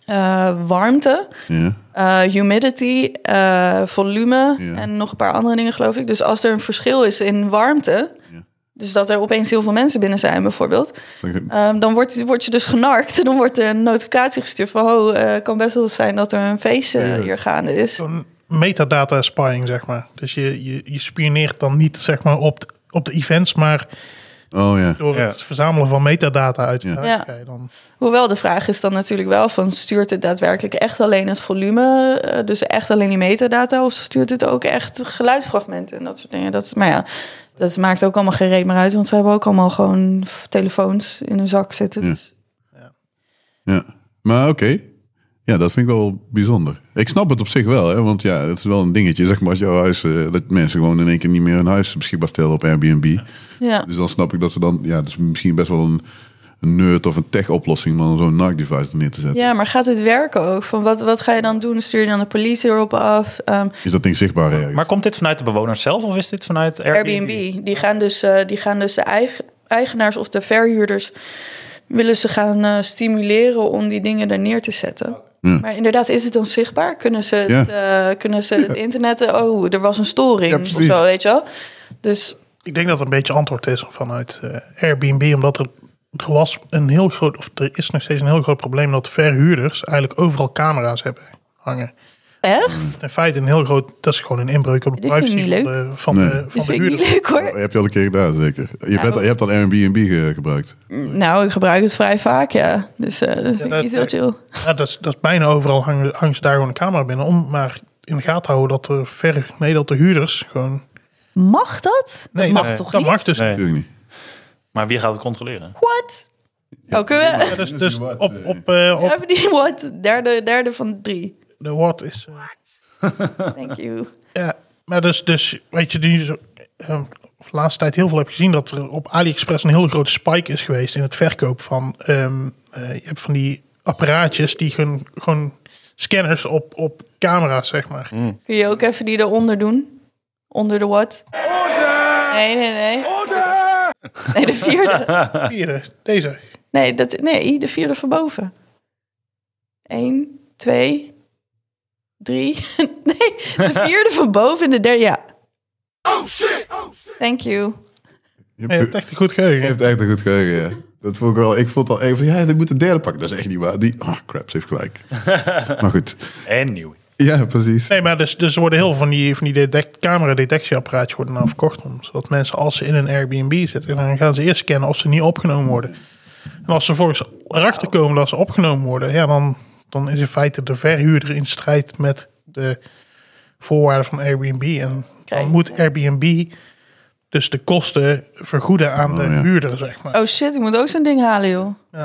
Speaker 4: eh, warmte.
Speaker 1: Ja.
Speaker 4: Eh, humidity, eh, volume
Speaker 1: Ja.
Speaker 4: en nog een paar andere dingen, geloof ik. Dus als er een verschil is in warmte,
Speaker 1: Ja.
Speaker 4: dus dat er opeens heel veel mensen binnen zijn, bijvoorbeeld,
Speaker 1: Dan-
Speaker 4: ehm, dan word, word je dus genarkt. Dan wordt er een notificatie gestuurd van: oh, eh, het kan best wel zijn dat er een feestje
Speaker 1: Ja. Oh,
Speaker 4: hier gaande is.
Speaker 5: Zo'n metadata spying, zeg maar. Dus je, je, je spioneert dan niet zeg maar, op, de- op de events, maar
Speaker 1: Oh ja.
Speaker 5: door
Speaker 2: Ja.
Speaker 5: het verzamelen van metadata uit.
Speaker 1: Ja.
Speaker 5: uit ga je dan,
Speaker 4: Hoewel de vraag is dan natuurlijk wel: van stuurt het daadwerkelijk echt alleen het volume, eh, dus echt alleen die metadata, of stuurt het ook echt geluidsfragmenten en dat soort dingen? Dat, is- maar ja, dat maakt ook allemaal geen reet meer uit, want ze hebben ook allemaal gewoon f- telefoons in hun zak zitten.
Speaker 1: Ja.
Speaker 4: Dus
Speaker 1: Ja, maar oké. Ja, dat vind ik wel bijzonder. Ik snap het op zich wel, hè, want ja, het is wel een dingetje. Zeg maar als jouw huis, eh, dat mensen gewoon in één keer niet meer hun huis beschikbaar stellen op Airbnb.
Speaker 4: ja.
Speaker 1: Dus dan snap ik dat ze dan, ja, dat is misschien best wel een, een nerd of een tech oplossing, maar om zo'n NAC-device er neer te zetten.
Speaker 4: ja, maar gaat het werken ook? Van wat, wat ga je dan doen? Stuur je dan de politie erop af? Ehm,
Speaker 1: Is dat ding zichtbaar ergens?
Speaker 3: Maar komt dit vanuit de bewoners zelf of is dit vanuit Airbnb?
Speaker 4: Airbnb. Die gaan dus, eh, die gaan dus de eigen- eigenaars of de verhuurders willen ze gaan eh, stimuleren om die dingen er neer te zetten.
Speaker 1: Ja.
Speaker 4: Maar inderdaad, is het dan zichtbaar? Kunnen ze het, eh, kunnen ze het internet... eh, Oh, er was een storing
Speaker 1: Ja,
Speaker 4: of
Speaker 1: precies.
Speaker 4: zo, weet je wel? Dus
Speaker 5: ik denk dat het een beetje antwoord is vanuit eh, Airbnb, omdat er, er was een heel groot, of er is nog steeds een heel groot probleem dat verhuurders eigenlijk overal camera's hebben hangen.
Speaker 1: Mm.
Speaker 4: echt?
Speaker 5: In feite een heel groot, dat is gewoon een inbreuk op de
Speaker 4: Dit vind ik
Speaker 5: privacy
Speaker 4: niet
Speaker 5: van de, van de,
Speaker 1: Nee.
Speaker 5: van
Speaker 4: Dat
Speaker 5: de
Speaker 4: vind ik
Speaker 5: huurder.
Speaker 4: niet leuk, hoor.
Speaker 1: Oh, Heb je al een keer gedaan, zeker. Je, bent, al- je hebt al Airbnb ge- gebruikt.
Speaker 4: Nou, ik gebruik het vrij vaak, ja. Dus eh, dat vind ik
Speaker 5: dat-
Speaker 4: niet heel chill.
Speaker 5: Ja, dat is, dat is bijna overal hangen, hangen ze daar gewoon een camera binnen om maar in de gaten te houden dat de ver, nee, dat de huurders gewoon.
Speaker 4: Mag dat?
Speaker 5: Nee,
Speaker 4: dat mag
Speaker 5: dat,
Speaker 4: toch
Speaker 5: dat
Speaker 4: niet?
Speaker 5: mag dus.
Speaker 3: Nee.
Speaker 1: Natuurlijk niet.
Speaker 3: Maar wie gaat het controleren?
Speaker 4: What? Oh, kunnen we...
Speaker 5: Ja, dus
Speaker 1: Dus
Speaker 5: dus
Speaker 1: die wordt,
Speaker 5: op,
Speaker 1: eh,
Speaker 5: op, eh, op
Speaker 4: Even die what? Derde, derde van drie.
Speaker 5: de wat is. eh,
Speaker 4: Thank you.
Speaker 5: ja, maar dus, dus weet je, die zo, eh, de laatste tijd heel veel heb gezien dat er op AliExpress een heel grote spike is geweest in het verkoop van. ehm, eh, je hebt van die apparaatjes die gewoon, gewoon scanners op, op camera's, zeg maar.
Speaker 4: Kun je ook even die eronder doen? Onder de what? Nee, nee, nee. Nee, de vierde.
Speaker 5: Vierde, deze.
Speaker 4: Nee, dat, nee, de vierde van boven. Eén, twee, drie. Nee, de vierde van boven en de derde. Ja. Oh shit! Thank you.
Speaker 1: Je
Speaker 5: Je
Speaker 1: hebt,
Speaker 5: hebt echt een goed
Speaker 1: je
Speaker 5: geheugen.
Speaker 1: hebt echt een goed geheugen, ja. Dat vond ik wel. Ik vond al even van, ja, ik moet de derde pakken. Dat is echt niet waar. Die, ah, crap, ze heeft gelijk. maar goed.
Speaker 3: Anyway.
Speaker 1: Ja, precies.
Speaker 5: Nee, maar dus, dus er worden heel veel van die, van die detect, camera-detectieapparaatjes worden nou verkocht. om- Zodat mensen, als ze in een Airbnb zitten, dan gaan ze eerst scannen of ze niet opgenomen worden. En als ze vervolgens erachter komen dat ze opgenomen worden, ja, dan, dan is in feite de verhuurder in strijd met de voorwaarden van Airbnb. En
Speaker 4: Kijk.
Speaker 5: dan moet Airbnb dus de kosten vergoeden aan de
Speaker 1: Oh, ja.
Speaker 5: huurder, zeg maar.
Speaker 4: Oh shit, ik moet ook zo'n ding halen, joh.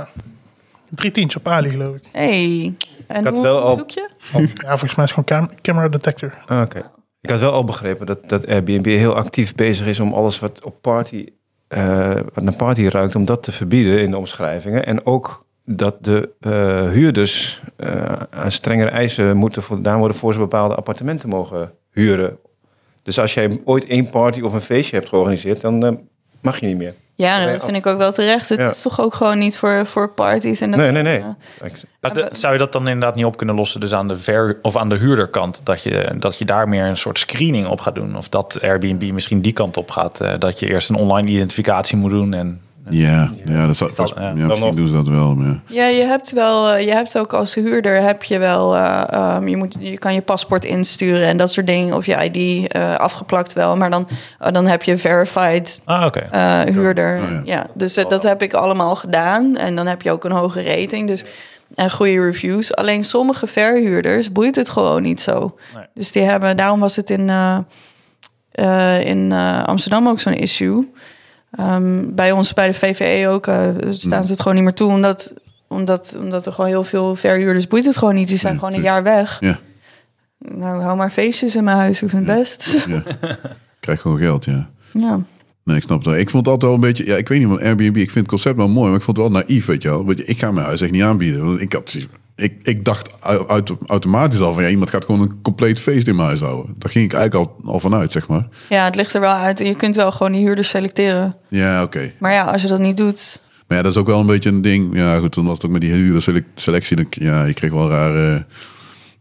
Speaker 5: Drie tientjes op Ali, geloof ik.
Speaker 4: Hey. En
Speaker 2: had
Speaker 4: hoe
Speaker 2: wel al-
Speaker 4: zoek je?
Speaker 5: Ja, volgens mij is het gewoon cam- camera detector.
Speaker 2: Ah, Oké. Ik had wel al begrepen dat, dat Airbnb heel actief bezig is om alles wat op party, eh, wat naar party ruikt, om dat te verbieden in de omschrijvingen. En ook dat de eh, huurders eh, aan strengere eisen moeten voldaan worden voor ze bepaalde appartementen mogen huren. Dus als jij ooit één party of een feestje hebt georganiseerd, dan eh, mag je niet meer.
Speaker 4: Ja, nou,
Speaker 2: Nee,
Speaker 4: dat vind ik ook wel terecht. Het
Speaker 2: Ja.
Speaker 4: is toch ook gewoon niet voor, voor parties en dat
Speaker 2: Nee, nee, nee.
Speaker 4: Ja.
Speaker 3: Maar de- zou je dat dan inderdaad niet op kunnen lossen, dus aan de, ver, of aan de huurderkant? Dat je, dat je daar meer een soort screening op gaat doen? Of dat Airbnb misschien die kant op gaat? eh, dat je eerst een online identificatie moet doen en
Speaker 1: Ja, ja, dat zou,
Speaker 3: dat-
Speaker 1: dat-
Speaker 3: ja,
Speaker 1: ja,
Speaker 3: dan
Speaker 1: misschien
Speaker 3: nog.
Speaker 1: doen ze dat wel. Maar, ja.
Speaker 4: Ja, je hebt wel, eh, je hebt ook als huurder heb je wel, eh, ehm, je, moet, je kan je paspoort insturen en dat soort dingen, of je ID eh, afgeplakt wel, maar dan, eh, dan heb je verified
Speaker 3: Ah, oké.
Speaker 4: eh, huurder.
Speaker 1: Oh, ja.
Speaker 4: ja. dus eh, dat heb ik allemaal gedaan en dan heb je ook een hoge rating, dus en goede reviews. Alleen sommige verhuurders boeit het gewoon niet zo.
Speaker 3: Nee.
Speaker 4: Dus die hebben, daarom was het in eh, eh, in eh, Amsterdam ook zo'n issue. Ehm, bij ons, bij de VVE ook, eh, staan
Speaker 1: Hmm.
Speaker 4: ze het gewoon niet meer toe. Omdat, omdat, omdat er gewoon heel veel verhuurders boeit het gewoon niet. Die zijn
Speaker 1: Ja,
Speaker 4: gewoon een jaar weg.
Speaker 1: Hmm, Ja. Hmm.
Speaker 4: Nou, hou maar feestjes in mijn huis. Ik vind het best.
Speaker 1: Ja. Krijg gewoon geld, ja.
Speaker 4: Ja.
Speaker 1: Nee, ik snap dat. Ik vond dat wel een beetje... Ja, ik weet niet van Airbnb. Ik vind het concept wel mooi, maar ik vond het wel naïef, weet je wel. Want ik ga mijn huis echt niet aanbieden. Want ik, had, ik, ik dacht au- auto- automatisch al van... Ja, iemand gaat gewoon een compleet feest in mijn huis houden. Daar ging ik eigenlijk al, al vanuit, zeg maar.
Speaker 4: ja, het ligt er wel uit. En je kunt wel gewoon die huurders selecteren.
Speaker 1: Ja, oké.
Speaker 4: Maar ja, als je dat niet doet...
Speaker 1: Maar ja, dat is ook wel een beetje een ding. Ja, goed, dan was het ook met die huurderselectie. dan- Ja, je kreeg wel rare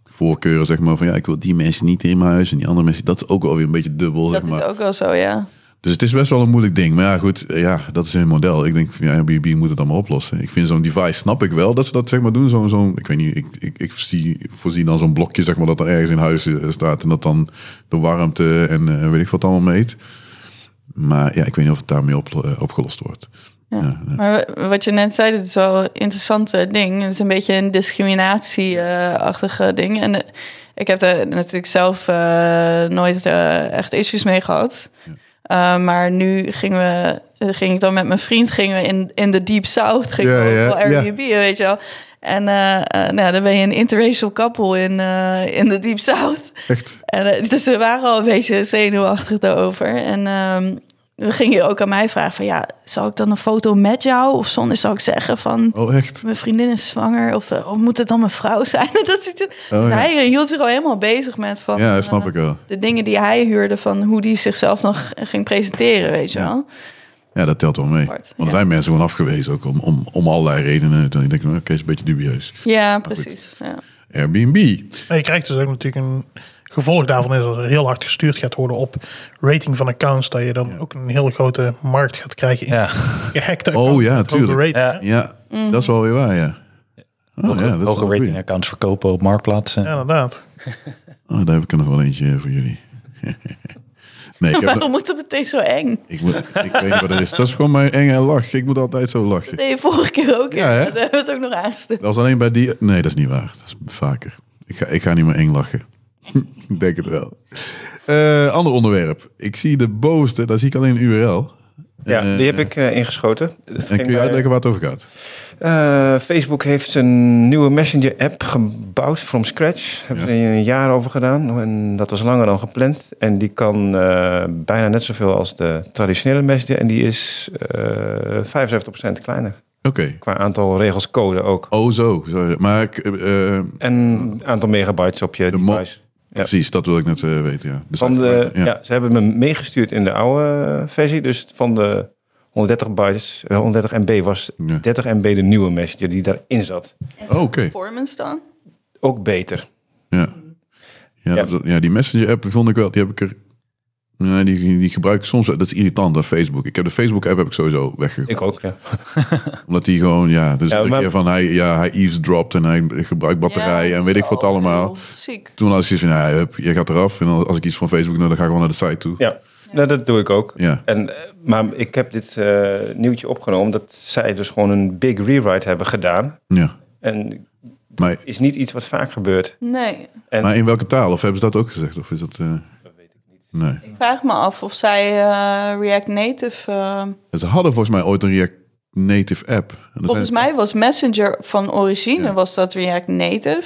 Speaker 1: voorkeuren, zeg maar. Van ja, ik wil die mensen niet in mijn huis en die andere mensen. Dat is ook wel weer een beetje dubbel,
Speaker 4: Dat
Speaker 1: zeg maar.
Speaker 4: is ook wel zo, ja.
Speaker 1: Dus het is best wel een moeilijk ding. Maar ja, goed, eh, ja, dat is hun model. Ik denk, van, ja, Airbnb moet het allemaal oplossen. Ik vind zo'n device, snap ik wel dat ze dat zeg maar doen. Zo'n, zo'n, ik weet niet, ik, ik, ik zie, voorzie dan zo'n blokje zeg maar dat er ergens in huis eh, staat. En dat dan de warmte en eh, weet ik wat allemaal meet. Maar ja, ik weet niet of het daarmee op, eh, opgelost wordt.
Speaker 4: Ja.
Speaker 1: Ja, ja.
Speaker 4: Maar w- wat je net zei, dat is wel een interessante ding. Het is een beetje een discriminatie-achtige ding. En eh, ik heb daar natuurlijk zelf eh, nooit eh, echt issues mee gehad. Eh, maar nu gingen we, eh, ging ik dan met mijn vriend gingen we in, in de Deep South, gingen
Speaker 1: Ja,
Speaker 4: we
Speaker 1: ja,
Speaker 4: op
Speaker 1: ja.
Speaker 4: Airbnb, weet je wel. En eh, eh, nou, ja, dan ben je een interracial couple in, eh, in de Deep South.
Speaker 1: Echt?
Speaker 4: En, eh, dus we waren al een beetje zenuwachtig daarover. En ehm dan ging je ook aan mij vragen van... ja, zal ik dan een foto met jou? Of zonder zou ik zeggen van...
Speaker 1: Oh, echt?
Speaker 4: mijn vriendin is zwanger. Of, eh, of moet het dan mijn vrouw zijn? dat soort dingen.
Speaker 1: Oh,
Speaker 4: dus
Speaker 1: ja.
Speaker 4: hij eh, hield zich al helemaal bezig met van...
Speaker 1: Ja, dat snap
Speaker 4: eh,
Speaker 1: ik wel.
Speaker 4: De dingen die hij huurde van hoe die zichzelf dan g- ging presenteren, weet je
Speaker 1: Ja.
Speaker 4: wel.
Speaker 1: Ja, dat telt wel mee.
Speaker 4: Apart,
Speaker 1: Want er
Speaker 4: ja.
Speaker 1: zijn mensen gewoon afgewezen ook om, om, om allerlei redenen. Dan denk ik, nou, oké, is een beetje dubieus.
Speaker 4: Ja, precies. Ja.
Speaker 1: Airbnb.
Speaker 5: Maar je krijgt dus ook natuurlijk een gevolg daarvan is dat er heel hard gestuurd gaat worden op rating van accounts. Dat je dan ook een hele grote markt gaat krijgen in
Speaker 3: Ja.
Speaker 5: gehackte
Speaker 1: Oh,
Speaker 5: accounts
Speaker 1: ja,
Speaker 5: met hoge
Speaker 1: tuurlijk.
Speaker 5: rating,
Speaker 3: Ja.
Speaker 5: hè?
Speaker 1: Ja, dat is wel weer waar, ja. Oh,
Speaker 3: Hoge,
Speaker 1: ja, dat is
Speaker 3: hoge
Speaker 1: wel een
Speaker 3: rating
Speaker 1: goeie.
Speaker 3: accounts verkopen op marktplaatsen.
Speaker 5: Ja, inderdaad.
Speaker 1: Oh, daar heb ik er nog wel eentje voor jullie. nee, ik, heb,
Speaker 4: Waarom moet dat meteen zo eng?
Speaker 1: ik, moet, ik weet niet wat het is. Dat is gewoon mijn enge lach. Ik moet altijd zo lachen.
Speaker 4: Dat deed je vorige keer ook.
Speaker 1: Ja,
Speaker 4: Ja,
Speaker 1: hè?
Speaker 4: Dat hebben we het ook nog aangestemd.
Speaker 1: Dat was alleen bij die... Nee, dat is niet waar. Dat is vaker. Ik ga, ik ga niet meer eng lachen. ik denk het wel. Eh, ander onderwerp. Ik zie de bovenste, daar zie ik alleen een URL.
Speaker 2: Ja,
Speaker 1: Eh,
Speaker 2: die heb ik eh, ingeschoten. Dat
Speaker 1: En
Speaker 2: ging
Speaker 1: kun je
Speaker 2: bij-
Speaker 1: uitleggen waar het over gaat?
Speaker 2: Eh, Facebook heeft een nieuwe Messenger-app gebouwd from scratch. Hebben ze er een jaar over gedaan en dat was langer dan gepland. En die kan eh, bijna net zoveel als de traditionele Messenger en die is eh 75% kleiner.
Speaker 1: Oké.
Speaker 2: Qua aantal regels code ook.
Speaker 1: Oh, zo. Sorry. Maar ik, eh, eh,
Speaker 2: En aantal megabytes op je
Speaker 1: De mo-
Speaker 2: device. Ja.
Speaker 1: precies, dat wil ik net eh, weten, ja. De
Speaker 2: Van de,
Speaker 1: site-
Speaker 2: ja. ze hebben me meegestuurd in de oude eh, versie. Dus van de 130 bytes, eh, 130 MB was
Speaker 1: Ja.
Speaker 2: 30 MB de nieuwe Messenger die daarin zat.
Speaker 1: Oh, Oké.
Speaker 4: Performance dan?
Speaker 2: Ook beter.
Speaker 1: Ja. Ja,
Speaker 2: Ja.
Speaker 1: dat- ja die Messenger-app vond ik wel, die heb ik er... Nee, die, die gebruik ik soms. wel. Dat is irritant, dat Facebook. Ik heb de Facebook-app heb ik sowieso weggegooid.
Speaker 2: Ik ook, ja.
Speaker 1: Omdat die gewoon, ja... Dus
Speaker 2: Ja,
Speaker 1: iedere
Speaker 2: maar-
Speaker 1: keer van, hij, ja, hij eavesdropt en hij gebruikt batterijen en weet ik wat allemaal.
Speaker 4: Ziek.
Speaker 1: Toen als je van, ja, hup, je gaat eraf. En als ik iets van Facebook nodig dan ga ik gewoon naar de site toe.
Speaker 2: ja. Nou, dat doe ik ook.
Speaker 1: Ja.
Speaker 2: En, eh, maar ik heb dit eh, nieuwtje opgenomen dat zij dus gewoon een big rewrite hebben gedaan.
Speaker 1: Ja.
Speaker 2: En
Speaker 1: Maar,
Speaker 2: is niet iets wat vaak gebeurt.
Speaker 4: Nee,
Speaker 2: En-
Speaker 1: maar in welke taal? Of hebben ze dat ook gezegd? Of is dat... eh, Nee.
Speaker 4: Ik vraag me af of zij eh, React Native. eh,
Speaker 1: En Ze hadden volgens mij ooit een React Native app. En dat
Speaker 4: volgens
Speaker 1: zijn-
Speaker 4: mij was Messenger van origine
Speaker 1: Ja.
Speaker 4: was dat React Native.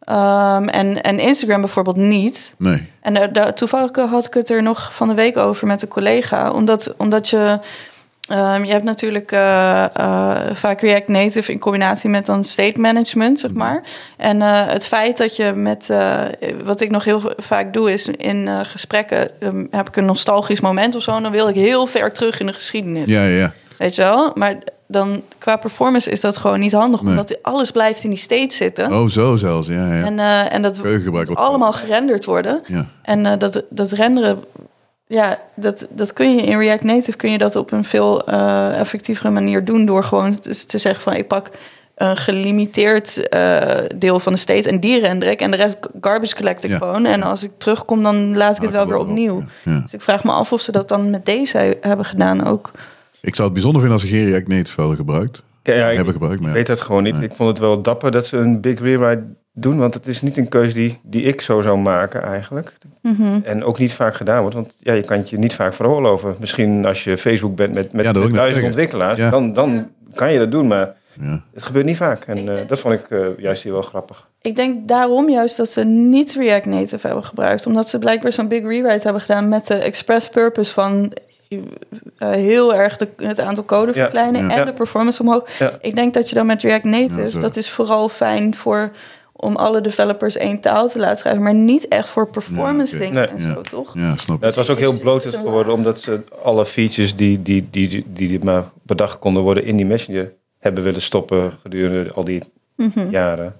Speaker 4: Ehm, en, en Instagram bijvoorbeeld niet.
Speaker 1: Nee.
Speaker 4: En daar, daar- toevallig had ik het er nog van de week over met een collega. Omdat, omdat je. ehm, je hebt natuurlijk eh, eh, vaak React Native in combinatie met dan state management,
Speaker 1: Mhm.
Speaker 4: zeg maar. En eh, het feit dat je met. eh, wat ik nog heel vaak doe, is in eh, gesprekken. ehm, heb ik een nostalgisch moment of zo. En dan wil ik heel ver terug in de geschiedenis.
Speaker 1: Ja, ja, ja.
Speaker 4: Weet je wel? Maar dan qua performance is dat gewoon niet handig.
Speaker 1: Nee.
Speaker 4: Omdat alles blijft in die state zitten.
Speaker 1: Oh, zo zelfs. Ja, ja.
Speaker 4: En, eh, en dat
Speaker 1: Keukengebruik
Speaker 4: moet
Speaker 1: wordt-
Speaker 4: allemaal gerenderd worden.
Speaker 1: ja.
Speaker 4: En eh, dat, dat renderen, ja, dat, dat kun je in React Native kun je dat op een veel eh, effectievere manier doen door gewoon te, te zeggen van ik pak een gelimiteerd eh, deel van de state en die render ik en de rest garbage collect ik
Speaker 1: Ja.
Speaker 4: gewoon. En als ik terugkom, dan laat ik het wel
Speaker 1: Haken
Speaker 4: weer
Speaker 1: we erop,
Speaker 4: opnieuw.
Speaker 1: ja. Ja.
Speaker 4: Dus ik vraag me af of ze dat dan met deze he- hebben gedaan ook.
Speaker 1: Ik zou het bijzonder vinden als ze geen React Native hadden gebruikt.
Speaker 2: Ja, ja,
Speaker 1: Hebben
Speaker 2: ik
Speaker 1: gebruikt, maar ja.
Speaker 2: weet dat gewoon niet. Ik vond het wel dapper dat ze een big rewrite doen. Want het is niet een keuze die, die ik zo zou maken eigenlijk.
Speaker 4: Mhm.
Speaker 2: En ook niet vaak gedaan wordt. Want ja, je kan het je niet vaak veroorloven. Misschien als je Facebook bent met, met,
Speaker 1: Ja, dat wil
Speaker 2: met
Speaker 1: ik net
Speaker 2: duizend
Speaker 1: zeggen.
Speaker 2: ontwikkelaars.
Speaker 1: Ja.
Speaker 2: Dan, dan kan je dat doen. Maar
Speaker 1: Ja.
Speaker 2: het gebeurt niet vaak. En eh, dat vond ik eh, juist hier wel grappig.
Speaker 4: Ik denk daarom juist dat ze niet React Native hebben gebruikt. Omdat ze blijkbaar zo'n big rewrite hebben gedaan met de express purpose van eh, heel erg de, het aantal code verkleinen
Speaker 1: Ja.
Speaker 4: en
Speaker 2: Ja.
Speaker 4: de performance omhoog.
Speaker 2: Ja.
Speaker 4: Ik denk dat je dan met React
Speaker 1: Ja,
Speaker 4: Native,
Speaker 1: zo.
Speaker 4: dat is vooral fijn voor om alle developers één taal te laten schrijven, maar niet echt voor performance
Speaker 1: Ja, oké.
Speaker 4: dingen en
Speaker 1: Nee.
Speaker 4: zo, toch?
Speaker 1: Ja, snap
Speaker 2: Ja, het
Speaker 1: ik.
Speaker 2: was ook heel bloot is geworden. Omdat ze alle features die, die, die, die, die maar bedacht konden worden in die messenger hebben willen stoppen gedurende al die
Speaker 4: Mhm.
Speaker 2: jaren.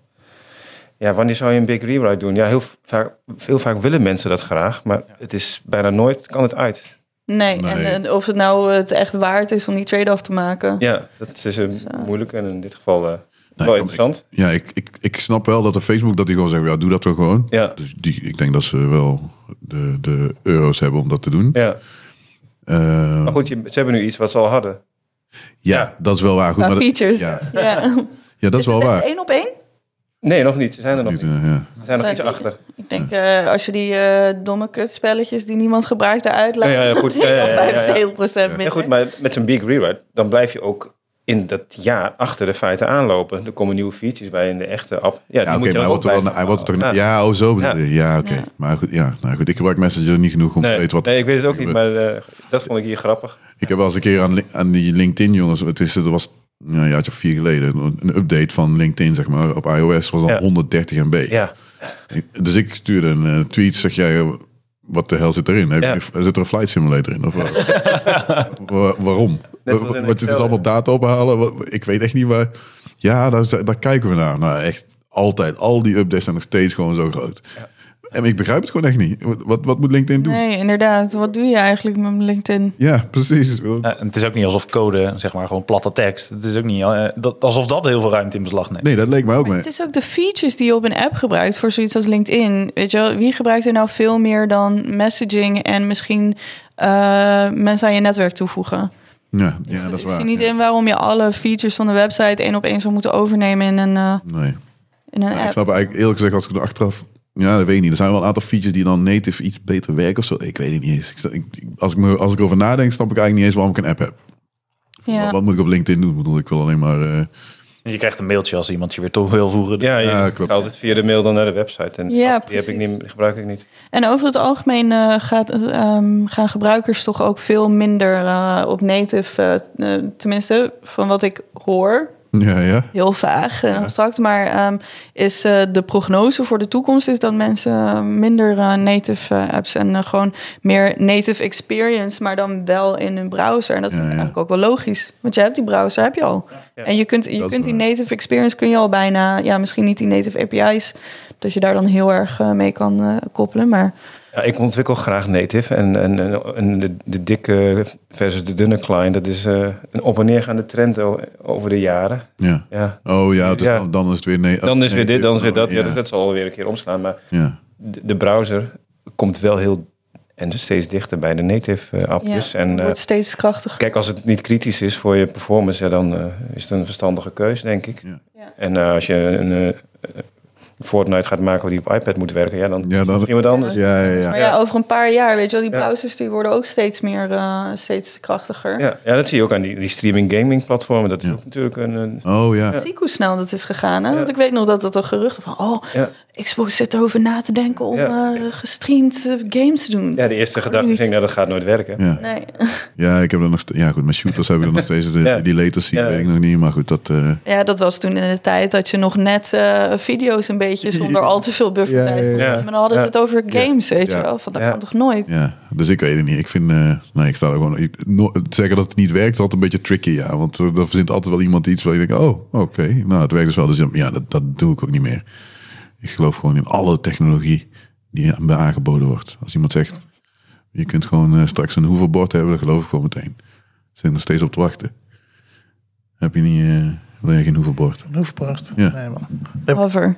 Speaker 2: Ja, wanneer zou je een big rewrite doen? Ja, heel vaak, heel vaak willen mensen dat graag, maar het is bijna nooit, kan het uit.
Speaker 4: Nee,
Speaker 1: Nee.
Speaker 4: En, eh, of het nou het echt waard is om die trade-off te maken.
Speaker 2: Ja, dat is een moeilijk en in dit geval eh,
Speaker 1: kan
Speaker 2: wel
Speaker 1: ik.
Speaker 2: interessant.
Speaker 1: Ja, ik, ik, ik snap wel dat de Facebook dat die gewoon zeggen, ja, doe dat toch gewoon.
Speaker 2: Ja,
Speaker 1: Dus die, ik denk dat ze wel de, de euro's hebben om dat te doen.
Speaker 2: ja.
Speaker 1: Ehm,
Speaker 2: Maar goed, je, ze hebben nu iets wat ze al hadden.
Speaker 1: ja, dat is wel waar. Goed,
Speaker 4: Qua
Speaker 1: maar dat-
Speaker 4: features.
Speaker 1: ja.
Speaker 4: Ja. Dus
Speaker 1: ja, dat is wel
Speaker 4: het echt
Speaker 1: waar. eh,
Speaker 4: één op één?
Speaker 2: Nee, nog niet. Ze zijn er nog niet.
Speaker 1: Ja, ja.
Speaker 2: Ze zijn nog
Speaker 4: Zijn
Speaker 2: iets
Speaker 4: die-
Speaker 2: achter.
Speaker 4: Ik denk, eh, als je die eh, domme kutspelletjes die niemand gebruikt eruit
Speaker 2: Ja,
Speaker 4: laat,
Speaker 2: ja, goed. Ja, ja, ja, ja, ja.
Speaker 4: 75% minder.
Speaker 2: Ja, goed, maar met zo'n big rewrite, dan blijf je ook in dat jaar achter de feiten aanlopen. Er komen nieuwe features bij in de echte app. Ja, die
Speaker 1: Ja, oké,
Speaker 2: moet je
Speaker 1: maar hij
Speaker 2: dan ook
Speaker 1: wordt er wel,
Speaker 2: blijven
Speaker 1: hij wordt er,
Speaker 2: houden.
Speaker 1: ja, oh zo bedoel
Speaker 2: Ja.
Speaker 1: je. Ja, oké.
Speaker 4: Ja.
Speaker 1: Maar goed, ja, nou goed, ik gebruik Messenger niet genoeg om te
Speaker 2: Nee,
Speaker 1: weten wat...
Speaker 2: nee, ik weet het ook
Speaker 1: er
Speaker 2: niet,
Speaker 1: gebeurt.
Speaker 2: maar eh, dat vond ik hier grappig.
Speaker 1: Ik heb wel eens een keer aan, Li- aan die LinkedIn, jongens, het is, dat was nou, een jaartje of vier geleden, een update van LinkedIn, zeg maar, op iOS, was dan
Speaker 2: Ja.
Speaker 1: 130 MB.
Speaker 2: Ja,
Speaker 1: Dus ik stuurde een eh, tweet, zeg jij, wat de hel zit erin? Heb,
Speaker 2: Ja.
Speaker 1: Zit er een flight simulator in? Of wat? Wa- waarom?
Speaker 2: Net
Speaker 1: Wat
Speaker 2: als in
Speaker 1: wat- het is
Speaker 2: Excel,
Speaker 1: allemaal
Speaker 2: hè?
Speaker 1: data ophalen. Wat- Ik weet echt niet waar. Ja, daar, z- daar kijken we naar. Nou, echt altijd. Al die updates zijn nog steeds gewoon zo groot. En ik begrijp het gewoon echt niet. Wat, wat, wat moet LinkedIn doen?
Speaker 4: Nee, inderdaad. Wat doe je eigenlijk met LinkedIn?
Speaker 1: Ja, precies.
Speaker 3: Eh, en het is ook niet alsof code, zeg maar, gewoon platte tekst. Het is ook niet eh, dat, alsof dat heel veel ruimte in beslag neemt.
Speaker 1: Nee, dat leek mij ook mee.
Speaker 4: Het is ook de features die je op een app gebruikt voor zoiets als LinkedIn. Weet je wel, wie gebruikt er nou veel meer dan messaging en misschien eh, mensen aan je netwerk toevoegen?
Speaker 1: Ja, ja, dat is
Speaker 4: ik zie
Speaker 1: waar.
Speaker 4: niet
Speaker 1: Ja.
Speaker 4: in waarom je alle features van de website één op één zou moeten overnemen in een, eh,
Speaker 1: Nee.
Speaker 4: in een
Speaker 1: Nou Ja, ik
Speaker 4: app.
Speaker 1: snap eigenlijk eerlijk gezegd, als ik er achteraf... Ja, dat weet ik niet. Er zijn wel een aantal features die dan native iets beter werken of zo. Ik weet het niet eens. Ik sta- ik- ik- als, ik me, als ik erover nadenk, snap ik eigenlijk niet eens waarom ik een app heb. Wat,
Speaker 4: Ja.
Speaker 1: wat moet ik op LinkedIn doen? Ik bedoel, ik wil alleen maar... eh,
Speaker 3: Je krijgt een mailtje als iemand je weer toe wil voeren.
Speaker 2: ja, je
Speaker 1: Ja,
Speaker 2: gaat
Speaker 1: klopt.
Speaker 2: altijd via de mail dan naar de website. En
Speaker 4: Ja,
Speaker 2: die
Speaker 4: precies.
Speaker 2: heb ik niet, die gebruik ik niet.
Speaker 4: En over het algemeen eh, gaat, ehm, gaan gebruikers toch ook veel minder eh, op native, eh, eh, tenminste van wat ik hoor,
Speaker 1: Ja, ja.
Speaker 4: heel vaag en abstract, maar ehm, is eh, de prognose voor de toekomst is dat mensen eh, minder eh, native eh, apps en eh, gewoon meer native experience, maar dan wel in hun browser. En dat
Speaker 1: Ja,
Speaker 4: vind ik
Speaker 1: ja.
Speaker 4: eigenlijk ook wel logisch, want je hebt die browser, heb je al. En je kunt, je
Speaker 1: Dat is
Speaker 4: kunt die
Speaker 1: waar.
Speaker 4: native experience kun je al bijna, ja, misschien niet die native API's, dat je daar dan heel erg eh, mee kan eh, koppelen, maar
Speaker 2: Ja, ik ontwikkel graag native. En, en, en, en de, de dikke versus de dunne client, dat is eh, een op- en neergaande trend o- over de jaren.
Speaker 1: ja.
Speaker 2: Ja.
Speaker 1: Oh ja, dus
Speaker 2: Ja.
Speaker 1: Dan, dan is het weer... Nee,
Speaker 2: Dan is
Speaker 1: Oh, nee,
Speaker 2: weer dit, dan is weer dat. Ja,
Speaker 1: Ja,
Speaker 2: dat, dat zal weer een keer omslaan, maar...
Speaker 1: ja.
Speaker 2: de, de browser komt wel heel en dus steeds dichter bij de native eh, appjes.
Speaker 4: ja,
Speaker 2: en
Speaker 4: het
Speaker 2: eh,
Speaker 4: wordt steeds krachtiger.
Speaker 2: kijk, als het niet kritisch is voor je performance, ja, dan eh, is het een verstandige keus, denk ik.
Speaker 1: Ja.
Speaker 4: Ja.
Speaker 2: En eh, als je een eh, eh, Fortnite gaat maken die op iPad moet werken, ja, dan
Speaker 1: Ja, dan-
Speaker 2: is iemand anders. Ja.
Speaker 1: Ja, ja, ja.
Speaker 4: Maar ja, over een paar jaar, weet je wel, die
Speaker 2: Ja.
Speaker 4: browsers die worden ook steeds meer, eh, steeds krachtiger.
Speaker 2: Ja, dat zie je ook aan die, die streaming gaming platformen. Dat is ook natuurlijk een... een-
Speaker 1: Oh ja.
Speaker 4: Zie ik hoe snel dat is gegaan. Hè?
Speaker 2: Ja.
Speaker 4: Want ik weet nog dat dat een gerucht van... oh,
Speaker 2: ja.
Speaker 4: Xbox zit erover na te denken om
Speaker 2: Ja.
Speaker 4: eh, gestreamd eh, games te doen.
Speaker 2: ja, de eerste gedachte is, nou, dat gaat nooit werken.
Speaker 1: Ja.
Speaker 4: Nee.
Speaker 1: ja, ik heb er nog... ste- Ja, goed, mijn shooters hebben er nog steeds... De,
Speaker 2: Ja.
Speaker 1: Die latency
Speaker 2: Ja.
Speaker 1: weet ik nog niet, maar goed, dat... eh,
Speaker 4: ja, dat was toen in de tijd dat je nog net eh, video's een beetje zonder al te veel buffer
Speaker 1: Ja,
Speaker 4: tijd
Speaker 1: ja,
Speaker 4: kon
Speaker 1: ja.
Speaker 4: zien. Maar dan hadden ze
Speaker 2: Ja.
Speaker 4: het over games, weet
Speaker 1: Ja.
Speaker 4: je wel. Van, dat
Speaker 2: Ja.
Speaker 4: kan toch nooit?
Speaker 1: ja, dus ik weet het niet. Ik vind... eh, nee, ik sta er gewoon... ik- no- zeggen dat het niet werkt is altijd een beetje tricky, ja. Want eh, dan verzint altijd wel iemand iets waar je denkt... Oh, oké, nou, het werkt dus wel. Dus ja, dat, dat doe ik ook niet meer. Ik geloof gewoon in alle technologie die aan- aangeboden wordt. Als iemand zegt... Je kunt gewoon eh, straks een hoeverbord hebben, dan geloof ik gewoon meteen. Ze zijn er steeds op te wachten. Heb je niet... eh wil je geen hoeverbord?
Speaker 5: Een hoefpracht.
Speaker 1: Ja.
Speaker 5: Nee, man.
Speaker 4: Hover.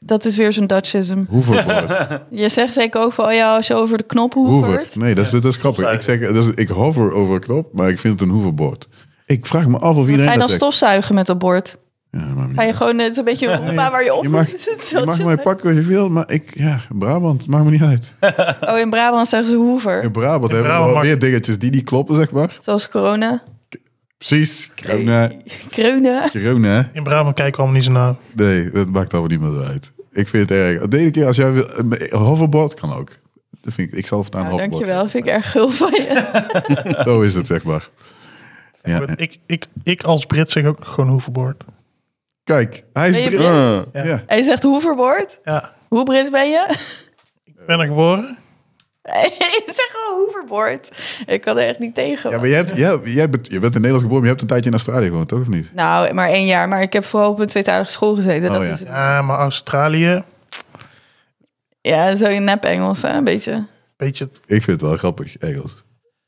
Speaker 4: Dat is weer zo'n Dutchism.
Speaker 1: Hoeverbord.
Speaker 4: Je zegt zeker ook van, oh ja, als je over de knop
Speaker 1: Hoever.
Speaker 4: hoevert.
Speaker 1: Nee, dat is, dat is grappig. Ik, zeg, dat is, ik hover over een knop, maar ik vind het een hoeverbord. Ik vraag me af of
Speaker 4: Ga
Speaker 1: iedereen dat
Speaker 4: je dan
Speaker 1: zegt.
Speaker 4: stofzuigen met dat bord?
Speaker 1: Ja, maar
Speaker 4: Ga je gewoon, eh, het is een beetje een roepa waar je op
Speaker 1: je mag,
Speaker 4: moet. Het is
Speaker 1: je
Speaker 4: heel
Speaker 1: mag
Speaker 4: chill.
Speaker 1: mij pakken wat je wil, maar ik, ja, Brabant, maakt me niet uit.
Speaker 4: Oh, in Brabant zeggen ze hoever.
Speaker 1: In Brabant hebben
Speaker 5: Brabant
Speaker 1: we wel
Speaker 5: mag-
Speaker 1: weer dingetjes die niet kloppen, zeg maar.
Speaker 4: Zoals corona.
Speaker 1: Precies. Corona.
Speaker 4: Kreuna.
Speaker 1: Corona.
Speaker 5: In Brabant kijken we allemaal niet zo naar.
Speaker 1: Nee, dat maakt allemaal niet meer uit. Ik vind het erg. De ene keer als jij wil, een hoverboard kan ook. Dat vind ik, ik zal voortaan
Speaker 4: Nou,
Speaker 1: hoverboard.
Speaker 4: dankjewel, vind ik erg gul van je.
Speaker 1: Zo is het, zeg maar. Ja.
Speaker 5: Ik, ik, ik als Brit zeg ook gewoon hoevenboord.
Speaker 1: Kijk, hij
Speaker 4: Ben je
Speaker 1: is... Brit.
Speaker 4: Brit?
Speaker 5: Ja.
Speaker 1: Ja.
Speaker 4: Hij zegt hoeverboord.
Speaker 5: Ja.
Speaker 4: Hoe Brit ben je?
Speaker 5: Ik ben er geboren.
Speaker 4: Ik zeg gewoon hoeverboord. Ik kan er echt niet tegen.
Speaker 1: Ja, maar jij, hebt, jij, jij bent, je bent in Nederland geboren, maar je hebt een tijdje in Australië gewoond, toch of niet?
Speaker 4: Nou, maar één jaar. Maar ik heb vooral op een tweetalige school gezeten.
Speaker 1: Oh,
Speaker 4: dat
Speaker 1: ja.
Speaker 4: is het.
Speaker 5: Ja, maar Australië,
Speaker 4: ja, zo in nep Engels, hè, een beetje.
Speaker 5: beetje het
Speaker 1: Ik vind het wel grappig, Engels.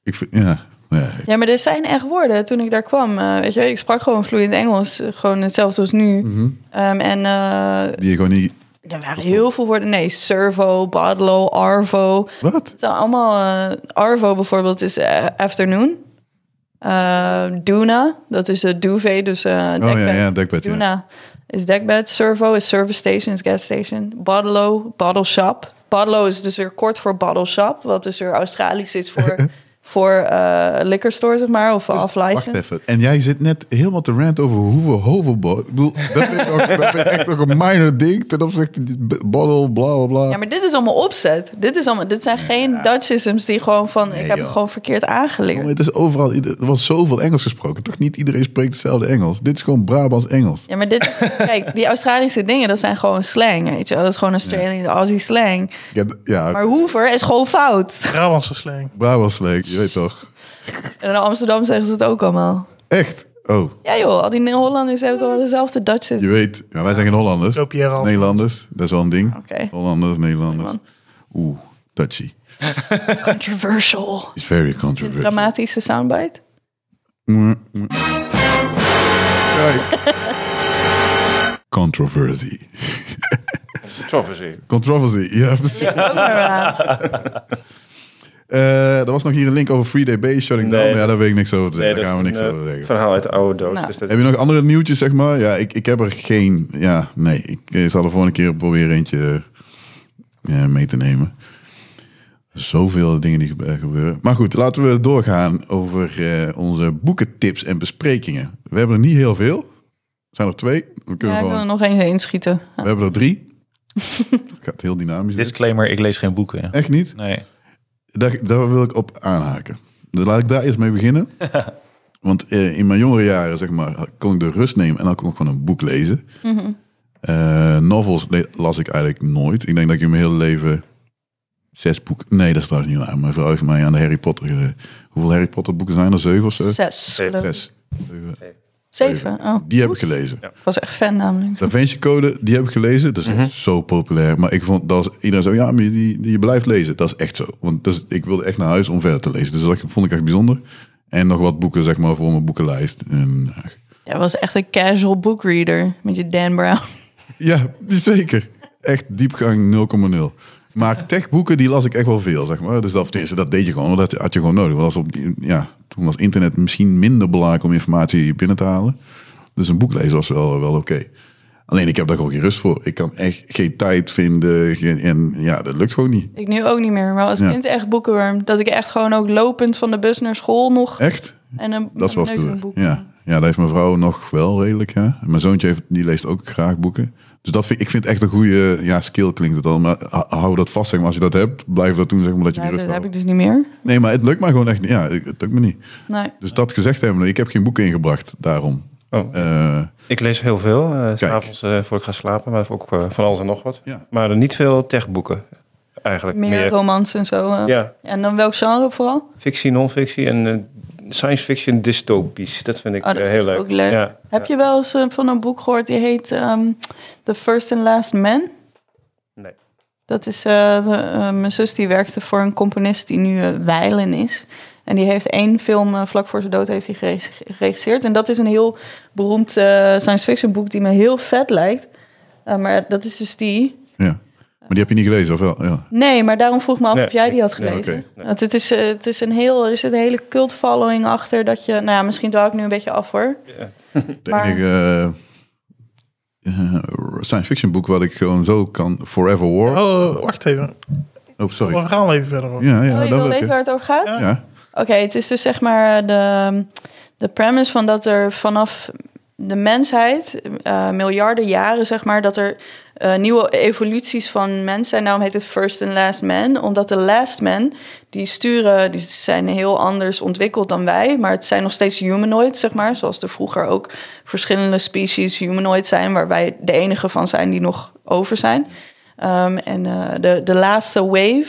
Speaker 1: Ik vind, ja, nee.
Speaker 4: Ja, maar er zijn echt woorden. Toen ik daar kwam, eh, weet je, ik sprak gewoon vloeiend Engels. eh, Gewoon hetzelfde als nu.
Speaker 1: Mhm.
Speaker 4: Ehm, en eh,
Speaker 1: die je gewoon niet...
Speaker 4: er waren heel veel woorden. Nee, servo, badlo, arvo.
Speaker 1: Wat?
Speaker 4: Het zijn allemaal... eh, arvo bijvoorbeeld is eh, afternoon. Eh Duna, dat is het duvet, dus eh dekbed.
Speaker 1: Oh ja, ja, dekbed, ja.
Speaker 4: Duna is dekbed. Servo is service station, is gas station. Badlo, bottle shop. Badlo is dus weer kort voor bottle shop, wat dus weer Australisch is voor, voor eh liquor store, zeg maar, of
Speaker 1: Dus Wacht
Speaker 4: off-license.
Speaker 1: even. En jij zit net helemaal te rant over hoe we hoverboard... Ik bedoel, dat vind ik, ook, dat vind ik echt nog een minor ding ten opzichte van die b- bottle, bla bla bla.
Speaker 4: Ja, maar dit is allemaal opzet. Dit, is allemaal, dit zijn geen Dutchisms die gewoon van...
Speaker 1: Nee,
Speaker 4: ik heb
Speaker 1: joh.
Speaker 4: het gewoon verkeerd aangeleerd.
Speaker 1: Maar het is overal, ieder- er was zoveel Engels gesproken. Toch niet iedereen spreekt hetzelfde Engels. Dit is gewoon Brabants Engels.
Speaker 4: Ja, maar dit... kijk, die Australische dingen, dat zijn gewoon slang, weet je wel. Dat is gewoon Australian, Aussie slang.
Speaker 1: Ja, d- ja
Speaker 4: Maar hoever is gewoon fout.
Speaker 5: Brabantse slang.
Speaker 1: Brabants leek, je weet toch.
Speaker 4: En in Amsterdam zeggen ze het ook allemaal.
Speaker 1: Echt? Oh,
Speaker 4: Ja joh, al die Hollanders hebben toch wel dezelfde Dutchers.
Speaker 1: je weet. Ja, wij zijn geen Hollanders.
Speaker 5: Loop je er al?
Speaker 1: Nederlanders, dat is wel een ding.
Speaker 4: Oké.
Speaker 1: Hollanders, Nederlanders. Oeh, touchy.
Speaker 4: Controversial.
Speaker 1: It's very
Speaker 4: Een
Speaker 1: controversial.
Speaker 4: dramatische soundbite.
Speaker 1: Mm, mm. Kijk. Controversy.
Speaker 2: Controversy.
Speaker 1: Controversy, ja precies.
Speaker 4: Ook maar aan.
Speaker 1: Eh, er was nog hier een link over Free Day Base shutting
Speaker 2: Nee.
Speaker 1: down. Ja, daar weet ik niks over te zeggen.
Speaker 2: dat
Speaker 1: daar gaan we
Speaker 2: is
Speaker 1: niks
Speaker 2: een,
Speaker 1: over
Speaker 2: eh,
Speaker 1: zeggen.
Speaker 2: verhaal uit de oude doos.
Speaker 4: Nou.
Speaker 2: Dus dat,
Speaker 1: Heb je nog andere nieuwtjes, zeg maar? Ja, ik, ik heb er geen. Ja, nee. Ik eh, zal er volgende keer proberen eentje eh, mee te nemen. Zoveel dingen die gebe- eh, gebeuren. Maar goed, laten we doorgaan over eh, onze boekentips en besprekingen. We hebben er niet heel veel. Er zijn er twee. We, kunnen
Speaker 4: Ja, ik wil er
Speaker 1: gewoon,
Speaker 4: nog eens inschieten.
Speaker 1: we hebben er drie. Gaat heel dynamisch. dit.
Speaker 3: Disclaimer, ik lees geen boeken.
Speaker 1: Echt niet?
Speaker 3: Nee.
Speaker 1: Daar, daar wil ik op aanhaken. Dus laat ik daar eerst mee beginnen. Want eh, in mijn jongere jaren, zeg maar, kon ik de rust nemen en dan kon ik gewoon een boek lezen.
Speaker 4: Mhm.
Speaker 1: Eh, novels le- las ik eigenlijk nooit. Ik denk dat ik in mijn hele leven zes boeken... Nee, dat is trouwens niet waar. Mijn vrouw heeft mij aan de Harry Potter... ge- Hoeveel Harry Potter boeken zijn er? Zeven of zo?
Speaker 4: Zes.
Speaker 2: Zeven.
Speaker 4: geloof ik.
Speaker 1: Zes. Zeven.
Speaker 4: Zeven. Oh.
Speaker 1: Die heb ik gelezen.
Speaker 4: Ik was echt fan namelijk.
Speaker 1: Da Vinci Code, die heb ik gelezen. Dat is echt zo populair. Maar ik vond dat was- iedereen zo, ja, maar je- die, die, je blijft lezen. Dat is echt zo. Want dus, ik wilde echt naar huis om verder te lezen. Dus dat vond ik echt bijzonder. En nog wat boeken, zeg maar, voor mijn boekenlijst. En, eh,
Speaker 4: Jij was echt een casual bookreader met je Dan Brown.
Speaker 1: ja, zeker. Echt diepgang 0,0. Maar techboeken, die las ik echt wel veel, zeg maar. Dus dat, tenminste, dat deed je gewoon, want dat had je gewoon nodig. Want als op, die- ja, toen was internet misschien minder belangrijk om informatie binnen te halen. Dus een boek lezen was wel, wel oké. Alleen ik heb daar gewoon geen rust voor. Ik kan echt geen tijd vinden. Geen, en ja, dat lukt gewoon niet.
Speaker 4: Ik nu ook niet meer, maar als
Speaker 1: Ja.
Speaker 4: kind echt boekenworm. Dat ik echt gewoon ook lopend van de bus naar school nog...
Speaker 1: Echt?
Speaker 4: En een,
Speaker 1: Dat was
Speaker 4: mijn neus in
Speaker 1: toen.
Speaker 4: een boek.
Speaker 1: Ja. ja, dat heeft mijn vrouw nog wel redelijk. Ja. En Mijn zoontje heeft, die leest ook graag boeken. Dus dat vind, ik vind echt een goede ja, skill, klinkt het al. Maar h- hou dat vast, zeg maar. Als je dat hebt, blijf dat doen, zeg maar, dat je
Speaker 4: Nou,
Speaker 1: die
Speaker 4: dat
Speaker 1: rust
Speaker 4: heb ik
Speaker 1: houdt.
Speaker 4: dus niet meer.
Speaker 1: Nee, maar het lukt mij gewoon echt niet. Ja, het lukt me niet.
Speaker 4: Nee.
Speaker 1: Dus dat gezegd hebben, ik heb geen boeken ingebracht, daarom.
Speaker 2: oh,
Speaker 1: Eh,
Speaker 2: ik lees heel veel, eh,
Speaker 1: Kijk.
Speaker 2: s'avonds eh voor ik ga slapen, maar ook eh, van alles en nog wat.
Speaker 1: Ja.
Speaker 2: Maar eh, niet veel techboeken, eigenlijk.
Speaker 4: Meer, romans en zo. eh.
Speaker 2: ja,
Speaker 4: En dan welk genre vooral?
Speaker 2: fictie, non-fictie en eh, science fiction dystopisch. Dat vind ik
Speaker 4: Oh, dat
Speaker 2: eh,
Speaker 4: vind
Speaker 2: heel
Speaker 4: ik
Speaker 2: leuk.
Speaker 4: ook leuk.
Speaker 2: Ja.
Speaker 4: Heb je wel eens eh, van een boek gehoord die heet ehm, The First and Last Man?
Speaker 2: Nee.
Speaker 4: Dat is eh, de- eh, mijn zus die werkte voor een componist die nu eh, wijlen is. En die heeft één film eh, vlak voor zijn dood heeft hij gereg- geregisseerd. En dat is een heel beroemd eh, science fiction boek die me heel vet lijkt. Eh, maar dat is dus die.
Speaker 1: ja. Maar die heb je niet gelezen, of wel? Ja.
Speaker 4: Nee, maar daarom vroeg ik me af
Speaker 2: Nee,
Speaker 4: of jij die had
Speaker 2: ik- nee,
Speaker 4: gelezen.
Speaker 1: oké.
Speaker 2: Nee.
Speaker 4: Want het is, eh, het is een heel, er zit een hele cult following achter dat je, nou ja, misschien dwaal ik nu een beetje af hoor.
Speaker 1: Het
Speaker 4: Maar-
Speaker 1: enige eh, eh, science fiction boek wat ik gewoon zo kan Forever War. Oh,
Speaker 5: Oh, wacht even. We
Speaker 1: sorry.
Speaker 5: gaan even verder. hoor.
Speaker 1: Ja, ja,
Speaker 4: Oh, je
Speaker 1: dat
Speaker 4: wil
Speaker 1: wil ik,
Speaker 4: weten
Speaker 1: hè.
Speaker 4: waar het over gaat?
Speaker 1: Ja,
Speaker 4: Oké, het is dus zeg maar de, de premise van dat er vanaf de mensheid, eh, miljarden jaren zeg maar, dat er eh, nieuwe evoluties van mens zijn. Daarom heet het First and Last Man, omdat de Last Man, die sturen, die zijn heel anders ontwikkeld dan wij, maar het zijn nog steeds humanoids zeg maar, zoals er vroeger ook verschillende species humanoid zijn, waar wij de enige van zijn die nog over zijn. Ehm, en eh, de, de laatste wave,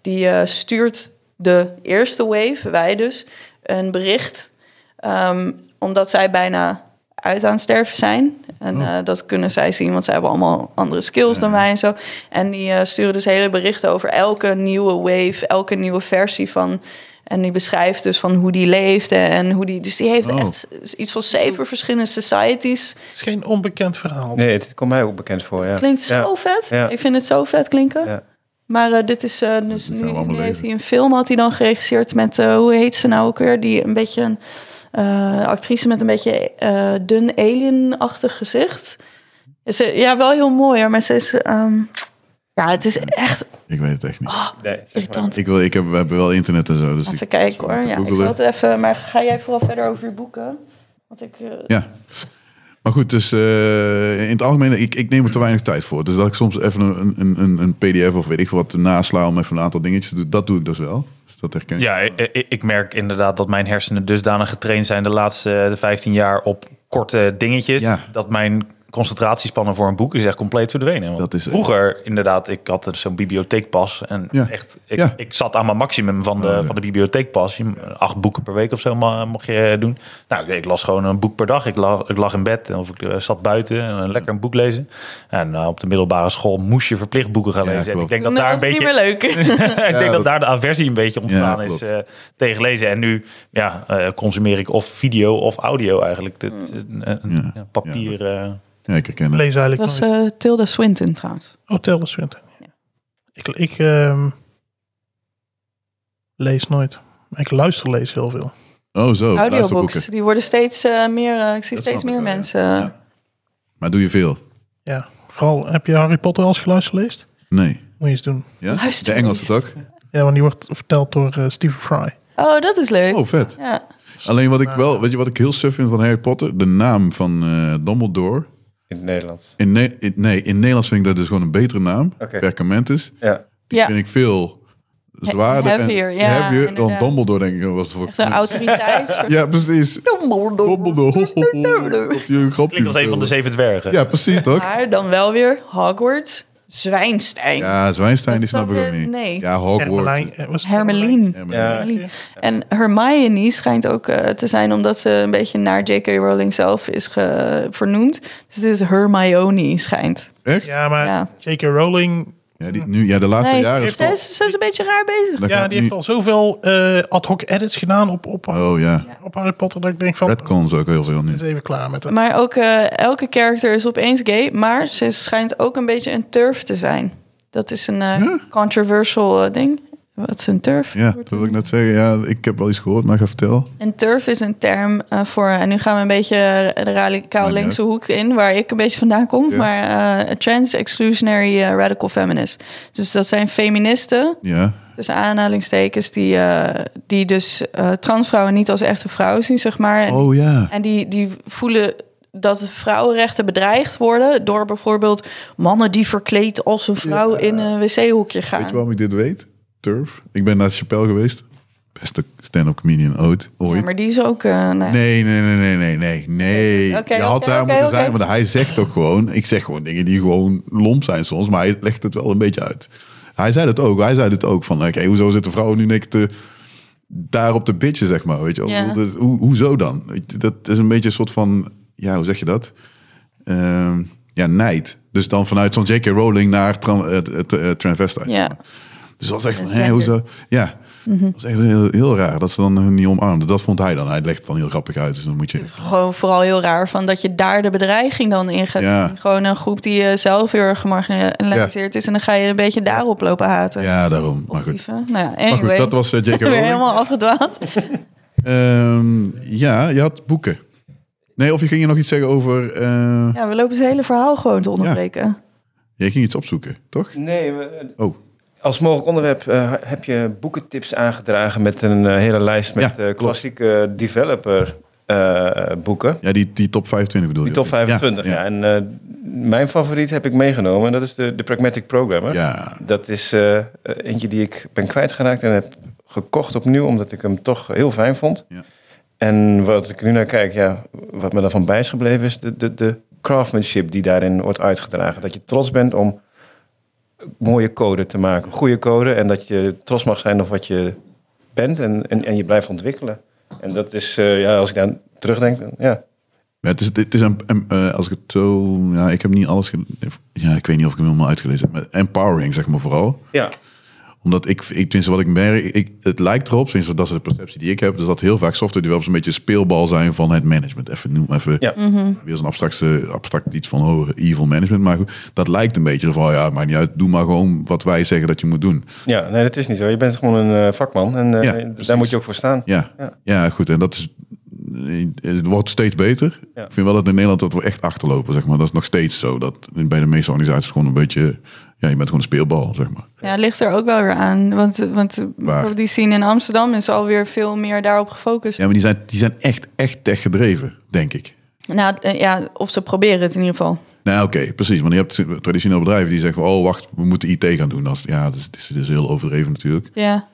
Speaker 4: die eh, stuurt de eerste wave, wij dus, een bericht. ehm, omdat zij bijna uit aan het sterven zijn. En eh, dat kunnen zij zien, want zij hebben allemaal andere skills dan wij en zo. En die eh, sturen dus hele berichten over elke nieuwe wave, elke nieuwe versie van. En die beschrijft dus van hoe die leefde en hoe die. Dus die heeft
Speaker 1: Oh.
Speaker 4: echt iets van zeven verschillende societies.
Speaker 5: Het is geen onbekend verhaal.
Speaker 2: Nee, dit komt mij ook bekend voor. Ja.
Speaker 4: Klinkt zo
Speaker 2: Ja.
Speaker 4: vet.
Speaker 2: Ja.
Speaker 4: Ik vind het zo vet klinken.
Speaker 2: Ja.
Speaker 4: Maar eh, dit is eh, dus nu,
Speaker 1: we allemaal
Speaker 4: nu heeft
Speaker 1: lezen.
Speaker 4: hij een film had hij dan geregisseerd met eh, hoe heet ze nou ook weer? Die een beetje een eh, actrice met een beetje eh, dun alienachtig gezicht. Ze, ja, wel heel mooi, hoor, maar ze is. ehm, ja, het is echt.
Speaker 1: ik weet het echt niet.
Speaker 2: Nee, zeg maar.
Speaker 4: Irritant.
Speaker 1: Ik wil, ik heb, we hebben wel internet en zo. Dus
Speaker 4: Even
Speaker 1: ik,
Speaker 4: kijken hoor. Ja, ik
Speaker 1: googelen.
Speaker 4: zal het even. Maar ga jij vooral verder over je boeken? Want ik. eh,
Speaker 1: Ja. Maar goed, dus eh, in het algemeen, ik, ik neem er te weinig tijd voor. Dus dat ik soms even een, een, een, een PDF of weet ik veel wat nasla om even een aantal dingetjes te doen, dat doe ik dus wel. Dus dat herken ik.
Speaker 3: Ja, ik, ik- ik merk inderdaad dat mijn hersenen dusdanig getraind zijn de laatste eh, 15 jaar op korte dingetjes.
Speaker 1: Ja.
Speaker 3: Dat mijn concentratiespannen voor een boek is echt compleet verdwenen. Want
Speaker 1: Dat is-
Speaker 3: vroeger, inderdaad, ik had zo'n bibliotheekpas. En
Speaker 1: Ja.
Speaker 3: echt, ik,
Speaker 1: Ja.
Speaker 3: ik zat aan mijn maximum van de,
Speaker 1: Oh, ja.
Speaker 3: van de bibliotheekpas. Je- Acht boeken per week of zo ma- mocht je doen. Nou, ik, ik las gewoon een boek per dag. Ik, la- ik lag in bed of ik eh, zat buiten en eh, lekker een boek lezen. En eh, op de middelbare school moest je verplicht boeken gaan
Speaker 1: Ja,
Speaker 3: lezen. en ik
Speaker 1: klopt.
Speaker 3: denk dat
Speaker 4: nou,
Speaker 3: daar een
Speaker 4: is het
Speaker 3: beetje
Speaker 4: niet meer leuk.
Speaker 3: ik denk
Speaker 1: dat-
Speaker 3: dat daar de aversie een beetje ontstaan
Speaker 1: Ja,
Speaker 3: is
Speaker 1: klopt.
Speaker 3: eh, tegen lezen. En nu ja, eh, consumeer ik of video of audio eigenlijk.
Speaker 2: Hmm.
Speaker 3: Dit, eh, een- een
Speaker 1: Ja.
Speaker 3: papier. eh,
Speaker 1: Ja, ik herken het.
Speaker 5: Lees eigenlijk
Speaker 4: Dat was
Speaker 5: nooit.
Speaker 4: eh, Tilda Swinton trouwens.
Speaker 5: Oh, Taylor Swinton. Ik, ik ehm, lees nooit. Maar ik luister lees heel veel.
Speaker 1: Oh, zo.
Speaker 4: Audiobooks.
Speaker 1: Luisterboeken.
Speaker 4: Die worden steeds eh, meer. eh, ik zie
Speaker 1: Dat
Speaker 4: steeds
Speaker 1: snap
Speaker 4: meer
Speaker 1: ik wel, ja.
Speaker 4: mensen. eh,
Speaker 1: Ja. Maar doe je veel?
Speaker 5: Ja, vooral heb je Harry Potter als geluisterd leest?
Speaker 1: Nee.
Speaker 5: Moet je eens doen.
Speaker 1: Ja?
Speaker 4: Luister
Speaker 1: De Engelse toch?
Speaker 5: Ja, want die wordt verteld door eh, Stephen Fry.
Speaker 4: Oh, dat is leuk.
Speaker 1: Oh, vet.
Speaker 4: Ja.
Speaker 1: Alleen wat ik wel, weet je wat ik heel suf vind van Harry Potter? De naam van eh, Dumbledore.
Speaker 2: In het Nederlands.
Speaker 1: In, Ne- in- nee, in Nederlands vind ik dat dus gewoon een betere naam.
Speaker 2: Oké.
Speaker 1: Perkamentus.
Speaker 2: Ja.
Speaker 1: Die
Speaker 4: Ja.
Speaker 1: vind ik veel zwaarder
Speaker 4: heavier,
Speaker 1: en
Speaker 4: ja,
Speaker 1: heavier dan
Speaker 4: inderdaad.
Speaker 1: Dumbledore, denk ik. Dat was voor
Speaker 4: Echt een autoriteit.
Speaker 1: Ja, precies. Dumbledore. Komt hier een grapje
Speaker 3: Klinkt als een van de
Speaker 1: vertellen.
Speaker 3: zeven dwergen.
Speaker 1: Ja, precies toch?
Speaker 4: Maar dan wel weer Hogwarts, Zwijnstein,
Speaker 1: Ja, Zwijnstein, die
Speaker 4: Dat
Speaker 1: snap ik
Speaker 4: snap
Speaker 1: ook
Speaker 4: je-
Speaker 1: niet.
Speaker 4: nee.
Speaker 1: Ja, Hogwarts.
Speaker 5: Hermelijn- eh, was het
Speaker 4: Hermelien.
Speaker 1: Hermelijn.
Speaker 2: Ja.
Speaker 4: Hermelien. En Hermione schijnt ook eh, te zijn omdat ze een beetje naar J.K. Rowling zelf is ge- vernoemd. Dus het is Hermione schijnt.
Speaker 1: Echt? Ja,
Speaker 5: Ja, maar
Speaker 4: Ja.
Speaker 5: J.K. Rowling...
Speaker 1: die, nu, ja de laatste
Speaker 4: Nee,
Speaker 1: jaren. is
Speaker 4: zij is, zij is een beetje raar bezig.
Speaker 1: dat
Speaker 5: Ja,
Speaker 1: gaat
Speaker 5: die heeft
Speaker 1: nu-
Speaker 5: al zoveel eh, ad hoc edits gedaan op, op,
Speaker 1: Oh ja.
Speaker 5: op Harry Potter... dat ik denk van,
Speaker 1: Redcons ook heel veel nu.
Speaker 5: is even klaar met het.
Speaker 4: Maar ook eh, elke character is opeens gay, maar ze schijnt ook een beetje een turf te zijn. Dat is een eh, controversial eh, ding. Wat is een turf?
Speaker 1: Ja, dat wil ik net zeggen. Ja, ik heb wel iets gehoord, maar ga vertel.
Speaker 4: Een turf is een term eh, voor, en nu gaan we een beetje de radicaal
Speaker 1: Maakt niet
Speaker 4: linkse hoek in, waar ik een beetje vandaan kom,
Speaker 1: Oh, Ja.
Speaker 4: maar eh, trans exclusionary eh, radical feminist. Dus dat zijn feministen,
Speaker 1: Ja.
Speaker 4: tussen aanhalingstekens, die, eh, die dus eh, transvrouwen niet als echte vrouw zien, zeg maar. En
Speaker 1: Oh ja.
Speaker 4: en die, die voelen dat vrouwenrechten bedreigd worden door bijvoorbeeld mannen die verkleed als een vrouw in een wc-hoekje gaan.
Speaker 1: Weet je waarom ik dit weet? Turf. Ik ben naar Chappelle geweest. Beste stand-up comedian ooit.
Speaker 4: Ja,
Speaker 1: ooit.
Speaker 4: maar die is ook. eh, nee.
Speaker 1: Nee, nee, nee, nee, nee, nee, nee.
Speaker 4: Oké,
Speaker 1: je
Speaker 4: oké,
Speaker 1: had daar
Speaker 4: oké,
Speaker 1: moeten
Speaker 4: oké.
Speaker 1: zijn, want hij zegt toch gewoon... Ik zeg gewoon dingen die gewoon lomp zijn soms, maar hij legt het wel een beetje uit. Hij zei dat ook, hij zei dat ook. Van, oké, hoezo zitten vrouwen nu niks te... Daar op de bitchen, zeg maar, weet je wel.
Speaker 4: Ja.
Speaker 1: Dat is- hoe, hoezo dan? Weet je, Dat is een beetje een soort van... Ja, hoe zeg je dat? Ehm, ja, nijd. Dus dan vanuit zo'n J.K. Rowling naar tran, eh, t- eh, transvestite.
Speaker 4: Ja.
Speaker 1: Dus dat was echt van, hé,
Speaker 4: Transgender.
Speaker 1: hoezo? Ja, dat was echt heel, heel raar dat ze dan hun niet omarmden. Dat vond hij dan. Hij legt het dan heel grappig uit, dus dan moet je...
Speaker 4: Gewoon vooral heel raar van dat je daar de bedreiging dan in gaat.
Speaker 1: Ja.
Speaker 4: zien. Gewoon een groep die eh, zelf heel erg gemarginaliseerd is. En dan ga je een beetje daarop lopen haten.
Speaker 1: Ja, daarom. Maar goed.
Speaker 4: Dieven. Nou ja, anyway.
Speaker 1: Maar goed, dat was eh, J.K.
Speaker 4: weer
Speaker 1: Rowling.
Speaker 4: helemaal afgedwaald.
Speaker 1: Ehm, ja, je had boeken. Nee, of je ging je nog iets zeggen over... eh,
Speaker 4: Ja, we lopen het hele verhaal gewoon te onderbreken.
Speaker 1: Je ging iets opzoeken, toch?
Speaker 2: Nee, we- eh,
Speaker 1: Oh.
Speaker 2: als mogelijk onderwerp eh, heb je boekentips aangedragen met een eh, hele lijst met
Speaker 1: Ja,
Speaker 2: eh,
Speaker 1: klopt.
Speaker 2: klassieke developer eh, boeken.
Speaker 1: Ja, die, die top 25 bedoel
Speaker 2: Die
Speaker 1: je?
Speaker 2: top 25, ja.
Speaker 1: Ja,
Speaker 2: En eh, mijn favoriet heb ik meegenomen. En dat is de, de Pragmatic Programmer.
Speaker 1: ja.
Speaker 2: Dat is eh, eentje die ik ben kwijtgeraakt en heb gekocht opnieuw, omdat ik hem toch heel fijn vond.
Speaker 1: Ja.
Speaker 2: En wat ik nu naar kijk, ja, wat me daarvan bij is gebleven, is de, de, de craftsmanship die daarin wordt uitgedragen. Dat je trots bent om mooie code te maken, goede code. En dat je trots mag zijn op wat je bent en, en, en je blijft ontwikkelen. En dat is, eh, ja, als ik daar terugdenk, dan- ja.
Speaker 1: Ja, het is, het is een, een- eh, als ik het zo... Ja, ik heb niet alles... ge- Ja, ik weet niet of ik hem helemaal uitgelezen heb. Maar empowering, zeg maar vooral.
Speaker 2: Ja,
Speaker 1: Omdat ik, ik tenminste wat ik merk, ik, het lijkt erop, sinds dat is de perceptie die ik heb, dus dat heel vaak software developers een beetje speelbal zijn van het management. Even noem even
Speaker 2: Ja.
Speaker 1: weer zo'n abstract, abstract iets van oh, evil management. Maar goed, dat lijkt een beetje van ja, maakt niet uit, doe maar gewoon wat wij zeggen dat je moet doen.
Speaker 2: ja nee, dat is niet zo. Je bent gewoon een eh, vakman en eh,
Speaker 1: Ja, precies.
Speaker 2: daar moet je ook voor staan.
Speaker 1: Ja, ja.
Speaker 2: Ja.
Speaker 1: goed. En dat is. Het wordt steeds beter.
Speaker 2: Ja.
Speaker 1: Ik vind wel dat in Nederland dat we echt achterlopen, zeg maar. Dat is nog steeds zo. Dat bij de meeste organisaties gewoon een beetje. Ja, je bent gewoon een speelbal, zeg maar.
Speaker 4: Ja, het ligt er ook wel weer aan. Want, want
Speaker 1: Waar?
Speaker 4: die scene in Amsterdam is alweer veel meer daarop gefocust.
Speaker 1: Ja, maar die zijn, die zijn echt, echt tech gedreven, denk ik.
Speaker 4: Nou, eh, ja, of ze proberen het in ieder geval.
Speaker 1: Nou, oké, precies. Want je hebt traditioneel bedrijven die zeggen: van, Oh, wacht, we moeten IT gaan doen. Dat is, ja, dat is, dat is- dat is heel overdreven natuurlijk.
Speaker 4: Ja,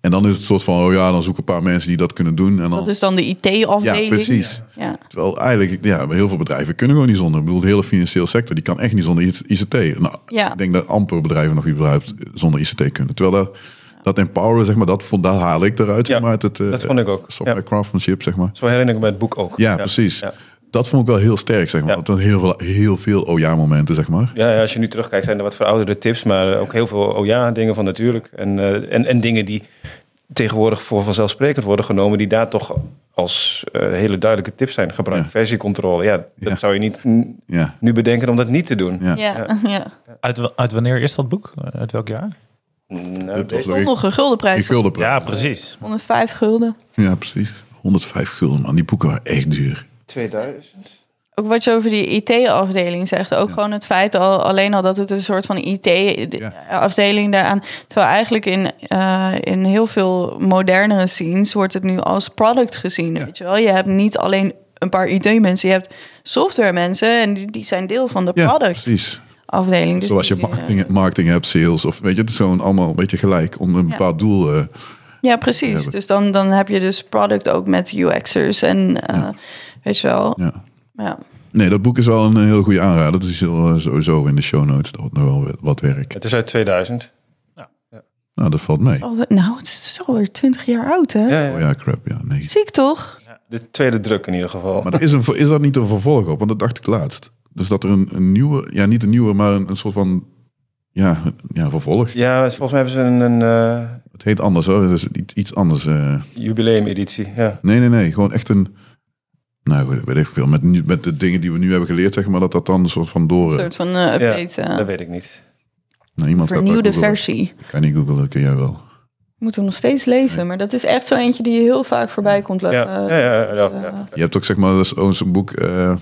Speaker 1: En dan is het soort van: Oh ja, dan zoeken een paar mensen die dat kunnen doen. En dan,
Speaker 4: dat is dan de
Speaker 1: ja,
Speaker 4: IT-afdeling.
Speaker 1: precies.
Speaker 4: Ja.
Speaker 1: Terwijl eigenlijk, ja, heel veel bedrijven kunnen gewoon niet zonder. Ik bedoel, de hele financiële sector die kan echt niet zonder ICT. Nou,
Speaker 4: Ja.
Speaker 1: ik denk dat amper bedrijven nog überhaupt zonder ICT kunnen. Terwijl dat, dat empoweren, zeg maar, dat, vond- daar haal ik eruit. zeg
Speaker 2: Ja,
Speaker 1: maar, uit het, eh,
Speaker 2: dat vond ik ook.
Speaker 1: Software
Speaker 2: Ja.
Speaker 1: craftsmanship, zeg maar.
Speaker 2: Zo herinner ik me het boek ook.
Speaker 1: Ja, precies.
Speaker 2: ja.
Speaker 1: Dat vond ik wel heel sterk, zeg maar.
Speaker 2: Ja.
Speaker 1: Dat waren heel veel, heel veel oh ja momenten, zeg maar.
Speaker 2: Ja, ja, als je nu terugkijkt, zijn er wat verouderde tips, maar eh, ook heel veel oh ja, dingen van natuurlijk. En, eh, en, en dingen die tegenwoordig voor vanzelfsprekend worden genomen, die daar toch als eh, hele duidelijke tips zijn. Gebruik
Speaker 1: Ja.
Speaker 2: versiecontrole. Ja, dat
Speaker 1: Ja.
Speaker 2: zou je niet mm,
Speaker 1: Ja.
Speaker 2: nu bedenken om dat niet te doen.
Speaker 1: Ja.
Speaker 4: Ja, ja.
Speaker 3: Uit, wa- uit wanneer is dat boek? Eh, Uit welk jaar?
Speaker 2: Nou,
Speaker 1: Dat was
Speaker 2: weet-
Speaker 1: ook
Speaker 4: Stond
Speaker 1: een
Speaker 4: nog een guldenprijs.
Speaker 1: guldenprijs.
Speaker 3: Ja, precies.
Speaker 4: 105 gulden.
Speaker 1: Ja, precies. 105 gulden, man. Die boeken waren echt duur.
Speaker 2: 2000.
Speaker 4: Ook wat je over die IT-afdeling zegt. Ook gewoon het feit al, alleen al dat het een soort van IT-afdeling daaraan. Terwijl eigenlijk in, eh, in heel veel modernere scenes wordt het nu als product gezien. Weet je wel, je hebt niet alleen een paar IT-mensen, je hebt software-mensen en die, die zijn deel van de
Speaker 1: Ja,
Speaker 4: product-afdeling.
Speaker 1: precies.
Speaker 4: Dus
Speaker 1: Zoals je
Speaker 4: die, eh,
Speaker 1: marketing, marketing hebt, sales of weet je, het is gewoon allemaal een beetje gelijk om een bepaald doel. eh,
Speaker 4: Ja, precies.
Speaker 1: hebben.
Speaker 4: Dus dan, dan heb je dus product ook met UX'ers en eh, weet je wel.
Speaker 1: ja.
Speaker 4: Ja.
Speaker 1: Nee, dat boek is wel een eh, heel goede aanrader. Dat is heel, eh, sowieso in de show notes. Dat wordt nog wel wat werk.
Speaker 2: Het is uit 2000.
Speaker 1: Nou, dat valt mee.
Speaker 4: Oh, nou, het is dus alweer 20 jaar oud, hè?
Speaker 2: Ja, ja.
Speaker 1: Oh ja, crap. Ja, nee.
Speaker 4: Ziek toch?
Speaker 2: De tweede druk in ieder geval.
Speaker 1: Maar er is, een, is dat niet een vervolg op? Want dat dacht ik laatst. Dus dat er een, een nieuwe, ja, niet een nieuwe, maar een, een soort van. Ja, een- ja, een vervolg.
Speaker 2: Ja, volgens mij hebben ze een, een eh,
Speaker 1: Het heet anders hoor. Het is iets, iets anders. eh.
Speaker 2: jubileumeditie. Ja.
Speaker 1: Nee, nee, nee. Gewoon echt een. Nou, weet, weet ik veel. Met, nu- met de dingen die we nu hebben geleerd, zeg maar, dat dat dan een soort van door.
Speaker 4: Een
Speaker 1: eh,
Speaker 4: soort van eh, update. eh,
Speaker 2: Dat weet ik niet.
Speaker 1: nou, iemand gaat dat
Speaker 4: vernieuwde
Speaker 1: googlen.
Speaker 4: versie.
Speaker 1: Kan niet googlen, kun jij wel.
Speaker 4: Ik moet hem nog steeds lezen, maar dat is echt zo eentje die je heel vaak voorbij komt
Speaker 2: Ja,
Speaker 4: lopen.
Speaker 2: ja, ja,
Speaker 4: Eh,
Speaker 2: ja, ja,
Speaker 4: eh,
Speaker 2: ja.
Speaker 1: Je hebt ook zeg maar dat is ook zo'n boek, eh,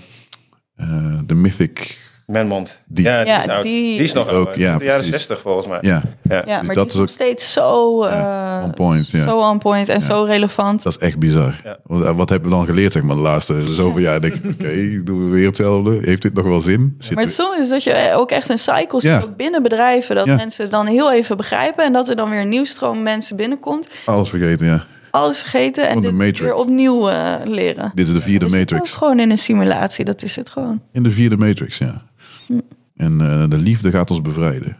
Speaker 1: eh, The Mythic.
Speaker 2: Menmond.
Speaker 1: Die.
Speaker 2: Ja, die
Speaker 4: Ja,
Speaker 2: is, oud.
Speaker 4: die-
Speaker 2: Die is nog
Speaker 1: Ook,
Speaker 2: oud.
Speaker 1: ja,
Speaker 2: de jaren
Speaker 1: precies.
Speaker 2: 60 volgens mij.
Speaker 1: Ja,
Speaker 4: ja, maar
Speaker 1: Dus dat
Speaker 4: die
Speaker 1: is
Speaker 4: is
Speaker 1: ook-
Speaker 4: nog steeds zo...
Speaker 1: Ja,
Speaker 4: eh,
Speaker 1: on point, ja.
Speaker 4: Zo on point en zo relevant.
Speaker 1: dat is echt bizar.
Speaker 2: Ja.
Speaker 1: Want, eh, Wat hebben we dan geleerd zeg maar de laatste zoveel jaar? Denk ik, oké, doen we weer hetzelfde. Heeft dit nog wel zin? Zit
Speaker 4: Maar het soms is dat je ook echt een cycle ziet
Speaker 1: Ja.
Speaker 4: ook binnen bedrijven. Dat
Speaker 1: Ja.
Speaker 4: mensen dan heel even begrijpen en dat er dan weer een nieuwstroom mensen binnenkomt.
Speaker 1: alles vergeten, ja.
Speaker 4: Alles vergeten en
Speaker 1: Van de
Speaker 4: dit
Speaker 1: Matrix.
Speaker 4: weer opnieuw eh, leren.
Speaker 1: Dit is de vierde
Speaker 4: We zitten
Speaker 1: Matrix.
Speaker 4: ook gewoon in een simulatie, dat is het gewoon.
Speaker 1: In de vierde Matrix, ja.
Speaker 4: Hm.
Speaker 1: En eh, de liefde gaat ons bevrijden.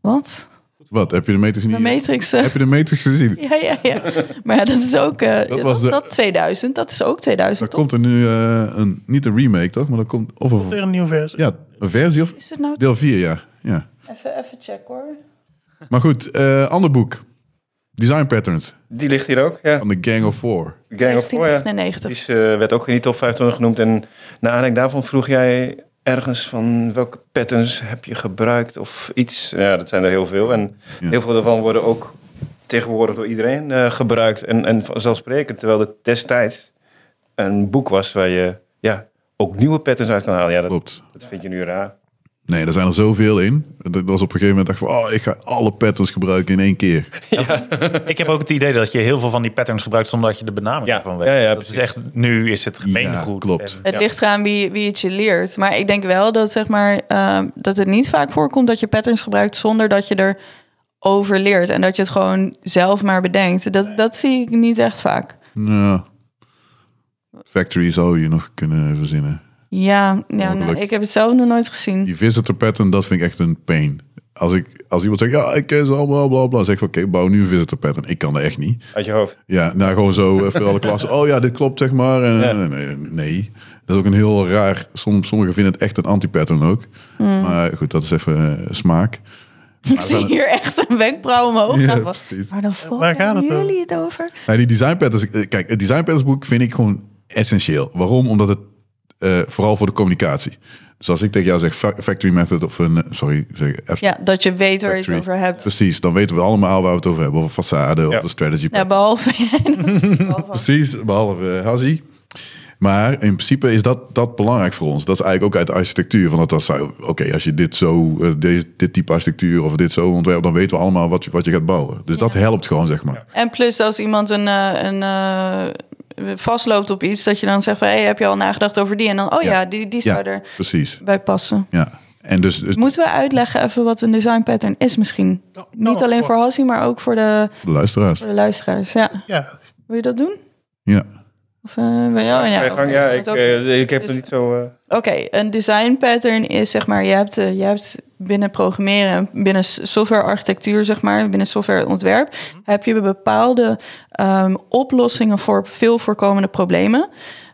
Speaker 4: Wat?
Speaker 1: Wat, heb je de Matrix niet?
Speaker 4: De Matrix. eh,
Speaker 1: Heb je de Matrix gezien?
Speaker 4: Ja, ja, ja. Maar ja, dat is ook. eh, dat,
Speaker 1: was
Speaker 4: was
Speaker 1: de-
Speaker 4: dat 2000. Dat is ook
Speaker 1: Daar
Speaker 4: 2000. Toch?
Speaker 1: komt er nu eh, een, niet een remake toch, maar dat komt, of een,
Speaker 5: Weer een nieuwe versie.
Speaker 1: ja, een versie of
Speaker 4: Is het nou?
Speaker 1: deel 4, ja. ja.
Speaker 4: Even, even checken hoor.
Speaker 1: Maar goed, eh, ander boek. Design Patterns
Speaker 2: Die ligt hier ook, ja.
Speaker 1: van de Gang of Four.
Speaker 2: Gang of Four, ja. Die
Speaker 4: 1999.
Speaker 2: is, eh, werd ook in die top 25 genoemd. En naar aanleiding daarvan vroeg jij ergens van welke patterns heb je gebruikt of iets. Ja, dat zijn er heel veel. En
Speaker 1: Ja.
Speaker 2: heel veel daarvan worden ook tegenwoordig door iedereen eh, gebruikt. En, en vanzelfsprekend, terwijl het destijds een boek was waar je ja, ook nieuwe patterns uit kan halen. Ja, dat,
Speaker 1: Klopt.
Speaker 2: dat vind je nu raar.
Speaker 1: Nee, er zijn er zoveel in. Dat was op een gegeven moment dacht ik van, oh, ik ga alle patterns gebruiken in één keer.
Speaker 3: Ik heb ook het idee dat je heel veel van die patterns gebruikt zonder dat je de benaming
Speaker 2: Ja.
Speaker 3: ervan weet.
Speaker 2: Ja, ja,
Speaker 3: dat is
Speaker 2: precies.
Speaker 3: echt, nu is het gemeengoed.
Speaker 1: Ja,
Speaker 3: goed.
Speaker 1: klopt.
Speaker 3: En-
Speaker 4: Het
Speaker 3: ja.
Speaker 4: ligt eraan wie, wie het je leert. Maar ik denk wel dat, zeg maar, ehm, dat het niet vaak voorkomt dat je patterns gebruikt zonder dat je er over leert. En dat je het gewoon zelf maar bedenkt. Dat, dat zie ik niet echt vaak.
Speaker 1: Ja. Factory zou je nog kunnen verzinnen.
Speaker 4: Ja, ja nou,
Speaker 1: Mogelijk.
Speaker 4: ik heb het zelf nog nooit gezien.
Speaker 1: Die visitor pattern, dat vind ik echt een pain. Als, ik, als iemand zegt, ja, ik ken ze allemaal, bla bla, zeg ik, oké, bouw nu een visitor pattern. Ik kan dat echt niet.
Speaker 2: Uit je hoofd.
Speaker 1: Ja, nou gewoon zo even alle klassen. Oh ja, dit klopt, zeg maar. En, eh,
Speaker 2: Ja.
Speaker 1: nee, nee, nee. dat is ook een heel raar... Som, sommigen vinden het echt een anti-pattern ook.
Speaker 4: Mm.
Speaker 1: Maar goed, dat is even eh, smaak.
Speaker 4: Ik zie hier echt een wenkbrauw omhoog.
Speaker 1: Ja,
Speaker 4: gaan.
Speaker 1: precies.
Speaker 4: maar dan
Speaker 5: Waar
Speaker 4: volgen
Speaker 5: gaat het over?
Speaker 4: jullie het over.
Speaker 1: Nou, die design patterns, eh, kijk, het design patterns boek vind ik gewoon essentieel. Waarom? Omdat het eh, vooral voor de communicatie. Dus als ik tegen jou zeg fa- factory method of een, eh, sorry, zeg F-
Speaker 4: Ja, dat je weet waar je het
Speaker 1: Factory.
Speaker 4: over hebt.
Speaker 1: precies, dan weten we allemaal waar we het over hebben. Of een façade, of een strategy.
Speaker 4: Ja, Nou, behalve... behalve-
Speaker 1: Precies, behalve eh, Hazi. Maar in principe is dat, dat belangrijk voor ons. Dat is eigenlijk ook uit de architectuur. Van dat dat zou, oké, als je dit zo, eh, deze, dit type architectuur of dit zo ontwerpt, dan weten we allemaal wat je, wat je gaat bouwen. Dus dat helpt gewoon, zeg maar.
Speaker 4: En plus als iemand een, eh, een eh, vastloopt op iets, dat je dan zegt van, hey, heb je al nagedacht over die? En dan, oh ja,
Speaker 1: Ja.
Speaker 4: die, die
Speaker 1: Ja,
Speaker 4: zou er
Speaker 1: precies.
Speaker 4: bij passen.
Speaker 1: Ja. En dus, dus
Speaker 4: Moeten we uitleggen even wat een design pattern is misschien?
Speaker 5: Nou,
Speaker 2: Oh,
Speaker 4: Niet alleen voor Hassie, maar ook voor de,
Speaker 1: de luisteraars.
Speaker 4: voor de luisteraars. Ja.
Speaker 5: Ja,
Speaker 4: Wil je dat doen?
Speaker 1: Ja.
Speaker 4: Of, eh, wil je- oh,
Speaker 2: Ja,
Speaker 4: ja,
Speaker 2: gang, ja
Speaker 4: oké.
Speaker 2: ik, eh, ik heb
Speaker 4: Dus-
Speaker 2: het niet zo... eh,
Speaker 4: Oké, een design pattern is zeg maar, je hebt, eh, je hebt binnen programmeren, binnen s- softwarearchitectuur, zeg maar, binnen softwareontwerp, heb je bepaalde ehm, oplossingen voor veel voorkomende problemen.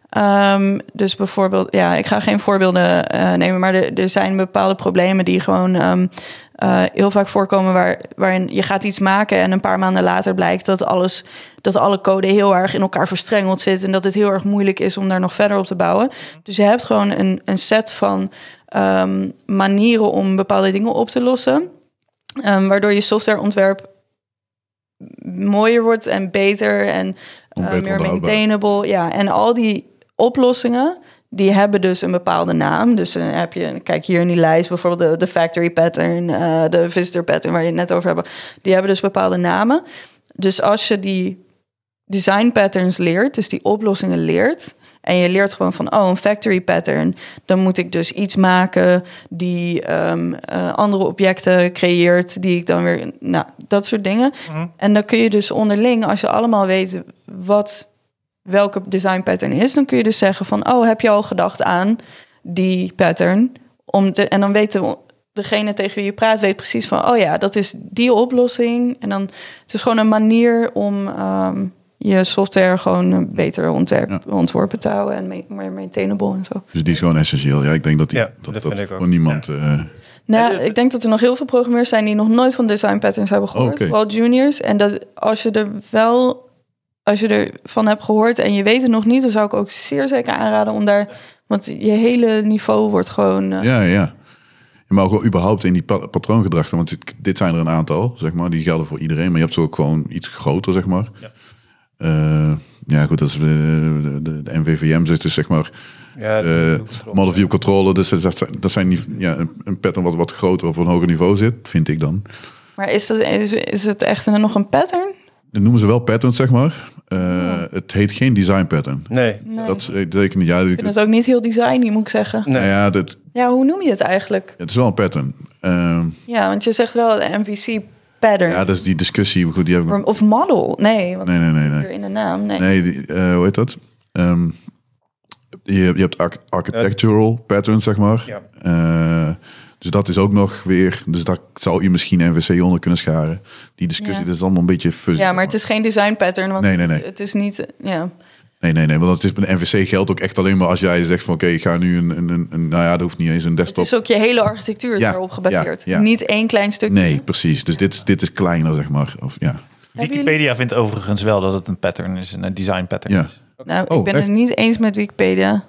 Speaker 4: Ehm, dus bijvoorbeeld, ja, ik ga geen voorbeelden eh, nemen, maar er, er zijn bepaalde problemen die gewoon ehm, eh, heel vaak voorkomen waar, waarin je gaat iets maken en een paar maanden later blijkt dat alles, dat alle code heel erg in elkaar verstrengeld zit en dat het heel erg moeilijk is om daar nog verder op te bouwen. Dus je hebt gewoon een, een set van ehm, manieren om bepaalde dingen op te lossen, ehm, waardoor je softwareontwerp mooier wordt en beter en eh,
Speaker 1: beter
Speaker 4: meer
Speaker 1: onderhoudbaar.
Speaker 4: maintainable. Ja, en al die oplossingen. Die hebben dus een bepaalde naam. Dus dan heb je, kijk hier in die lijst, bijvoorbeeld de, de factory pattern, eh, de visitor pattern waar je het net over hebben. Die hebben dus bepaalde namen. Dus als je die design patterns leert, dus die oplossingen leert, en je leert gewoon van, oh, een factory pattern, dan moet ik dus iets maken die ehm, eh, andere objecten creëert, die ik dan weer, nou, dat soort dingen. En dan kun je dus onderling, als je allemaal weet wat welke design pattern is, dan kun je dus zeggen van, oh, heb je al gedacht aan die pattern? Om de, en dan weten we- degene tegen wie je praat, weet precies van, oh ja, dat is die oplossing. En dan het is gewoon een manier om ehm, je software gewoon eh, beter ontwerp, ontworpen te houden en ma- meer maintainable en zo.
Speaker 1: Dus die is gewoon essentieel. Ja, ik denk dat die,
Speaker 2: Ja,
Speaker 1: dat,
Speaker 2: dat
Speaker 1: dat
Speaker 2: vind ik ook.
Speaker 1: voor niemand. eh,
Speaker 4: Nou, ik denk dat er nog heel veel programmeurs zijn die nog nooit van design patterns hebben gehoord.
Speaker 1: Oké.
Speaker 4: Vooral juniors. En dat als je er wel, als je ervan hebt gehoord en je weet het nog niet, dan zou ik ook zeer zeker aanraden om daar. Want je hele niveau wordt gewoon. eh,
Speaker 1: ja, ja. Maar ook wel überhaupt in die pa- patroongedrachten. Want dit- dit zijn er een aantal, zeg maar. Die gelden voor iedereen. Maar je hebt ze ook gewoon iets groter, zeg maar. Ja, ja goed. Dat is eh, de, de, de NVVM zit dus, zeg maar.
Speaker 2: ja,
Speaker 1: eh
Speaker 2: doe controle.
Speaker 1: model view controller. Dus dat zijn, dat zijn niet, ja, een, een pattern wat wat groter op een hoger niveau zit, vind ik dan.
Speaker 4: Maar is, dat, is, is het echt een- nog een pattern?
Speaker 1: Dat noemen ze wel patterns, zeg maar. Eh, Het heet geen design pattern.
Speaker 2: Nee,
Speaker 4: Nee.
Speaker 1: Dat is eh, zeker niet. Ja,
Speaker 4: Ik vind het ook niet heel designy, moet ik zeggen.
Speaker 2: nee.
Speaker 1: nou ja, dat,
Speaker 4: Ja, hoe noem je het eigenlijk?
Speaker 1: het is wel een pattern. Ehm,
Speaker 4: Ja, want je zegt wel de MVC pattern.
Speaker 1: Ja, dat is die discussie. Goed, die heb ik... nog-
Speaker 4: Of model. Nee, want
Speaker 1: Nee, nee, nee.
Speaker 4: het zit
Speaker 1: Nee,
Speaker 4: hier in de naam. Nee.
Speaker 1: nee die, eh, hoe heet dat? Ehm, je, je hebt arch- architectural patterns, zeg maar.
Speaker 2: Ja.
Speaker 1: Eh, dus dat is ook nog weer... Dus daar zou je misschien NVC onder kunnen scharen. Die discussie,
Speaker 4: Ja.
Speaker 1: dat is allemaal een beetje fuzzy.
Speaker 4: Ja, maar het is geen design pattern. Want
Speaker 1: dus- Nee, nee, nee.
Speaker 4: Het is niet. Ja.
Speaker 1: Nee, nee, nee. Want het is, een NVC geldt ook echt alleen maar als jij zegt van... Oké, ik ga nu een, een, een, een- Nou ja, dat hoeft niet eens een
Speaker 4: Het
Speaker 1: desktop.
Speaker 4: is ook je hele architectuur
Speaker 1: Ja,
Speaker 4: daarop gebaseerd.
Speaker 1: ja, ja.
Speaker 4: Niet één klein stukje.
Speaker 1: Nee, precies. Dus dit, is- dit is kleiner, zeg maar. Of, ja.
Speaker 4: Hebben jullie-
Speaker 3: Wikipedia vindt overigens wel dat het een pattern is, een design pattern
Speaker 1: Ja.
Speaker 3: is.
Speaker 4: Nou,
Speaker 1: Oh,
Speaker 4: ik ben
Speaker 1: echt?
Speaker 4: het niet eens met Wikipedia.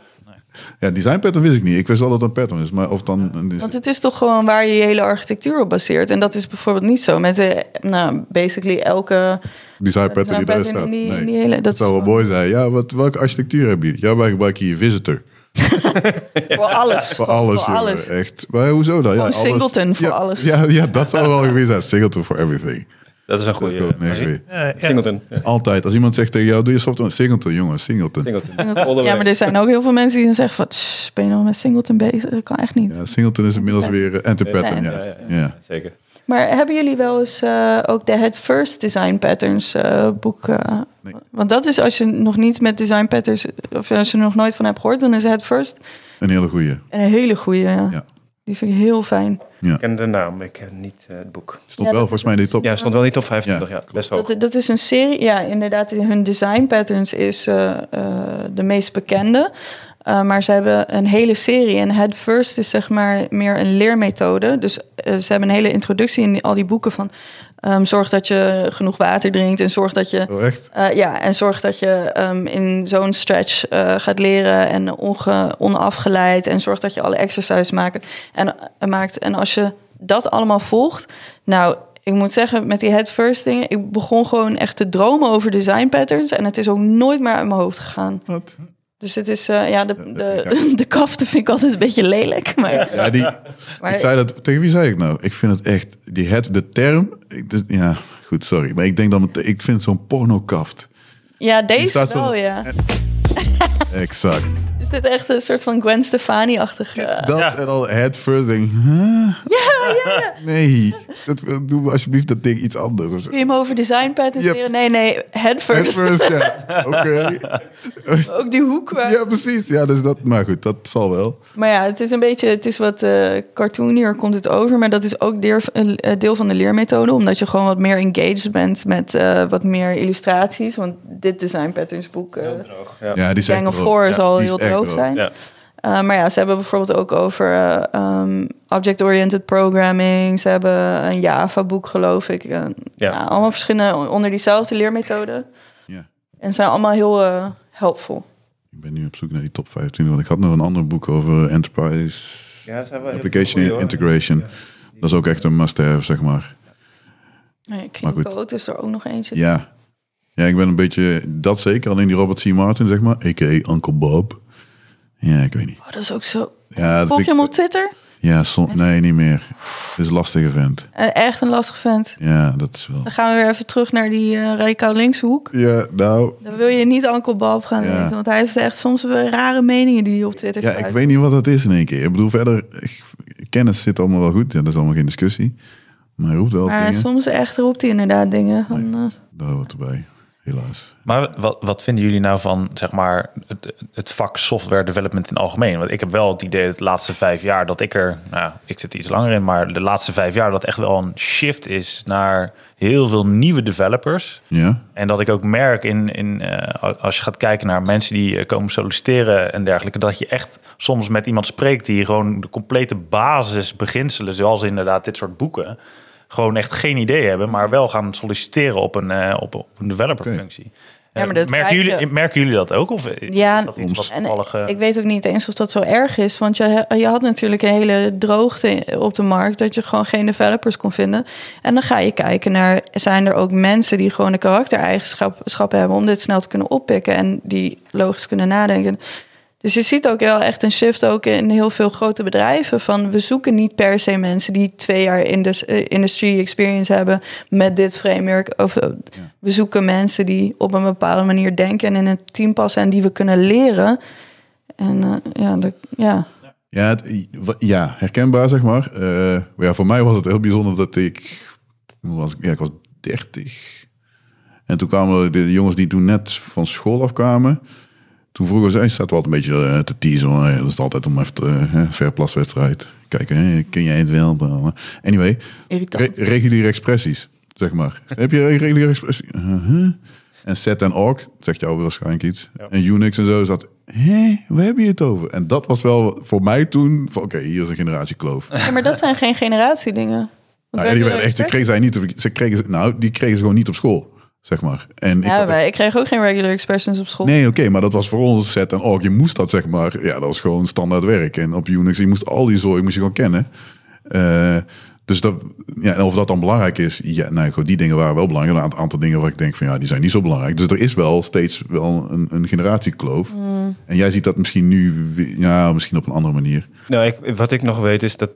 Speaker 1: ja, design pattern wist ik niet. Ik wist wel dat het een pattern is. Maar of dan... een-
Speaker 4: Want het is toch gewoon waar je je hele architectuur op baseert. En dat is bijvoorbeeld niet zo met de, nou, basically elke
Speaker 1: Design pattern die daar
Speaker 4: design pattern
Speaker 1: staat.
Speaker 4: in die,
Speaker 1: Nee.
Speaker 4: in die hele. Dat
Speaker 1: Dat
Speaker 4: is
Speaker 1: zou wel
Speaker 4: gewoon-
Speaker 1: mooi zijn. Ja, wat, welke architectuur hebben jullie? Ja, wij gebruiken hier Visitor.
Speaker 4: Voor alles.
Speaker 1: Voor alles,
Speaker 4: Voor
Speaker 1: jongen,
Speaker 4: alles.
Speaker 1: echt. Maar hoezo dan? Ja,
Speaker 4: Gewoon Singleton voor
Speaker 1: ja,
Speaker 4: alles.
Speaker 1: Ja, ja, dat zou wel geweest zijn. Singleton for everything.
Speaker 2: Dat is een goede.
Speaker 1: Goed, nee,
Speaker 2: eh,
Speaker 1: sorry.
Speaker 5: Eh, ja,
Speaker 2: Singleton. Ja,
Speaker 1: Altijd. Als iemand zegt tegen jou, doe je software. Singleton, jongen, Singleton.
Speaker 2: Singleton. All the
Speaker 4: Ja,
Speaker 2: way.
Speaker 4: maar er zijn ook heel veel mensen die dan zeggen van... "Tss, ben je nog met Singleton bezig? Dat kan echt niet.
Speaker 1: Ja, Singleton is inmiddels weer uh, enter pattern.
Speaker 4: Nee.
Speaker 1: Ja.
Speaker 2: Ja, ja, ja.
Speaker 1: Ja.
Speaker 2: Zeker.
Speaker 4: Maar hebben jullie wel eens eh, ook de Head First Design Patterns eh, boek? eh,
Speaker 1: Nee.
Speaker 4: Want dat is als je nog niet met design patterns, of als je er nog nooit van hebt gehoord, dan is Head First
Speaker 1: Een hele goeie.
Speaker 4: een hele goede. Ja.
Speaker 1: Ja.
Speaker 4: Die vind ik heel fijn.
Speaker 2: Ik ken de naam, ik ken niet eh, het boek.
Speaker 1: Stond
Speaker 4: Ja,
Speaker 1: wel
Speaker 4: dat-
Speaker 1: volgens mij in die top.
Speaker 2: Ja, het stond wel in de top 25, ja.
Speaker 1: Ja,
Speaker 2: Best hoog.
Speaker 4: Dat, dat is een serie, ja, inderdaad. Hun design patterns is eh, eh, de meest bekende. Eh, maar ze hebben een hele serie. En Head First is zeg maar meer een leermethode. Dus eh, ze hebben een hele introductie in die- al die boeken van... ehm, zorg dat je genoeg water drinkt en zorg dat je...
Speaker 1: Oh, echt?
Speaker 4: Eh, ja, en zorg dat je ehm, in zo'n stretch eh, gaat leren en onge, onafgeleid. En zorg dat je alle exercises maakt. En, eh, maakt. en als je dat allemaal volgt. Nou, ik moet zeggen, met die head first dingen. Ik begon gewoon echt te dromen over design patterns. En het is ook nooit meer uit mijn hoofd gegaan.
Speaker 1: Wat?
Speaker 4: Dus het is, eh, ja, de,
Speaker 1: Ja,
Speaker 4: de, de kaften vind ik altijd een beetje lelijk. Maar,
Speaker 1: Ja, die,
Speaker 4: maar
Speaker 1: ik zei dat, tegen wie zei ik nou? Ik vind het echt, die het, de term, ik, dus, ja, goed, sorry. Maar ik denk dan, meteen- ik vind zo'n pornokaft.
Speaker 4: ja,
Speaker 1: Die
Speaker 4: deze
Speaker 1: staat zo-
Speaker 4: wel, ja.
Speaker 1: Exact.
Speaker 4: Is dit echt een soort van Gwen Stefani-achtig? eh,
Speaker 1: Dat en al het first ding. Huh?
Speaker 4: Ja, ja, ja.
Speaker 1: Nee, dat, doe maar alsjeblieft dat ding iets anders. Dus Of zo.
Speaker 4: Kun je hem over design patterns
Speaker 1: Yep.
Speaker 4: leren? Nee, nee, head
Speaker 1: Het
Speaker 4: first.
Speaker 1: first, ja. Oké.
Speaker 4: Ook die hoek. waar-
Speaker 1: Ja, precies. Ja, dus dat, maar goed, dat zal wel.
Speaker 4: Maar ja, het is een beetje, het is wat eh cartoonier komt het over. Maar dat is ook deel, een eh, deel van de leermethode. Omdat je gewoon wat meer engaged bent met eh, wat meer illustraties. Want dit design patterns boek, eh,
Speaker 1: Ja, die zijn
Speaker 4: Gang of
Speaker 1: droog.
Speaker 4: Four,
Speaker 1: Ja,
Speaker 4: zal
Speaker 1: die is
Speaker 4: heel
Speaker 1: echt
Speaker 4: droog zijn.
Speaker 2: Ja.
Speaker 4: Eh, maar ja, ze hebben bijvoorbeeld ook over eh, ehm, object-oriented programming. Ze hebben een Java-boek, geloof ik. En,
Speaker 2: Ja.
Speaker 4: nou, allemaal verschillende, onder diezelfde leermethode.
Speaker 1: Ja.
Speaker 4: En zijn allemaal heel eh, helpful.
Speaker 1: Ik ben nu op zoek naar die top 15, want ik had nog een ander boek over enterprise
Speaker 2: Ja, ze hebben wel heel
Speaker 1: application
Speaker 2: veel goeie, hoor.
Speaker 1: integration. Dat is ook echt een must-have, zeg maar.
Speaker 4: Nee,
Speaker 1: Maar goed.
Speaker 4: Clean is er ook nog eentje.
Speaker 1: Ja. Ja, ik ben een beetje dat zeker. Alleen die Robert C. Martin, zeg maar, a.k.a. Uncle Bob. Ja, ik weet niet.
Speaker 4: Oh, dat is ook zo.
Speaker 1: Ja, dat
Speaker 4: Volg je
Speaker 1: vind ik-
Speaker 4: hem op Twitter?
Speaker 1: Ja, som- nee, niet meer. Het is een lastige vent.
Speaker 4: Eh, echt een lastig vent.
Speaker 1: Ja, dat is wel.
Speaker 4: Dan gaan we weer even terug naar die eh, radicaal linkse hoek.
Speaker 1: Ja, nou,
Speaker 4: Dan wil je niet Uncle Bob gaan
Speaker 1: Ja.
Speaker 4: lezen, want hij heeft echt soms wel rare meningen die hij op Twitter
Speaker 1: Ja, ik
Speaker 4: gebruikt.
Speaker 1: weet niet wat dat is in één keer. Ik bedoel, verder, ik- kennis zit allemaal wel goed. Ja, dat is allemaal geen discussie. Maar hij roept wel
Speaker 4: Maar eh,
Speaker 1: dingen.
Speaker 4: soms echt roept hij inderdaad dingen. Van, eh,
Speaker 1: Daar hoort erbij, helaas.
Speaker 3: Maar wat, wat vinden jullie nou van zeg maar, het, het vak software development in het algemeen? Want ik heb wel het idee dat de laatste vijf jaar dat ik er, nou, ik zit er iets langer in, maar de laatste vijf jaar dat echt wel een shift is naar heel veel nieuwe developers.
Speaker 1: Ja?
Speaker 3: En dat ik ook merk in, in eh, als je gaat kijken naar mensen die eh, komen solliciteren en dergelijke, dat je echt soms met iemand spreekt die gewoon de complete basisbeginselen, zoals inderdaad dit soort boeken, gewoon echt geen idee hebben, maar wel gaan solliciteren op een, eh, op, op een developerfunctie.
Speaker 4: Ja, maar dat
Speaker 3: Eh, merken,
Speaker 4: krijg je-
Speaker 3: jullie, merken jullie dat ook? Of is
Speaker 4: Ja,
Speaker 3: dat iets wat
Speaker 4: en
Speaker 3: toevallig... eh,
Speaker 4: ik weet ook niet eens of dat zo erg is. Want je, je had natuurlijk een hele droogte op de markt. Dat je gewoon geen developers kon vinden. En dan ga je kijken naar... zijn er ook mensen die gewoon de karaktereigenschappen hebben... om dit snel te kunnen oppikken. En die logisch kunnen nadenken. Dus je ziet ook wel echt een shift ook in heel veel grote bedrijven. Van we zoeken niet per se mensen die twee jaar in de eh, industry experience hebben met dit framework. Of eh, we zoeken mensen die op een bepaalde manier denken en in het team passen en die we kunnen leren. En eh, ja, de, ja.
Speaker 1: Ja, het- wa- ja, herkenbaar zeg maar. Eh, maar ja, voor mij was het heel bijzonder dat ik... Hoe was ik? Ja, ik was 30. En toen kwamen de jongens die toen net van school afkwamen. Toen vroegen ze, hey, staat wel een beetje eh, te teasen. hoor. Ja, Dat is altijd om even te, eh, verplaswedstrijd. Kijken, hè, kun jij het wel? Bla, bla. Anyway, re-
Speaker 4: irritant.
Speaker 1: reguliere expressies, zeg maar. Heb je re- reguliere expressie? Uh-huh. En set en org, zegt jou waarschijnlijk iets. En Unix en zo is dat. Hé, waar heb je het over? En dat was wel voor mij toen. van, Oké, hier is een generatiekloof.
Speaker 4: Ja, maar dat zijn geen generatiedingen.
Speaker 1: Nou, ja, die werden echt, ze kregen zij niet. op- Ze kregen, ze- nou, die kregen ze gewoon niet op school, zeg maar. En ik,
Speaker 4: Ja, wij, ik kreeg ook geen regular expressions op school.
Speaker 1: Nee, oké, maar dat was voor ons set en org. Je moest dat, zeg maar. Ja, dat was gewoon standaard werk. En op Unix, je moest al die zooi moest je gewoon kennen. Eh, Dus dat, ja, en of dat dan belangrijk is, ja, nou goed, die dingen waren wel belangrijk. Een aantal- aantal dingen waar ik denk van ja, die zijn niet zo belangrijk. Dus er is wel steeds wel een, een generatiekloof. En jij ziet dat misschien nu, we- ja, misschien op een andere manier.
Speaker 2: Nou, ik, wat ik nog weet is dat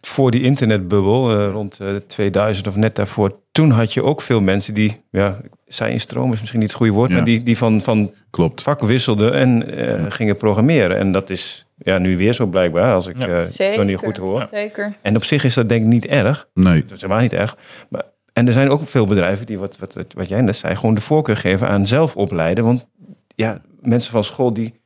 Speaker 2: voor die internetbubbel eh, rond eh, 2000 of net daarvoor, toen had je ook veel mensen die, ja, zij in stroom is misschien niet het goede woord,
Speaker 1: Ja.
Speaker 2: maar die, die van, van
Speaker 1: Klopt.
Speaker 2: vak wisselden en eh, gingen programmeren. En dat is ja, nu weer zo blijkbaar, als ik
Speaker 3: Ja.
Speaker 2: eh Tony goed hoor.
Speaker 4: Zeker.
Speaker 2: En op zich is dat denk ik niet erg.
Speaker 1: Nee,
Speaker 2: Dat is helemaal niet erg. Maar, en er zijn ook veel bedrijven die, wat, wat, wat jij net zei, gewoon de voorkeur geven aan zelf opleiden. Want ja, mensen van school die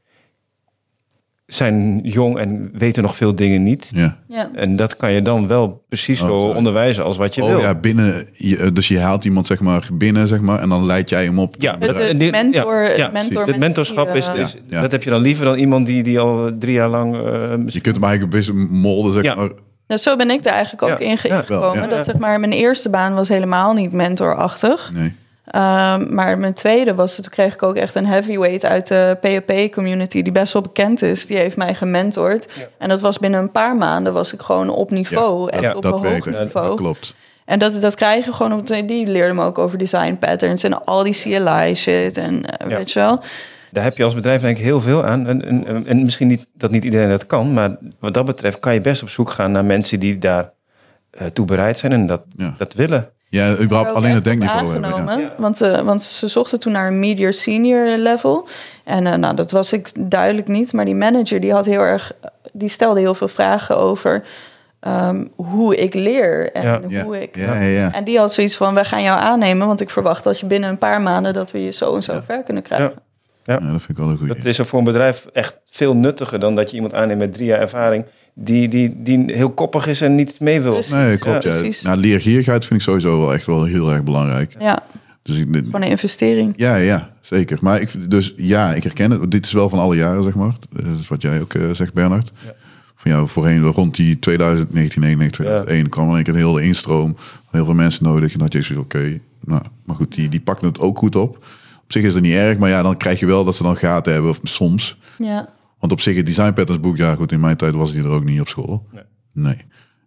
Speaker 2: zijn jong en weten nog veel dingen niet.
Speaker 1: ja.
Speaker 4: Ja.
Speaker 2: En dat kan je dan wel precies
Speaker 1: Oh,
Speaker 2: zo
Speaker 1: sorry.
Speaker 2: onderwijzen als wat je
Speaker 1: Oh
Speaker 2: wil.
Speaker 1: ja, binnen, je- eh, dus je haalt iemand zeg maar binnen, zeg maar, en dan leid jij hem op.
Speaker 2: Ja,
Speaker 4: Het,
Speaker 2: dat-
Speaker 4: het
Speaker 2: en dit-
Speaker 4: mentor, eh,
Speaker 2: ja,
Speaker 4: het
Speaker 2: ja,
Speaker 4: mentor
Speaker 2: Dus Het mentorschap is, is
Speaker 1: Ja, ja.
Speaker 2: dat heb je dan liever dan iemand die, die al eh, drie jaar lang eh,
Speaker 1: Dus Je kunt hem eigenlijk best molden, zeg
Speaker 2: Ja.
Speaker 1: maar.
Speaker 4: Nou, zo ben ik er eigenlijk ook
Speaker 2: Ja,
Speaker 4: in ge-
Speaker 2: ja,
Speaker 1: wel,
Speaker 4: gekomen.
Speaker 1: ja.
Speaker 4: Dat zeg maar, mijn eerste baan was helemaal niet mentorachtig.
Speaker 1: Nee.
Speaker 4: Ehm, maar mijn tweede was, toen kreeg ik ook echt een heavyweight uit de PHP-community, die best wel bekend is. Die heeft mij gementord. En dat was binnen een paar maanden, was ik gewoon op niveau. echt
Speaker 1: ja,
Speaker 4: op
Speaker 1: dat
Speaker 4: een
Speaker 1: werkt.
Speaker 4: hoog niveau.
Speaker 1: Dat klopt.
Speaker 4: En dat, dat krijg je gewoon op de, die leerde me ook over design patterns en al die CLI shit en eh,
Speaker 2: Ja.
Speaker 4: weet je wel.
Speaker 2: Daar heb je als bedrijf denk ik heel veel aan. En, en, en- en misschien niet dat niet iedereen dat kan, maar wat dat betreft kan je best op zoek gaan naar mensen die daar eh, toe bereid zijn en dat,
Speaker 1: Ja.
Speaker 2: dat willen.
Speaker 1: Ja, überhaupt
Speaker 4: ook
Speaker 1: alleen
Speaker 4: echt
Speaker 1: het denkniveau
Speaker 4: op
Speaker 1: hebben. Ja.
Speaker 4: aangenomen, Want, eh, want ze zochten toen naar een media senior level. En eh, nou, dat was ik duidelijk niet. Maar die manager die had heel erg, die stelde heel veel vragen over ehm, hoe ik leer en
Speaker 2: Ja.
Speaker 1: Ja.
Speaker 4: hoe ik.
Speaker 1: Ja, ja, ja.
Speaker 4: En die had zoiets van: we gaan jou aannemen, want ik verwacht dat je binnen een paar maanden dat we je zo en zo ver kunnen krijgen.
Speaker 2: Ja.
Speaker 1: Ja, dat vind ik wel een
Speaker 2: Dat
Speaker 1: goede.
Speaker 2: is er voor een bedrijf echt veel nuttiger dan dat je iemand aanneemt met drie jaar ervaring die, die, die heel koppig is en niet mee wil.
Speaker 4: Dus-
Speaker 1: Nee, klopt.
Speaker 4: Ja,
Speaker 1: Ja,
Speaker 4: precies.
Speaker 1: Nou, leergierigheid vind ik sowieso wel echt wel heel erg belangrijk.
Speaker 4: Ja,
Speaker 1: Dus ik,
Speaker 4: gewoon een investering.
Speaker 1: ja, ja, zeker. Maar ik, vind- dus ja, ik herken het. Dit is wel van alle jaren, zeg maar. Dat is wat jij ook eh, zegt, Bernard. Van jou voorheen, rond die 2000, 1999, 2001 kwam er een keer een hele instroom. Heel veel mensen nodig. En dat je zoiets, oké. nou, maar goed, die, die pakken het ook goed op. Op zich is dat niet erg, maar ja, dan krijg je wel dat ze dan gaten hebben. Of soms.
Speaker 4: Ja.
Speaker 1: Want op zich, het design patterns boek, ja goed, in mijn tijd was die er ook niet op school. Nee.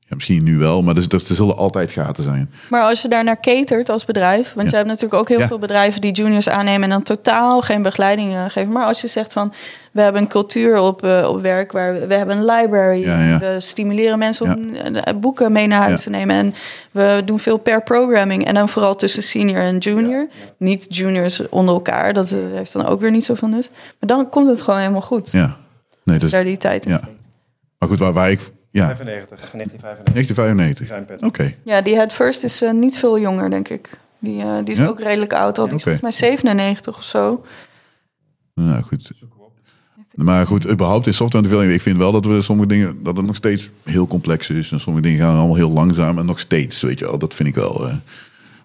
Speaker 1: Ja, misschien nu wel, maar er, er, er zullen altijd gaten zijn.
Speaker 4: Maar als je daarnaar catert als bedrijf, want
Speaker 1: Ja.
Speaker 4: je hebt natuurlijk ook heel
Speaker 1: Ja.
Speaker 4: veel bedrijven die juniors aannemen en dan totaal geen begeleiding eh, geven. Maar als je zegt van we hebben een cultuur op, eh, op werk waar we, we hebben een library,
Speaker 1: Ja, ja.
Speaker 4: we stimuleren mensen om eh, boeken mee naar huis
Speaker 1: Ja.
Speaker 4: te nemen en we doen veel pair programming en dan vooral tussen senior en junior, niet juniors onder elkaar, dat eh, heeft dan ook weer niet zoveel nut. Maar dan komt het gewoon helemaal goed.
Speaker 1: Ja. Nee, dus,
Speaker 4: Daar die tijd in.
Speaker 1: ja. Maar goed, waar, waar ik... Ja,
Speaker 2: 95, 1995.
Speaker 1: 1995.
Speaker 2: Design pattern.
Speaker 1: Oké.
Speaker 4: Ja, die Head First is eh, niet veel jonger, denk ik. Die, eh, die is
Speaker 1: Ja?
Speaker 4: ook redelijk oud al. Die is
Speaker 1: Oké.
Speaker 4: volgens mij 97 of zo.
Speaker 1: Nou goed. Maar goed, überhaupt in software ontwikkeling, ik vind wel dat we sommige dingen, dat het nog steeds heel complex is. En sommige dingen gaan allemaal heel langzaam en nog steeds, weet je wel. Dat vind ik wel. eh,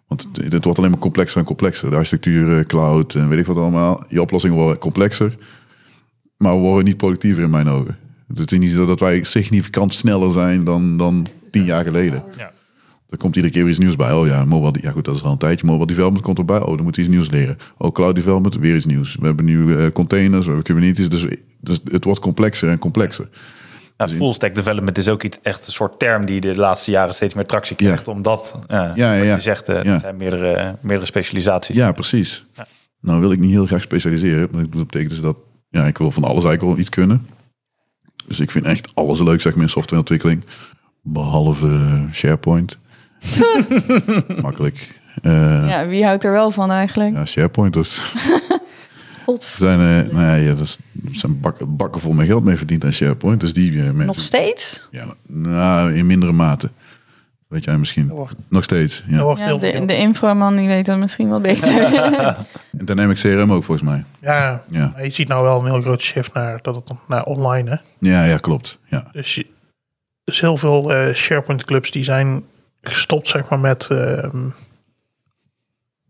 Speaker 1: want het, het wordt alleen maar complexer en complexer. De architectuur, eh, cloud en weet ik wat allemaal. Je oplossingen worden complexer, maar we worden niet productiever in mijn ogen. Het is niet zo dat wij significant sneller zijn dan, dan tien jaar geleden.
Speaker 3: Ja.
Speaker 1: Er komt iedere keer weer iets nieuws bij. Oh ja, mobile, ja goed, dat is al een tijdje. Mobile development komt erbij. Oh, dan moet iets nieuws leren. Oh, cloud development, weer iets nieuws. We hebben nieuwe eh, containers, we hebben Kubernetes. Dus, dus het wordt complexer en complexer.
Speaker 3: Nou, full stack development is ook iets, echt een soort term die de laatste jaren steeds meer tractie krijgt.
Speaker 1: Ja.
Speaker 3: Omdat, ja,
Speaker 1: Ja, ja,
Speaker 3: wat
Speaker 1: ja.
Speaker 3: je zegt, eh,
Speaker 1: Ja.
Speaker 3: er zijn meerdere, meerdere specialisaties.
Speaker 1: Ja, precies. Nou wil ik niet heel graag specialiseren. want Dat betekent dus dat ja, ik wil van alles eigenlijk wel iets kunnen. Dus ik vind echt alles leuk, zeg maar, in softwareontwikkeling. Behalve eh, SharePoint. Makkelijk. Eh, ja.
Speaker 4: Ja, wie houdt er wel van eigenlijk?
Speaker 1: SharePoint, dus
Speaker 4: God,
Speaker 1: zijn, eh, nou ja, ja, dat is, er zijn bakken, bakken vol met geld mee verdiend aan SharePoint. Dus die eh, mensen...
Speaker 4: nog steeds?
Speaker 1: Ja, nou, in mindere mate. Weet jij misschien.
Speaker 5: Dat wordt-
Speaker 1: Nog steeds,
Speaker 5: Daar
Speaker 1: ja.
Speaker 5: wordt
Speaker 4: Ja,
Speaker 5: heel veel
Speaker 4: de,
Speaker 5: geld.
Speaker 4: de inframan die weet dat misschien wel beter.
Speaker 1: En Dynamics CRM ook volgens mij.
Speaker 5: Ja,
Speaker 1: Ja,
Speaker 5: maar je ziet nou wel een heel groot shift naar, dat het, naar online. Hè?
Speaker 1: ja, ja klopt. Ja.
Speaker 5: Dus, je- dus heel veel eh, SharePoint clubs die zijn gestopt zeg maar, met, ehm,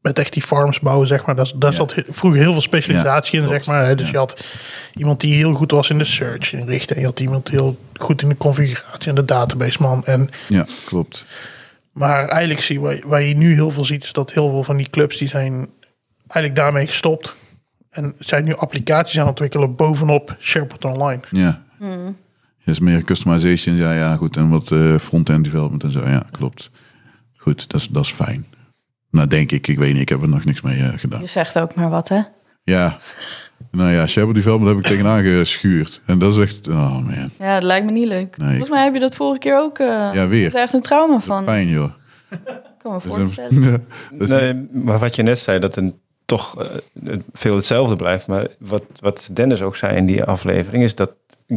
Speaker 5: met echt die farms bouwen. Zeg maar. Daar, daar
Speaker 1: Ja.
Speaker 5: zat he- vroeger heel veel specialisatie in.
Speaker 1: klopt.
Speaker 5: Zeg maar, hè. Dus
Speaker 1: Ja.
Speaker 5: je had iemand die heel goed was in de search inrichten. En je had iemand die heel goed in de configuratie en de database man. En,
Speaker 1: ja, klopt.
Speaker 5: maar eigenlijk zie je, waar, waar je nu heel veel ziet, is dat heel veel van die clubs die zijn eigenlijk daarmee gestopt. En zijn nu applicaties aan het ontwikkelen bovenop SharePoint Online.
Speaker 1: Ja. is meer customization, ja, ja, goed. En wat eh, front-end development en zo, ja, klopt. Goed, dat is, dat is fijn. Nou, denk ik, ik weet niet, ik heb er nog niks mee eh, gedaan.
Speaker 4: Je zegt ook maar wat, hè?
Speaker 1: Ja, nou ja, Shabbat development heb ik tegenaan geschuurd. En dat is echt, oh man,
Speaker 4: Ja, dat lijkt me niet leuk.
Speaker 1: Nee,
Speaker 4: Volgens
Speaker 1: ik-
Speaker 4: mij heb je dat vorige keer ook. eh
Speaker 1: ja,
Speaker 4: Ik heb
Speaker 1: weer.
Speaker 4: er echt een trauma van. Ik
Speaker 1: Pijn, joh.
Speaker 4: kan me
Speaker 1: Dat is
Speaker 4: voorstellen.
Speaker 1: een- Ja, dat is-
Speaker 2: Nee, maar wat je net zei, dat een, toch eh, het veel hetzelfde blijft. Maar wat, wat Dennis ook zei in die aflevering, is dat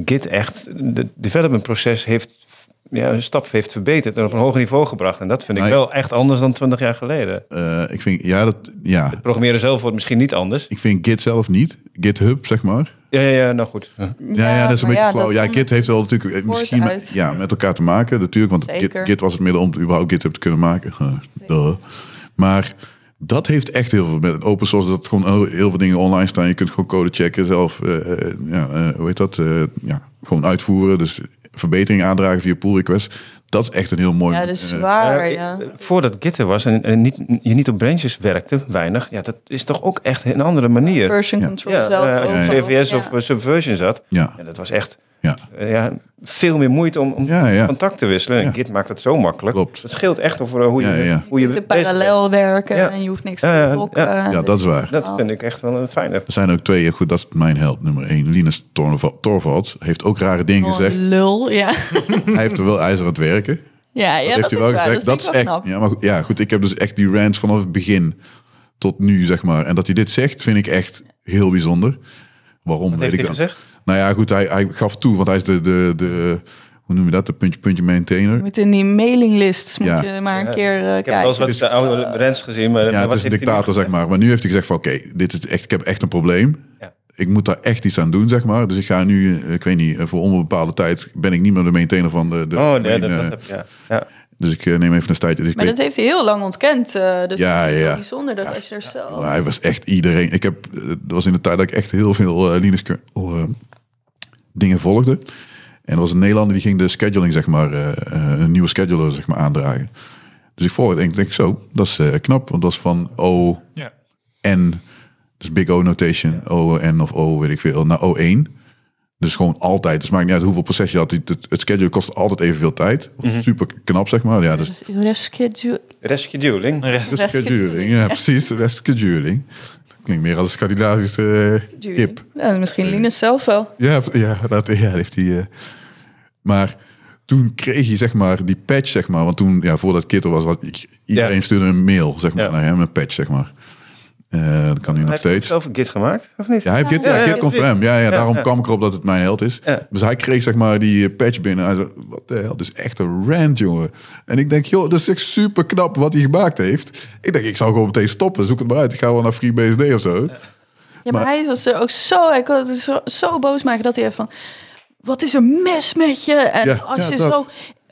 Speaker 2: Git echt het developmentproces heeft, ja, een stap heeft verbeterd en op een hoger niveau gebracht. En dat vind ik
Speaker 1: Nee.
Speaker 2: wel echt anders dan twintig jaar geleden.
Speaker 1: eh, ik vind, ja, dat, ja.
Speaker 2: Het programmeren zelf wordt misschien niet anders.
Speaker 1: Ik vind Git zelf niet. GitHub, zeg maar.
Speaker 2: Ja, ja, ja nou goed.
Speaker 1: Ja, ja, dat is een
Speaker 4: maar
Speaker 1: beetje
Speaker 4: ja,
Speaker 1: flauw.
Speaker 4: dat
Speaker 1: Ja,
Speaker 4: komt-
Speaker 1: Git heeft wel natuurlijk eh, misschien met-
Speaker 4: uit.
Speaker 1: ja, met elkaar te maken, natuurlijk. Want Git,
Speaker 4: Zeker.
Speaker 1: Git was het middel om überhaupt GitHub te kunnen maken. Duh. Maar dat heeft echt heel veel met open source. Dat gewoon heel- heel veel dingen online staan. Je kunt gewoon code checken zelf. eh, eh, ja, eh, hoe heet dat? Eh, ja, gewoon uitvoeren. Dus verbetering aandragen via pull requests. Dat is echt een heel mooi...
Speaker 4: Ja, dus- dat is
Speaker 1: eh,
Speaker 4: zwaar.
Speaker 2: Eh,
Speaker 4: Ah, ja.
Speaker 2: eh, Voordat Git er was en, en niet, je niet op branches werkte, weinig. Ja, dat is toch ook echt een andere manier.
Speaker 4: Version
Speaker 1: Ja.
Speaker 4: control
Speaker 2: Ja,
Speaker 4: zelf.
Speaker 2: eh, als je
Speaker 4: overal.
Speaker 2: CVS
Speaker 4: Ja.
Speaker 2: of eh, Subversion zat.
Speaker 1: ja,
Speaker 2: Ja, dat was echt
Speaker 1: ja,
Speaker 2: eh, ja, veel meer moeite om, om
Speaker 1: ja, ja,
Speaker 2: contact te wisselen. En
Speaker 1: Ja.
Speaker 2: Git maakt dat zo makkelijk.
Speaker 1: Klopt.
Speaker 2: Dat scheelt echt over eh, hoe je...
Speaker 1: Ja, ja.
Speaker 2: Hoe je
Speaker 4: Je kunt
Speaker 2: bezig bent.
Speaker 4: parallel werken
Speaker 2: Ja.
Speaker 4: en je hoeft niks
Speaker 2: Ja,
Speaker 4: te
Speaker 2: ja,
Speaker 4: blokken.
Speaker 1: ja, dat is waar.
Speaker 2: Dat vind ik echt wel een fijne.
Speaker 1: Er zijn ook twee, ja, goed, dat is mijn held, nummer één. Linus Torva- Torvalds heeft ook rare dingen
Speaker 4: Gewoon
Speaker 1: gezegd.
Speaker 4: lul, ja.
Speaker 1: Hij heeft er wel ijzer aan het werken.
Speaker 4: Oh, Ja, ja
Speaker 1: dat heeft
Speaker 4: dat,
Speaker 1: hij wel
Speaker 4: is waar.
Speaker 1: gezegd. Dat,
Speaker 4: vind
Speaker 1: is echt.
Speaker 4: ik wel knap.
Speaker 1: Ja, maar goed, ja, goed, ik heb dus echt die rant vanaf het begin tot nu, zeg maar. En dat hij dit zegt, vind ik echt heel bijzonder. Waarom? weet
Speaker 2: Wat heeft
Speaker 1: ik
Speaker 2: hij
Speaker 1: dan.
Speaker 2: gezegd?
Speaker 1: Nou ja, goed, hij, hij gaf toe, want hij is de, de, de hoe noem je dat, de puntje, puntje
Speaker 4: Je
Speaker 1: maintainer.
Speaker 4: moet in die mailinglists moet
Speaker 1: Ja.
Speaker 4: je maar
Speaker 2: Ja.
Speaker 4: een keer eh,
Speaker 2: Ik heb wel eens
Speaker 4: kijken.
Speaker 2: wat de oude Rens gezien. Maar,
Speaker 1: Ja,
Speaker 2: maar
Speaker 1: het
Speaker 2: wat
Speaker 1: is een
Speaker 2: heeft hij nu-
Speaker 1: dictator, zeg maar. Maar nu heeft hij gezegd van, oké, dit is echt, ik heb echt een probleem.
Speaker 2: Ja.
Speaker 1: Ik moet daar echt iets aan doen, zeg maar. Dus ik ga nu, eh, ik weet niet, eh, voor onbepaalde tijd ben ik niet meer de maintainer van de... de
Speaker 2: Oh, nee,
Speaker 1: mijn,
Speaker 2: dat, dat
Speaker 1: eh,
Speaker 2: heb ja. Ja.
Speaker 1: Dus ik eh, neem even een tijdje. Dus ik
Speaker 4: Maar
Speaker 1: weet-
Speaker 4: dat heeft hij heel lang ontkend. eh, dus
Speaker 1: Ja,
Speaker 4: ja, is
Speaker 1: ja.
Speaker 4: ja. bijzonder dat als je er zo...
Speaker 1: Maar hij was echt iedereen. Ik heb, eh, dat was in de tijd dat ik echt heel veel eh, Linus kernel eh, dingen volgde. En er was een Nederlander die ging de scheduling, zeg maar, eh, eh, een nieuwe scheduler, zeg maar, aandragen. Dus ik volg het en ik denk zo, dat is eh, knap, want dat is van oh, O,
Speaker 3: Ja.
Speaker 1: N, dus big O notation, O, N of O, weet ik veel, naar O1. Dus gewoon altijd, dus maakt niet uit hoeveel proces je had, het, het, het schedule kost altijd evenveel tijd.
Speaker 2: Mhm.
Speaker 1: Super knap, zeg maar. Ja, dus
Speaker 4: Reschedule.
Speaker 2: Rescue Dueling.
Speaker 4: Rest-
Speaker 1: Scheduling, ja, precies. Rest scheduling. Klinkt meer als een Scandinavische eh, kip.
Speaker 4: Ja, misschien Linus zelf wel.
Speaker 1: Ja, ja, dat, ja heeft hij. eh, maar toen kreeg je zeg maar die patch, zeg maar. Want toen, ja, voordat Kit er was, had ik, iedereen
Speaker 2: Ja.
Speaker 1: stuurde een mail, zeg maar,
Speaker 2: Ja.
Speaker 1: naar hem, een patch, zeg maar. Eh, dat kan nu nog
Speaker 2: Heeft hij
Speaker 1: steeds.
Speaker 2: zelf een git gemaakt? Of niet?
Speaker 1: Ja, hij heeft Git,
Speaker 2: Ja,
Speaker 1: ja,
Speaker 2: ja,
Speaker 1: Git komt van hem.
Speaker 2: precies.
Speaker 1: Ja, ja,
Speaker 2: Ja,
Speaker 1: daarom
Speaker 2: ja.
Speaker 1: kwam ik erop dat het mijn held is.
Speaker 2: Ja.
Speaker 1: Dus hij kreeg zeg maar die eh, patch binnen. Hij zei, wat de hel, dit is echt een rant, jongen. En ik denk, joh, dat is echt super knap wat hij gemaakt heeft. Ik denk, ik zou gewoon meteen stoppen. Zoek het maar uit. Ik ga wel naar FreeBSD of zo.
Speaker 4: Ja, maar,
Speaker 1: Maar-
Speaker 4: hij was er ook zo, hij kon het zo, zo boos maken dat hij even van... Wat is er mis met je? En
Speaker 1: Ja,
Speaker 4: als
Speaker 1: ja,
Speaker 4: je
Speaker 1: dat.
Speaker 4: zo...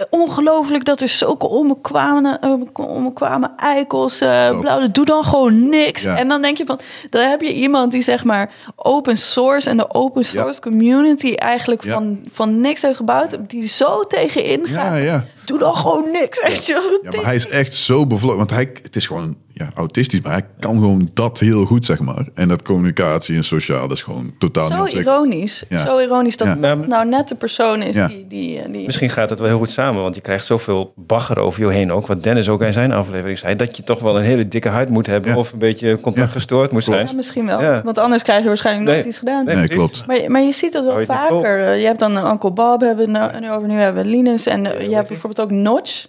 Speaker 4: Ongelooflijk dat er zulke onbekwame, eh, onbekwame eikels... eh
Speaker 1: Dat.
Speaker 4: blauw, doe dan gewoon niks.
Speaker 1: Ja.
Speaker 4: En dan denk je van... Dan heb je iemand die zeg maar open source... en de open
Speaker 1: Ja.
Speaker 4: source community eigenlijk
Speaker 1: Ja.
Speaker 4: van, van niks heeft gebouwd... die zo tegenin gaat.
Speaker 1: Ja, ja.
Speaker 4: Doe dan gewoon niks. Echt zo
Speaker 1: Ja, maar hij is echt zo bevlogen. Want hij, het is gewoon ja, autistisch, maar hij kan gewoon dat heel goed, zeg maar. En dat communicatie en sociaal, dat is gewoon totaal niet
Speaker 4: Zo
Speaker 1: ontwikkeld.
Speaker 4: ironisch.
Speaker 1: Ja.
Speaker 4: Zo ironisch dat
Speaker 1: Ja.
Speaker 4: dat nou net de persoon is
Speaker 1: Ja.
Speaker 4: die... die, eh, die
Speaker 2: Misschien gaat het wel heel goed samen, want je krijgt zoveel bagger over je heen ook. Wat Dennis ook in zijn aflevering zei, dat je toch wel een hele dikke huid moet hebben
Speaker 1: Ja.
Speaker 2: of een beetje contact
Speaker 1: Ja.
Speaker 2: gestoord moet
Speaker 1: Klopt.
Speaker 2: zijn.
Speaker 4: Ja, misschien wel.
Speaker 2: Ja.
Speaker 4: Want anders krijg je waarschijnlijk nooit
Speaker 2: Nee.
Speaker 4: iets gedaan.
Speaker 1: Nee,
Speaker 2: precies.
Speaker 1: klopt.
Speaker 4: Maar, maar je ziet dat wel
Speaker 2: Hou je het niet vol?
Speaker 4: vaker. Eh, Je hebt dan Uncle Bob, hebben we nou- nu over, nu hebben we Linus. En eh, je hebt bijvoorbeeld ook Notch.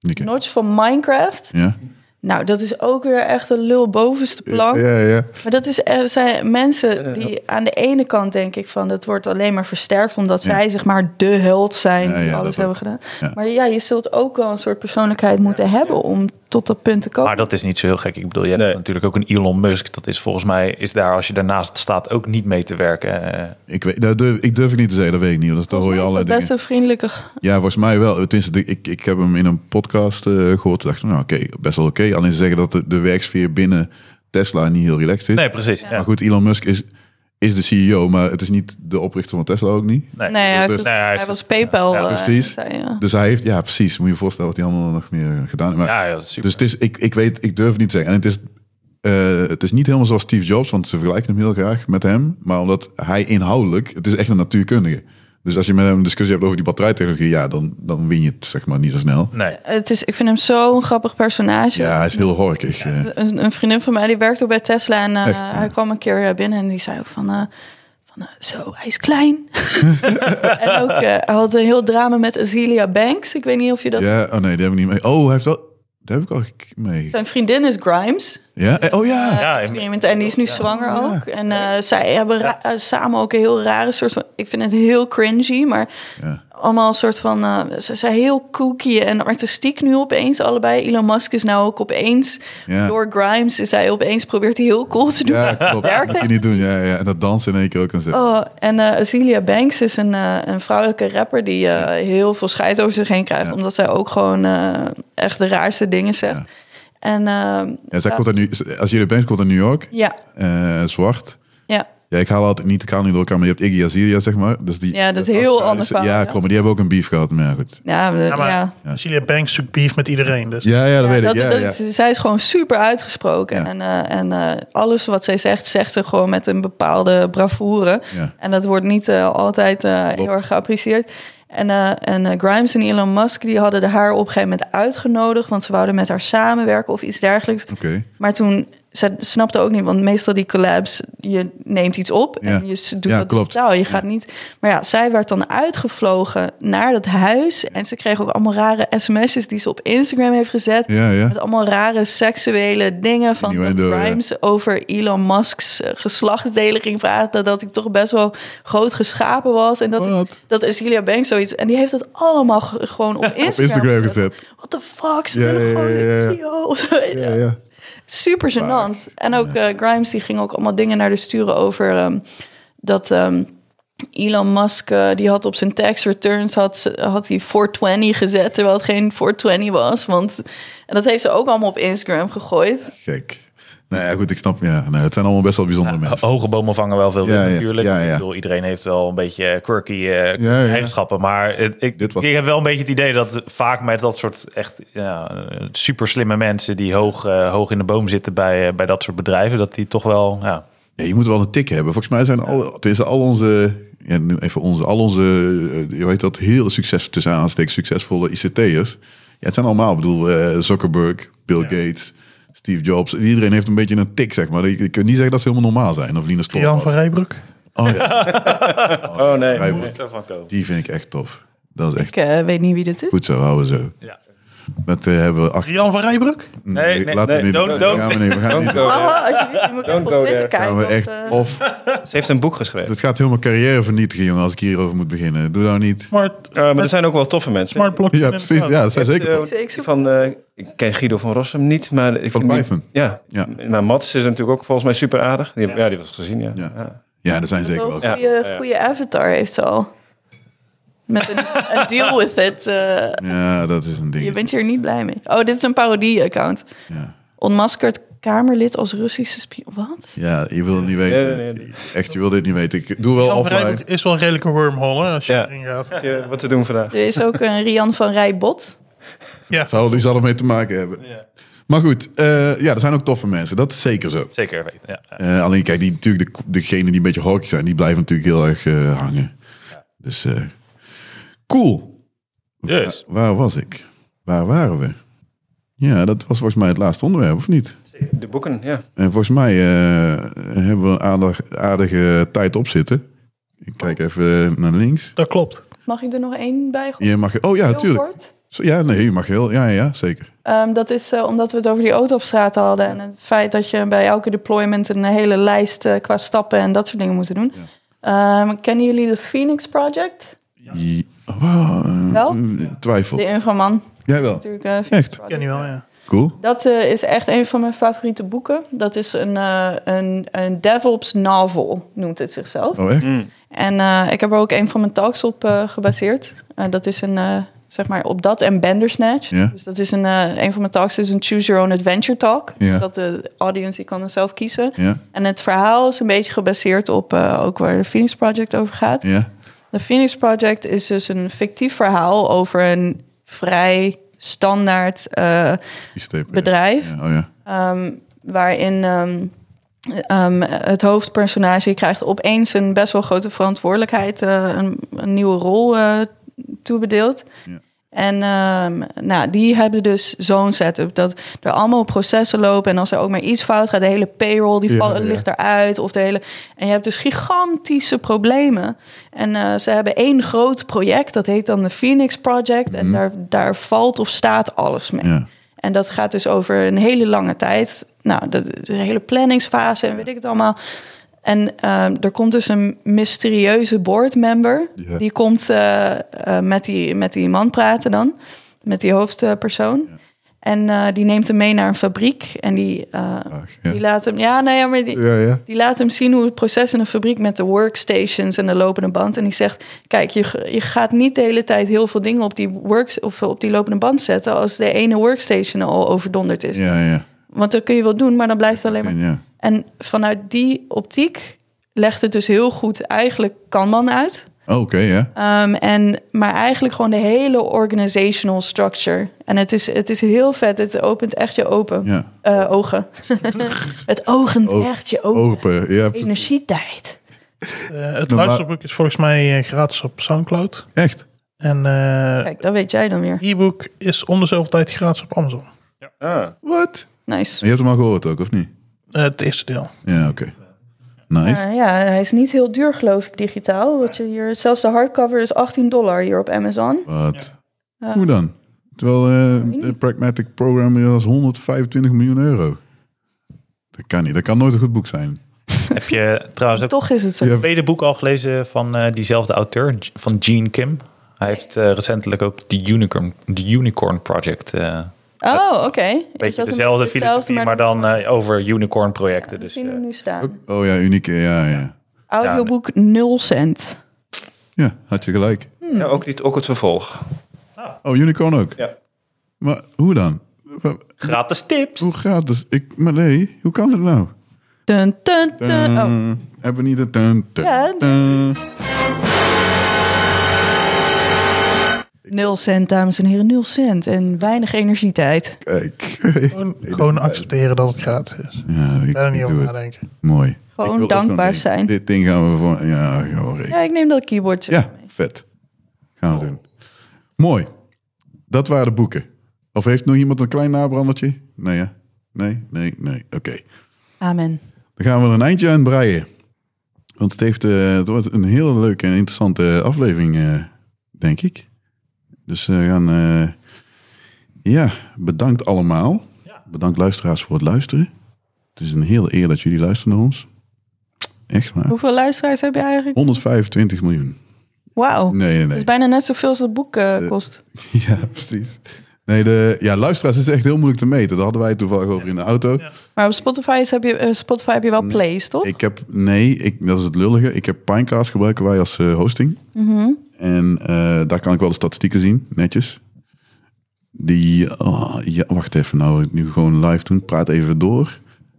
Speaker 1: Nieke.
Speaker 4: Notch van Minecraft.
Speaker 1: Ja.
Speaker 4: Nou, dat is ook weer echt een lul bovenste plank.
Speaker 1: ja, ja.
Speaker 4: Maar dat is, eh, er zijn mensen die aan de ene kant denk ik van... dat wordt alleen maar versterkt omdat
Speaker 1: Ja.
Speaker 4: zij zeg maar de held zijn...
Speaker 1: Ja,
Speaker 4: die
Speaker 1: ja,
Speaker 4: alles
Speaker 1: dat
Speaker 4: hebben
Speaker 1: ook.
Speaker 4: gedaan.
Speaker 1: Ja.
Speaker 4: Maar ja, je zult ook wel een soort persoonlijkheid moeten hebben... om tot dat punt te komen.
Speaker 3: Maar dat is niet zo heel gek. Ik bedoel, je hebt
Speaker 2: Nee.
Speaker 3: natuurlijk ook een Elon Musk. Dat is volgens mij, is daar als je daarnaast staat ook niet mee te werken. Eh,
Speaker 1: Ik, weet, dat durf, ik durf ik niet te zeggen, dat weet ik niet. Want dan hoor
Speaker 4: Volgens
Speaker 1: je
Speaker 4: mij is
Speaker 1: allerlei dingen.
Speaker 4: dat best een vriendelijke...
Speaker 1: Ja, volgens mij wel. Tenminste, de- ik, ik heb hem in een podcast eh, gehoord. Toen dacht ik, nou oké, best wel oké. Alleen ze zeggen dat de, de werksfeer binnen Tesla niet heel relaxed is.
Speaker 3: nee, precies. Ja.
Speaker 1: Maar goed, Elon Musk is, is de CEO, maar het is niet de oprichter van Tesla ook niet.
Speaker 3: Nee.
Speaker 4: Nee, hij, heeft
Speaker 1: dus-
Speaker 4: het-
Speaker 3: Nee, hij
Speaker 4: hij
Speaker 3: heeft
Speaker 4: was
Speaker 3: het-
Speaker 4: PayPal.
Speaker 3: ja,
Speaker 4: eh,
Speaker 1: precies.
Speaker 4: zei, ja.
Speaker 1: Dus hij heeft, ja precies, moet je je voorstellen wat hij allemaal nog meer gedaan heeft. Maar,
Speaker 3: Ja, ja, dat is super.
Speaker 1: dus het is, ik, ik weet, ik durf het niet te zeggen. En het is, eh, het is niet helemaal zoals Steve Jobs, want ze vergelijken hem heel graag met hem. Maar omdat hij inhoudelijk, het is echt een natuurkundige. Dus als je met hem een discussie hebt over die batterijtechnologie, ja, dan, dan win je het zeg maar niet zo snel.
Speaker 3: Nee.
Speaker 4: Het is, ik vind hem zo'n grappig personage.
Speaker 1: Ja, hij is heel horkig. eh.
Speaker 4: Een, een vriendin van mij die werkte ook bij Tesla en eh,
Speaker 1: Echt, ja.
Speaker 4: hij kwam een keer eh, binnen en die zei ook van, eh, van eh, zo, hij is klein. en ook, eh, hij had een heel drama met Azealia Banks. Ik weet niet of je dat...
Speaker 1: Ja, oh nee, die heb ik niet mee. Oh, hij heeft wel... Daar heb ik al gek- mee.
Speaker 4: Zijn vriendin is Grimes.
Speaker 1: Ja? Eh, Oh ja!
Speaker 3: Ja,
Speaker 4: experiment. En die is nu zwanger ook. En eh, zij hebben ra- eh, samen ook een heel rare soort van... Ik vind het heel cringy, maar
Speaker 1: Ja.
Speaker 4: allemaal een soort van... eh, ze zijn heel kooky en artistiek nu opeens allebei. Elon Musk is nou ook opeens...
Speaker 1: Ja.
Speaker 4: Door Grimes is hij opeens probeert hij heel cool te doen.
Speaker 1: Ja, klopt. Dat
Speaker 4: Werkt
Speaker 1: moet je niet doen. Ja, ja. En dat dansen in één keer ook en zo.
Speaker 4: Oh, en eh Azealia Banks is een, eh, een vrouwelijke rapper die eh, heel veel scheid over zich heen krijgt.
Speaker 1: Ja.
Speaker 4: Omdat zij ook gewoon eh, echt de raarste dingen zegt. En ehm,
Speaker 1: ja, zij komt uit nu, als je er bent, komt uit New York.
Speaker 4: ja,
Speaker 1: eh, zwart.
Speaker 4: ja.
Speaker 1: Ja, ik haal altijd niet de kaal niet door elkaar, maar je hebt Iggy Azalea, zeg maar. Dus die,
Speaker 4: Ja, dat is een heel
Speaker 1: Australische-
Speaker 4: ander verhaal,
Speaker 1: Ja,
Speaker 4: ja.
Speaker 1: klopt. Maar die hebben ook een beef gehad. Maar ja, goed.
Speaker 4: Ja, we-
Speaker 9: maar-
Speaker 4: ja.
Speaker 5: Celia Banks zoekt beef met iedereen. Dus.
Speaker 1: Ja, ja, dat weet ik.
Speaker 4: Dat,
Speaker 1: ja,
Speaker 4: dat
Speaker 1: ja.
Speaker 4: is- zij is gewoon super uitgesproken.
Speaker 1: Ja.
Speaker 4: En, eh, en eh, alles wat zij zegt, zegt ze gewoon met een bepaalde bravoure.
Speaker 1: Ja.
Speaker 4: En dat wordt niet eh, altijd eh, heel
Speaker 1: Klopt.
Speaker 4: erg geapprecieerd. En, eh, en eh, Grimes en Elon Musk die hadden haar op een gegeven moment uitgenodigd. Want ze wouden met haar samenwerken of iets dergelijks.
Speaker 1: Oké.
Speaker 4: Maar toen, ze snapte ook niet, want meestal die collabs, je neemt iets op
Speaker 1: Ja.
Speaker 4: en je s- doet
Speaker 1: Ja,
Speaker 4: dat
Speaker 1: klopt.
Speaker 4: totaal. Je gaat niet. Maar ja, zij werd dan uitgevlogen naar dat huis en ze kreeg ook allemaal rare sms'jes die ze op Instagram heeft gezet.
Speaker 1: Ja, ja.
Speaker 4: Met allemaal rare seksuele dingen van dat
Speaker 1: Innuendo, ja.
Speaker 4: Grimes over Elon Musk's eh, geslachtsdelen ging praten. Dat ik toch best wel groot geschapen was. En dat,
Speaker 1: Wat?
Speaker 4: ik, dat is Julia Banks zoiets. En die heeft dat allemaal ge- gewoon op Instagram,
Speaker 1: Op Instagram
Speaker 4: gezet.
Speaker 1: gezet.
Speaker 4: What the fuck? Ze
Speaker 1: Ja,
Speaker 4: willen
Speaker 1: ja,
Speaker 4: gewoon
Speaker 1: ja,
Speaker 4: een
Speaker 1: ja.
Speaker 4: video of zo.
Speaker 1: Ja, ja.
Speaker 4: Super gênant. En ook eh, Grimes die ging ook allemaal dingen naar de sturen over ehm, dat ehm, Elon Musk eh, die had op zijn tax returns had, ze- had hij 420 gezet terwijl het geen 420 was. Want en dat heeft ze ook allemaal op Instagram gegooid.
Speaker 1: Gek. Nou ja, goed, ik snap. Ja, nou, het zijn allemaal best wel bijzondere
Speaker 3: Nou,
Speaker 1: mensen.
Speaker 3: hoge bomen vangen wel veel
Speaker 1: Ja,
Speaker 3: wind
Speaker 1: ja,
Speaker 3: natuurlijk.
Speaker 1: ja, ja.
Speaker 3: Ik bedoel, iedereen heeft wel een beetje eh, quirky eh,
Speaker 1: Ja, ja.
Speaker 3: eigenschappen. Maar het- ik,
Speaker 1: Dit was-
Speaker 3: ik heb wel een beetje het idee dat vaak met dat soort echt ja, super slimme mensen... die hoog, eh, hoog in de boom zitten bij, eh, bij dat soort bedrijven... dat die toch wel... Ja,
Speaker 1: Ja, je moet wel een tik hebben. Volgens mij zijn al, tenminste, al onze, ja, nu even onze, al onze, eh, je weet dat, heel succes, tussen aanstek, succesvolle ICT'ers. Ja, het zijn allemaal, ik bedoel, eh, Zuckerberg, Bill Gates, Steve Jobs. Iedereen heeft een beetje een tik, zeg maar. Je je kunt niet zeggen dat ze helemaal normaal zijn. Of Linus
Speaker 5: Jan
Speaker 1: Torvalds.
Speaker 5: van Rijbroek.
Speaker 1: Oh ja,
Speaker 2: Oh nee.
Speaker 1: Rijbroek.
Speaker 3: daarvan komen.
Speaker 1: die vind ik echt tof. Dat is echt
Speaker 4: Ik eh, weet niet wie dit is.
Speaker 1: goed zo, houden we zo.
Speaker 3: Ja.
Speaker 1: Dat eh, hebben we achter...
Speaker 5: Jan van Rijbroek?
Speaker 3: Nee, nee,
Speaker 1: laten we
Speaker 3: nee,
Speaker 1: niet
Speaker 3: don't-
Speaker 1: doen.
Speaker 3: don't.
Speaker 1: Ja, meneer, we gaan het niet doen.
Speaker 2: eh,
Speaker 4: Mama, alsjeblieft, Oh, je moet even
Speaker 2: Don't
Speaker 4: op
Speaker 2: go
Speaker 4: Twitter
Speaker 2: there.
Speaker 4: kijken.
Speaker 1: Gaan we
Speaker 4: want,
Speaker 1: echt
Speaker 4: eh,
Speaker 1: of
Speaker 2: Ze heeft een boek geschreven.
Speaker 1: Het gaat heel mijn carrière vernietigen, jongen, als ik hierover moet beginnen. Doe nou niet.
Speaker 5: Smart,
Speaker 2: Eh, maar er zijn ook wel toffe mensen.
Speaker 5: smart blockchain.
Speaker 1: Ja, precies. Ja, dat zijn
Speaker 2: Ik heb,
Speaker 1: zeker.
Speaker 2: eh,
Speaker 1: toch.
Speaker 4: Ik- ik zoek-
Speaker 2: van, eh, ik ken Guido van Rossum niet, maar ik
Speaker 1: Van
Speaker 2: vind die-
Speaker 1: Python.
Speaker 2: Ja.
Speaker 1: Ja.
Speaker 2: ja. Maar Mats is natuurlijk ook volgens mij super aardig. Die, heb- ja. die was gezien, ja.
Speaker 1: Ja.
Speaker 2: Ja.
Speaker 1: Ja, dat zijn zeker
Speaker 4: wel
Speaker 1: wel.
Speaker 4: een goede, goede avatar heeft ze al. Met een, een deal with it. eh,
Speaker 1: Ja, dat is een
Speaker 4: je
Speaker 1: ding.
Speaker 4: bent hier niet blij mee. Oh, dit is een parodie-account.
Speaker 1: Ja.
Speaker 4: Onmaskerd Kamerlid als Russische spion. Wat?
Speaker 1: ja, je wil het niet weten.
Speaker 2: Nee, nee, nee.
Speaker 1: Echt, je wil dit niet weten. Ik doe wel
Speaker 5: Jan van
Speaker 1: offline.
Speaker 5: Rijbroek is wel redelijk een wormhole hè, als je
Speaker 2: Ja.
Speaker 5: erin gaat.
Speaker 2: Heb je Wat te doen vandaag.
Speaker 4: Er is ook een Rian van Rijbot.
Speaker 1: Zou die zal ermee te maken hebben. Maar goed, eh, ja, er zijn ook toffe mensen. Dat is zeker zo.
Speaker 3: Zeker weten, ja. ja.
Speaker 1: Eh, alleen kijk, die, natuurlijk de, degenen die een beetje horkig zijn, die blijven natuurlijk heel erg eh, hangen. Dus eh, cool.
Speaker 3: Dus.
Speaker 1: Wa- waar was ik? Waar waren we? Ja, dat was volgens mij het laatste onderwerp, of niet?
Speaker 2: De boeken, ja.
Speaker 1: En volgens mij eh, hebben we een aardig, aardige tijd op zitten. Ik kijk even naar links.
Speaker 5: Dat klopt.
Speaker 4: Mag ik er nog één bij gooien?
Speaker 1: Je mag, oh ja,
Speaker 4: Heel
Speaker 1: natuurlijk.
Speaker 4: kort.
Speaker 1: Zo, Ja, nee, je mag heel. Ja, ja, ja, zeker.
Speaker 4: Ehm, dat is eh, omdat we het over die auto op straat hadden. En het feit dat je bij elke deployment een hele lijst eh, qua stappen en dat soort dingen moet doen. Ehm, kennen jullie de Phoenix Project?
Speaker 1: Je- Wauw, eh,
Speaker 4: Wel?
Speaker 1: eh, Twijfel.
Speaker 4: De Infoman
Speaker 1: Jij wel.
Speaker 4: natuurlijk. eh, Phoenix
Speaker 1: Echt?
Speaker 5: Ken je wel, ja.
Speaker 1: Cool.
Speaker 4: Dat eh, is echt een van mijn favoriete boeken. Dat is een, eh, een, een DevOps novel, noemt het zichzelf.
Speaker 1: Oh, echt?
Speaker 4: En eh, ik heb er ook een van mijn talks op eh, gebaseerd. Eh, dat is een, eh, zeg maar, op dat en Bandersnatch.
Speaker 1: Ja.
Speaker 4: Dus dat is een, eh, een van mijn talks is een Choose Your Own Adventure talk.
Speaker 1: Ja.
Speaker 4: Dus dat de audience die kan het zelf kiezen.
Speaker 1: Ja,
Speaker 4: En het verhaal is een beetje gebaseerd op eh, ook waar de Phoenix Project over gaat.
Speaker 1: ja.
Speaker 4: De Phoenix Project is dus een fictief verhaal over een vrij standaard eh,
Speaker 1: Die stepen.
Speaker 4: bedrijf.
Speaker 1: Ja, oh ja.
Speaker 4: Ehm, waarin ehm, Ehm, het hoofdpersonage krijgt opeens een best wel grote verantwoordelijkheid, eh, een, een nieuwe rol eh, toebedeeld.
Speaker 1: Ja.
Speaker 4: En ehm, nou, die hebben dus zo'n setup dat er allemaal processen lopen. En als er ook maar iets fout gaat, de hele payroll die
Speaker 1: Ja,
Speaker 4: val-
Speaker 1: ja.
Speaker 4: ligt eruit. Of de hele... En je hebt dus gigantische problemen. En eh, ze hebben één groot project, dat heet dan de Phoenix Project. En daar, daar valt of staat alles mee.
Speaker 1: Mhm. Ja.
Speaker 4: En dat gaat dus over een hele lange tijd. Nou, dat is een hele planningsfase en weet ik het allemaal. En ehm, er komt dus een mysterieuze boardmember.
Speaker 1: Ja.
Speaker 4: Die komt eh, eh, met, die, met die man praten dan. Met die hoofdpersoon. En eh, die neemt hem mee naar een fabriek. En die, eh,
Speaker 1: Ach, Ah, ja.
Speaker 4: die laat hem... Ja, nou ja, maar die,
Speaker 1: Ja, ja.
Speaker 4: die laat hem zien hoe het proces in een fabriek met de workstations en de lopende band. En die zegt: Kijk, je, g- je gaat niet de hele tijd heel veel dingen op die, works, of op die lopende band zetten. als de ene workstation al overdonderd is.
Speaker 1: Ja, ja.
Speaker 4: Want dat kun je wel doen, maar dan blijft het alleen maar.
Speaker 1: ja.
Speaker 4: En vanuit die optiek legt het dus heel goed eigenlijk Kanban uit.
Speaker 1: Oh, Oké, ja.
Speaker 4: Ehm, en, maar eigenlijk gewoon de hele organizational structure. En het is, het is heel vet. Het opent echt je open.
Speaker 1: Ja.
Speaker 4: eh, ogen. het opent
Speaker 1: Oog-
Speaker 4: echt je ogen.
Speaker 1: Open. Ja,
Speaker 4: Energietijd.
Speaker 5: Eh, het
Speaker 1: Maar-
Speaker 5: luisterboek is volgens mij eh, gratis op Soundcloud.
Speaker 1: echt.
Speaker 5: En eh,
Speaker 4: Kijk, dat weet jij dan weer.
Speaker 5: e-book is om dezelfde tijd gratis op Amazon.
Speaker 2: Ah,
Speaker 1: Wat?
Speaker 4: Nice.
Speaker 1: Je hebt hem al gehoord ook, of niet?
Speaker 5: Eh, het eerste deel.
Speaker 1: Ja, oké. Nice.
Speaker 4: Maar Eh, ja, hij is niet heel duur, geloof ik, digitaal. Want je hier, zelfs de hardcover is 18 dollar hier op Amazon.
Speaker 1: Wat?
Speaker 4: Ja.
Speaker 1: Hoe dan? Terwijl eh, de Pragmatic Programmer was 125 miljoen euro. Dat kan niet. Dat kan nooit een goed boek zijn.
Speaker 3: Heb je trouwens ook
Speaker 4: Toch is het zo.
Speaker 1: Ja.
Speaker 3: het tweede boek al gelezen van eh, diezelfde auteur, J- van Gene Kim? Hij heeft eh, recentelijk ook de Unicorn, de Unicorn Project. eh,
Speaker 4: Oh, oké. Is
Speaker 3: beetje
Speaker 4: dat
Speaker 3: dezelfde
Speaker 4: een-
Speaker 3: filosofie, maar, dan eh, over unicorn projecten.
Speaker 4: We
Speaker 3: dus,
Speaker 4: zien
Speaker 3: eh,
Speaker 4: hem nu staan.
Speaker 1: Oh ja, unieke. Ja, ja.
Speaker 4: Audioboek 0 cent.
Speaker 1: Ja, had je gelijk.
Speaker 2: ja, ook, dit, ook het vervolg.
Speaker 1: Oh, Unicorn ook?
Speaker 2: Ja.
Speaker 1: Maar hoe dan? Wa-
Speaker 3: gratis tips.
Speaker 1: Hoe gaat het? Ik, maar nee, hoe kan het nou?
Speaker 4: Dun, dun, dun. Oh,
Speaker 1: Dun, Hebben we niet een... Dun, dun,
Speaker 4: Ja, dun.
Speaker 1: dun.
Speaker 4: 0 cent, dames en heren, 0 cent. En weinig energietijd.
Speaker 1: Kijk.
Speaker 5: Gewoon, gewoon accepteren dat het gratis is.
Speaker 1: Ja, ik,
Speaker 5: Daar niet
Speaker 1: ik
Speaker 5: over
Speaker 1: doe het.
Speaker 5: nadenken.
Speaker 1: Mooi. Ik wil
Speaker 4: Gewoon
Speaker 1: ook zo'n
Speaker 4: dankbaar
Speaker 1: ding.
Speaker 4: zijn.
Speaker 1: Dit ding gaan we voor... Ja, gewoon
Speaker 4: Ja, ik neem dat keyboard.
Speaker 1: Ja, vet. Gaan we doen. Mooi. Dat waren de boeken. Of heeft nog iemand een klein nabrandertje? Nee, hè? Nee, nee, nee. Oké.
Speaker 4: Amen.
Speaker 1: Dan gaan we er een eindje aan breien. Want het, heeft, eh, het wordt een hele leuke en interessante aflevering, eh, denk ik. Dus eh, we gaan... eh, ja, bedankt allemaal. Bedankt luisteraars voor het luisteren. Het is een hele eer dat jullie luisteren naar ons. Echt waar.
Speaker 4: Hoeveel luisteraars heb je eigenlijk?
Speaker 1: 125 miljoen.
Speaker 4: Wauw.
Speaker 1: Nee, nee,
Speaker 4: Dat
Speaker 1: nee.
Speaker 4: is bijna net zoveel als het boek eh, kost.
Speaker 1: Ja, precies. Nee, de, ja, luisteraars is echt heel moeilijk te meten. Daar hadden wij het toevallig over in de auto.
Speaker 4: Maar op Spotify is- heb je, eh, Spotify heb je wel plays, toch?
Speaker 1: Ik heb, nee, ik, dat is het lullige. Ik heb Pinecast gebruiken wij als eh, hosting. En eh, daar kan ik wel de statistieken zien, netjes. Die, ah, ja, wacht even, nou, nu gewoon live doen. Praat even door.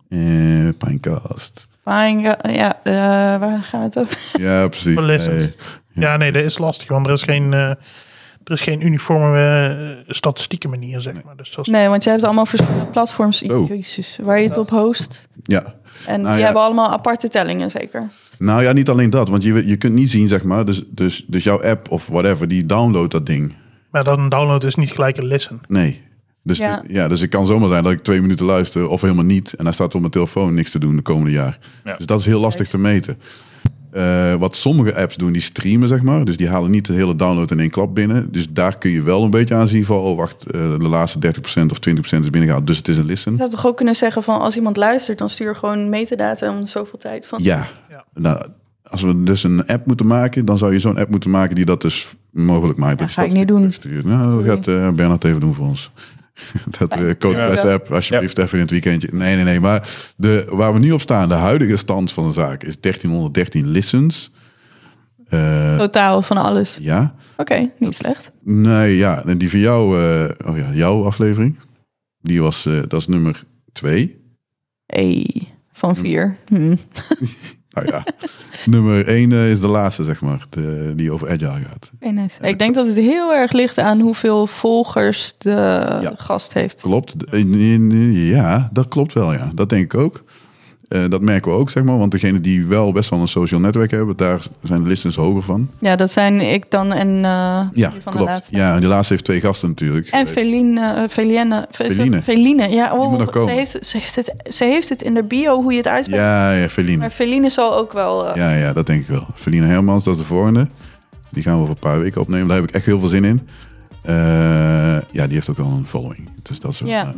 Speaker 1: Eh Pinecast.
Speaker 4: Fine, ja, ja, eh, waar gaan we het over?
Speaker 1: Ja, precies. Eh,
Speaker 5: Verlissend.
Speaker 1: Nee.
Speaker 5: Ja, nee, dat is lastig, want er is geen, eh, er is geen uniforme eh, statistieke manier, zeg maar. Dus dat is
Speaker 4: Nee, want je hebt allemaal verschillende platforms.
Speaker 1: Zo.
Speaker 4: Jezus, waar je het op host.
Speaker 1: Ja.
Speaker 4: En
Speaker 1: Oh. Nou
Speaker 4: die
Speaker 1: ja.
Speaker 4: hebben allemaal aparte tellingen, zeker.
Speaker 1: Nou ja, niet alleen dat, want je, je kunt niet zien, zeg maar. Dus, dus, dus jouw app of whatever, die downloadt dat ding.
Speaker 5: Maar dan download is niet gelijk een listen.
Speaker 1: Nee. Dus,
Speaker 4: Ja.
Speaker 1: ja. dus het kan zomaar zijn dat ik twee minuten luister of helemaal niet. En daar staat op mijn telefoon niks te doen de komende jaar.
Speaker 3: Ja.
Speaker 1: Dus dat is heel lastig
Speaker 4: Juist.
Speaker 1: te meten. Eh, wat sommige apps doen, die streamen zeg maar. Dus die halen niet de hele download in één klap binnen. Dus daar kun je wel een beetje aan zien van... oh wacht, eh, de laatste 30% of 20% is binnengehaald. Dus het is een
Speaker 4: Je
Speaker 1: listen.
Speaker 4: zou toch ook kunnen zeggen van als iemand luistert, dan stuur gewoon metadata om zoveel tijd van.
Speaker 1: Ja.
Speaker 5: Ja.
Speaker 1: Nou, als we dus een app moeten maken... dan zou je zo'n app moeten maken die dat dus mogelijk maakt.
Speaker 4: Ja,
Speaker 1: die
Speaker 4: ga ik niet
Speaker 1: statistieken
Speaker 4: doen.
Speaker 1: terugstuurt. Nou, dat gaat eh, Bernard even doen voor ons. dat eh
Speaker 4: Fijn.
Speaker 1: code
Speaker 4: Ja.
Speaker 1: Press app, alsjeblieft even in het weekendje. Nee, nee, nee. Maar de, waar we nu op staan, de huidige stand van de zaak is 1313 listens. Eh,
Speaker 4: Totaal van alles.
Speaker 1: ja.
Speaker 4: Oké, niet slecht.
Speaker 1: Nee, ja. En die van jou, eh, oh ja, jouw aflevering. Die was, eh, dat is nummer twee.
Speaker 4: Hey, van vier. Hm.
Speaker 1: Nou ja, nummer één eh, is de laatste, zeg maar. de- die over Agile gaat.
Speaker 4: Oké, nice. Ik denk dat het heel erg ligt aan hoeveel volgers de
Speaker 1: Ja.
Speaker 4: gast heeft.
Speaker 1: Klopt. Eh, nee, nee, Ja, dat klopt wel, ja. Dat denk ik ook. Eh, dat merken we ook, zeg maar. Want degene die wel best wel een social netwerk hebben, daar zijn de listens hoger van.
Speaker 4: Ja, dat zijn ik dan en eh,
Speaker 1: Ja,
Speaker 4: die van de
Speaker 1: klopt.
Speaker 4: laatste.
Speaker 1: Ja, en die laatste heeft twee gasten natuurlijk.
Speaker 4: En Feline, eh, Feline, is het?
Speaker 1: Feline.
Speaker 4: Feline, ja, oh,
Speaker 1: Die moet nog
Speaker 4: ze,
Speaker 1: komen.
Speaker 4: heeft, het- ze, heeft het, ze heeft het in de bio hoe je het uitspreekt.
Speaker 1: Ja, ja, Feline.
Speaker 4: Maar Feline zal ook wel. eh,
Speaker 1: Ja, ja, dat denk ik wel. Feline Hermans, dat is de volgende. Die gaan we over een paar weken opnemen. Daar heb ik echt heel veel zin in. Eh, ja, die heeft ook wel een following. Dus dat is wel,
Speaker 4: Ja.
Speaker 1: eh,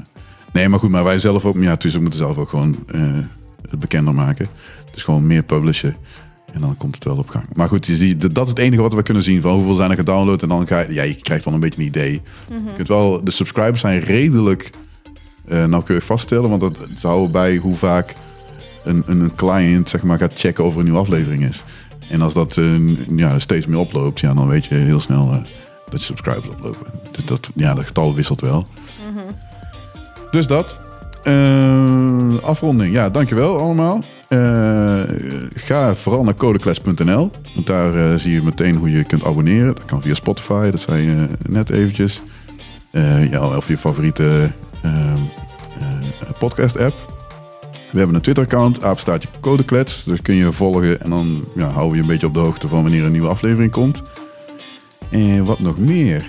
Speaker 1: nee, maar goed, maar wij zelf ook. Ja, dus we moeten zelf ook gewoon eh, het bekender maken. Dus gewoon meer publishen. En dan komt het wel op gang. Maar goed, dus die, dat is het enige wat we kunnen zien. Van hoeveel zijn er gedownload. En dan ga je, ja, je krijgt wel een beetje een idee. Je kunt wel, de subscribers zijn redelijk eh nauwkeurig vaststellen. Want dat ze houden bij hoe vaak een, een client zeg maar, gaat checken of er een nieuwe aflevering is. En als dat eh, ja, steeds meer oploopt, ja, dan weet je heel snel eh, dat je subscribers oplopen. Dus dat, ja, dat getal wisselt wel. Dus dat. Eh, afronding. Ja, dankjewel allemaal. Eh, ga vooral naar codeclash.nl. Want daar eh, zie je meteen hoe je kunt abonneren. Dat kan via Spotify, dat zei je eh, net eventjes. Eh, ja, of je favoriete ehm, eh, podcast app. We hebben een Twitter-account, apenstaartje Codeklets. Dus kun je volgen en dan ja, houden we je een beetje op de hoogte van wanneer een nieuwe aflevering komt. En wat nog meer?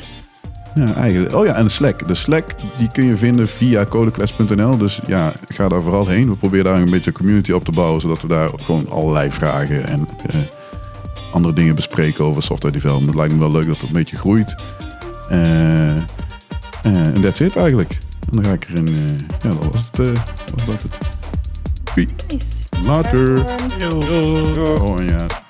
Speaker 1: Ja, eigenlijk. Oh ja, en de Slack. De Slack die kun je vinden via codeklets.nl. Dus ja, ga daar vooral heen. We proberen daar een beetje een community op te bouwen, zodat we daar ook gewoon allerlei vragen en eh, andere dingen bespreken over software development. Het lijkt me wel leuk dat dat een beetje groeit. Eh, eh, En that's it eigenlijk. En dan ga ik erin. eh, ja, dat was het. eh, was dat het.
Speaker 4: is.
Speaker 1: Later.
Speaker 10: Yo.
Speaker 1: Oh ja.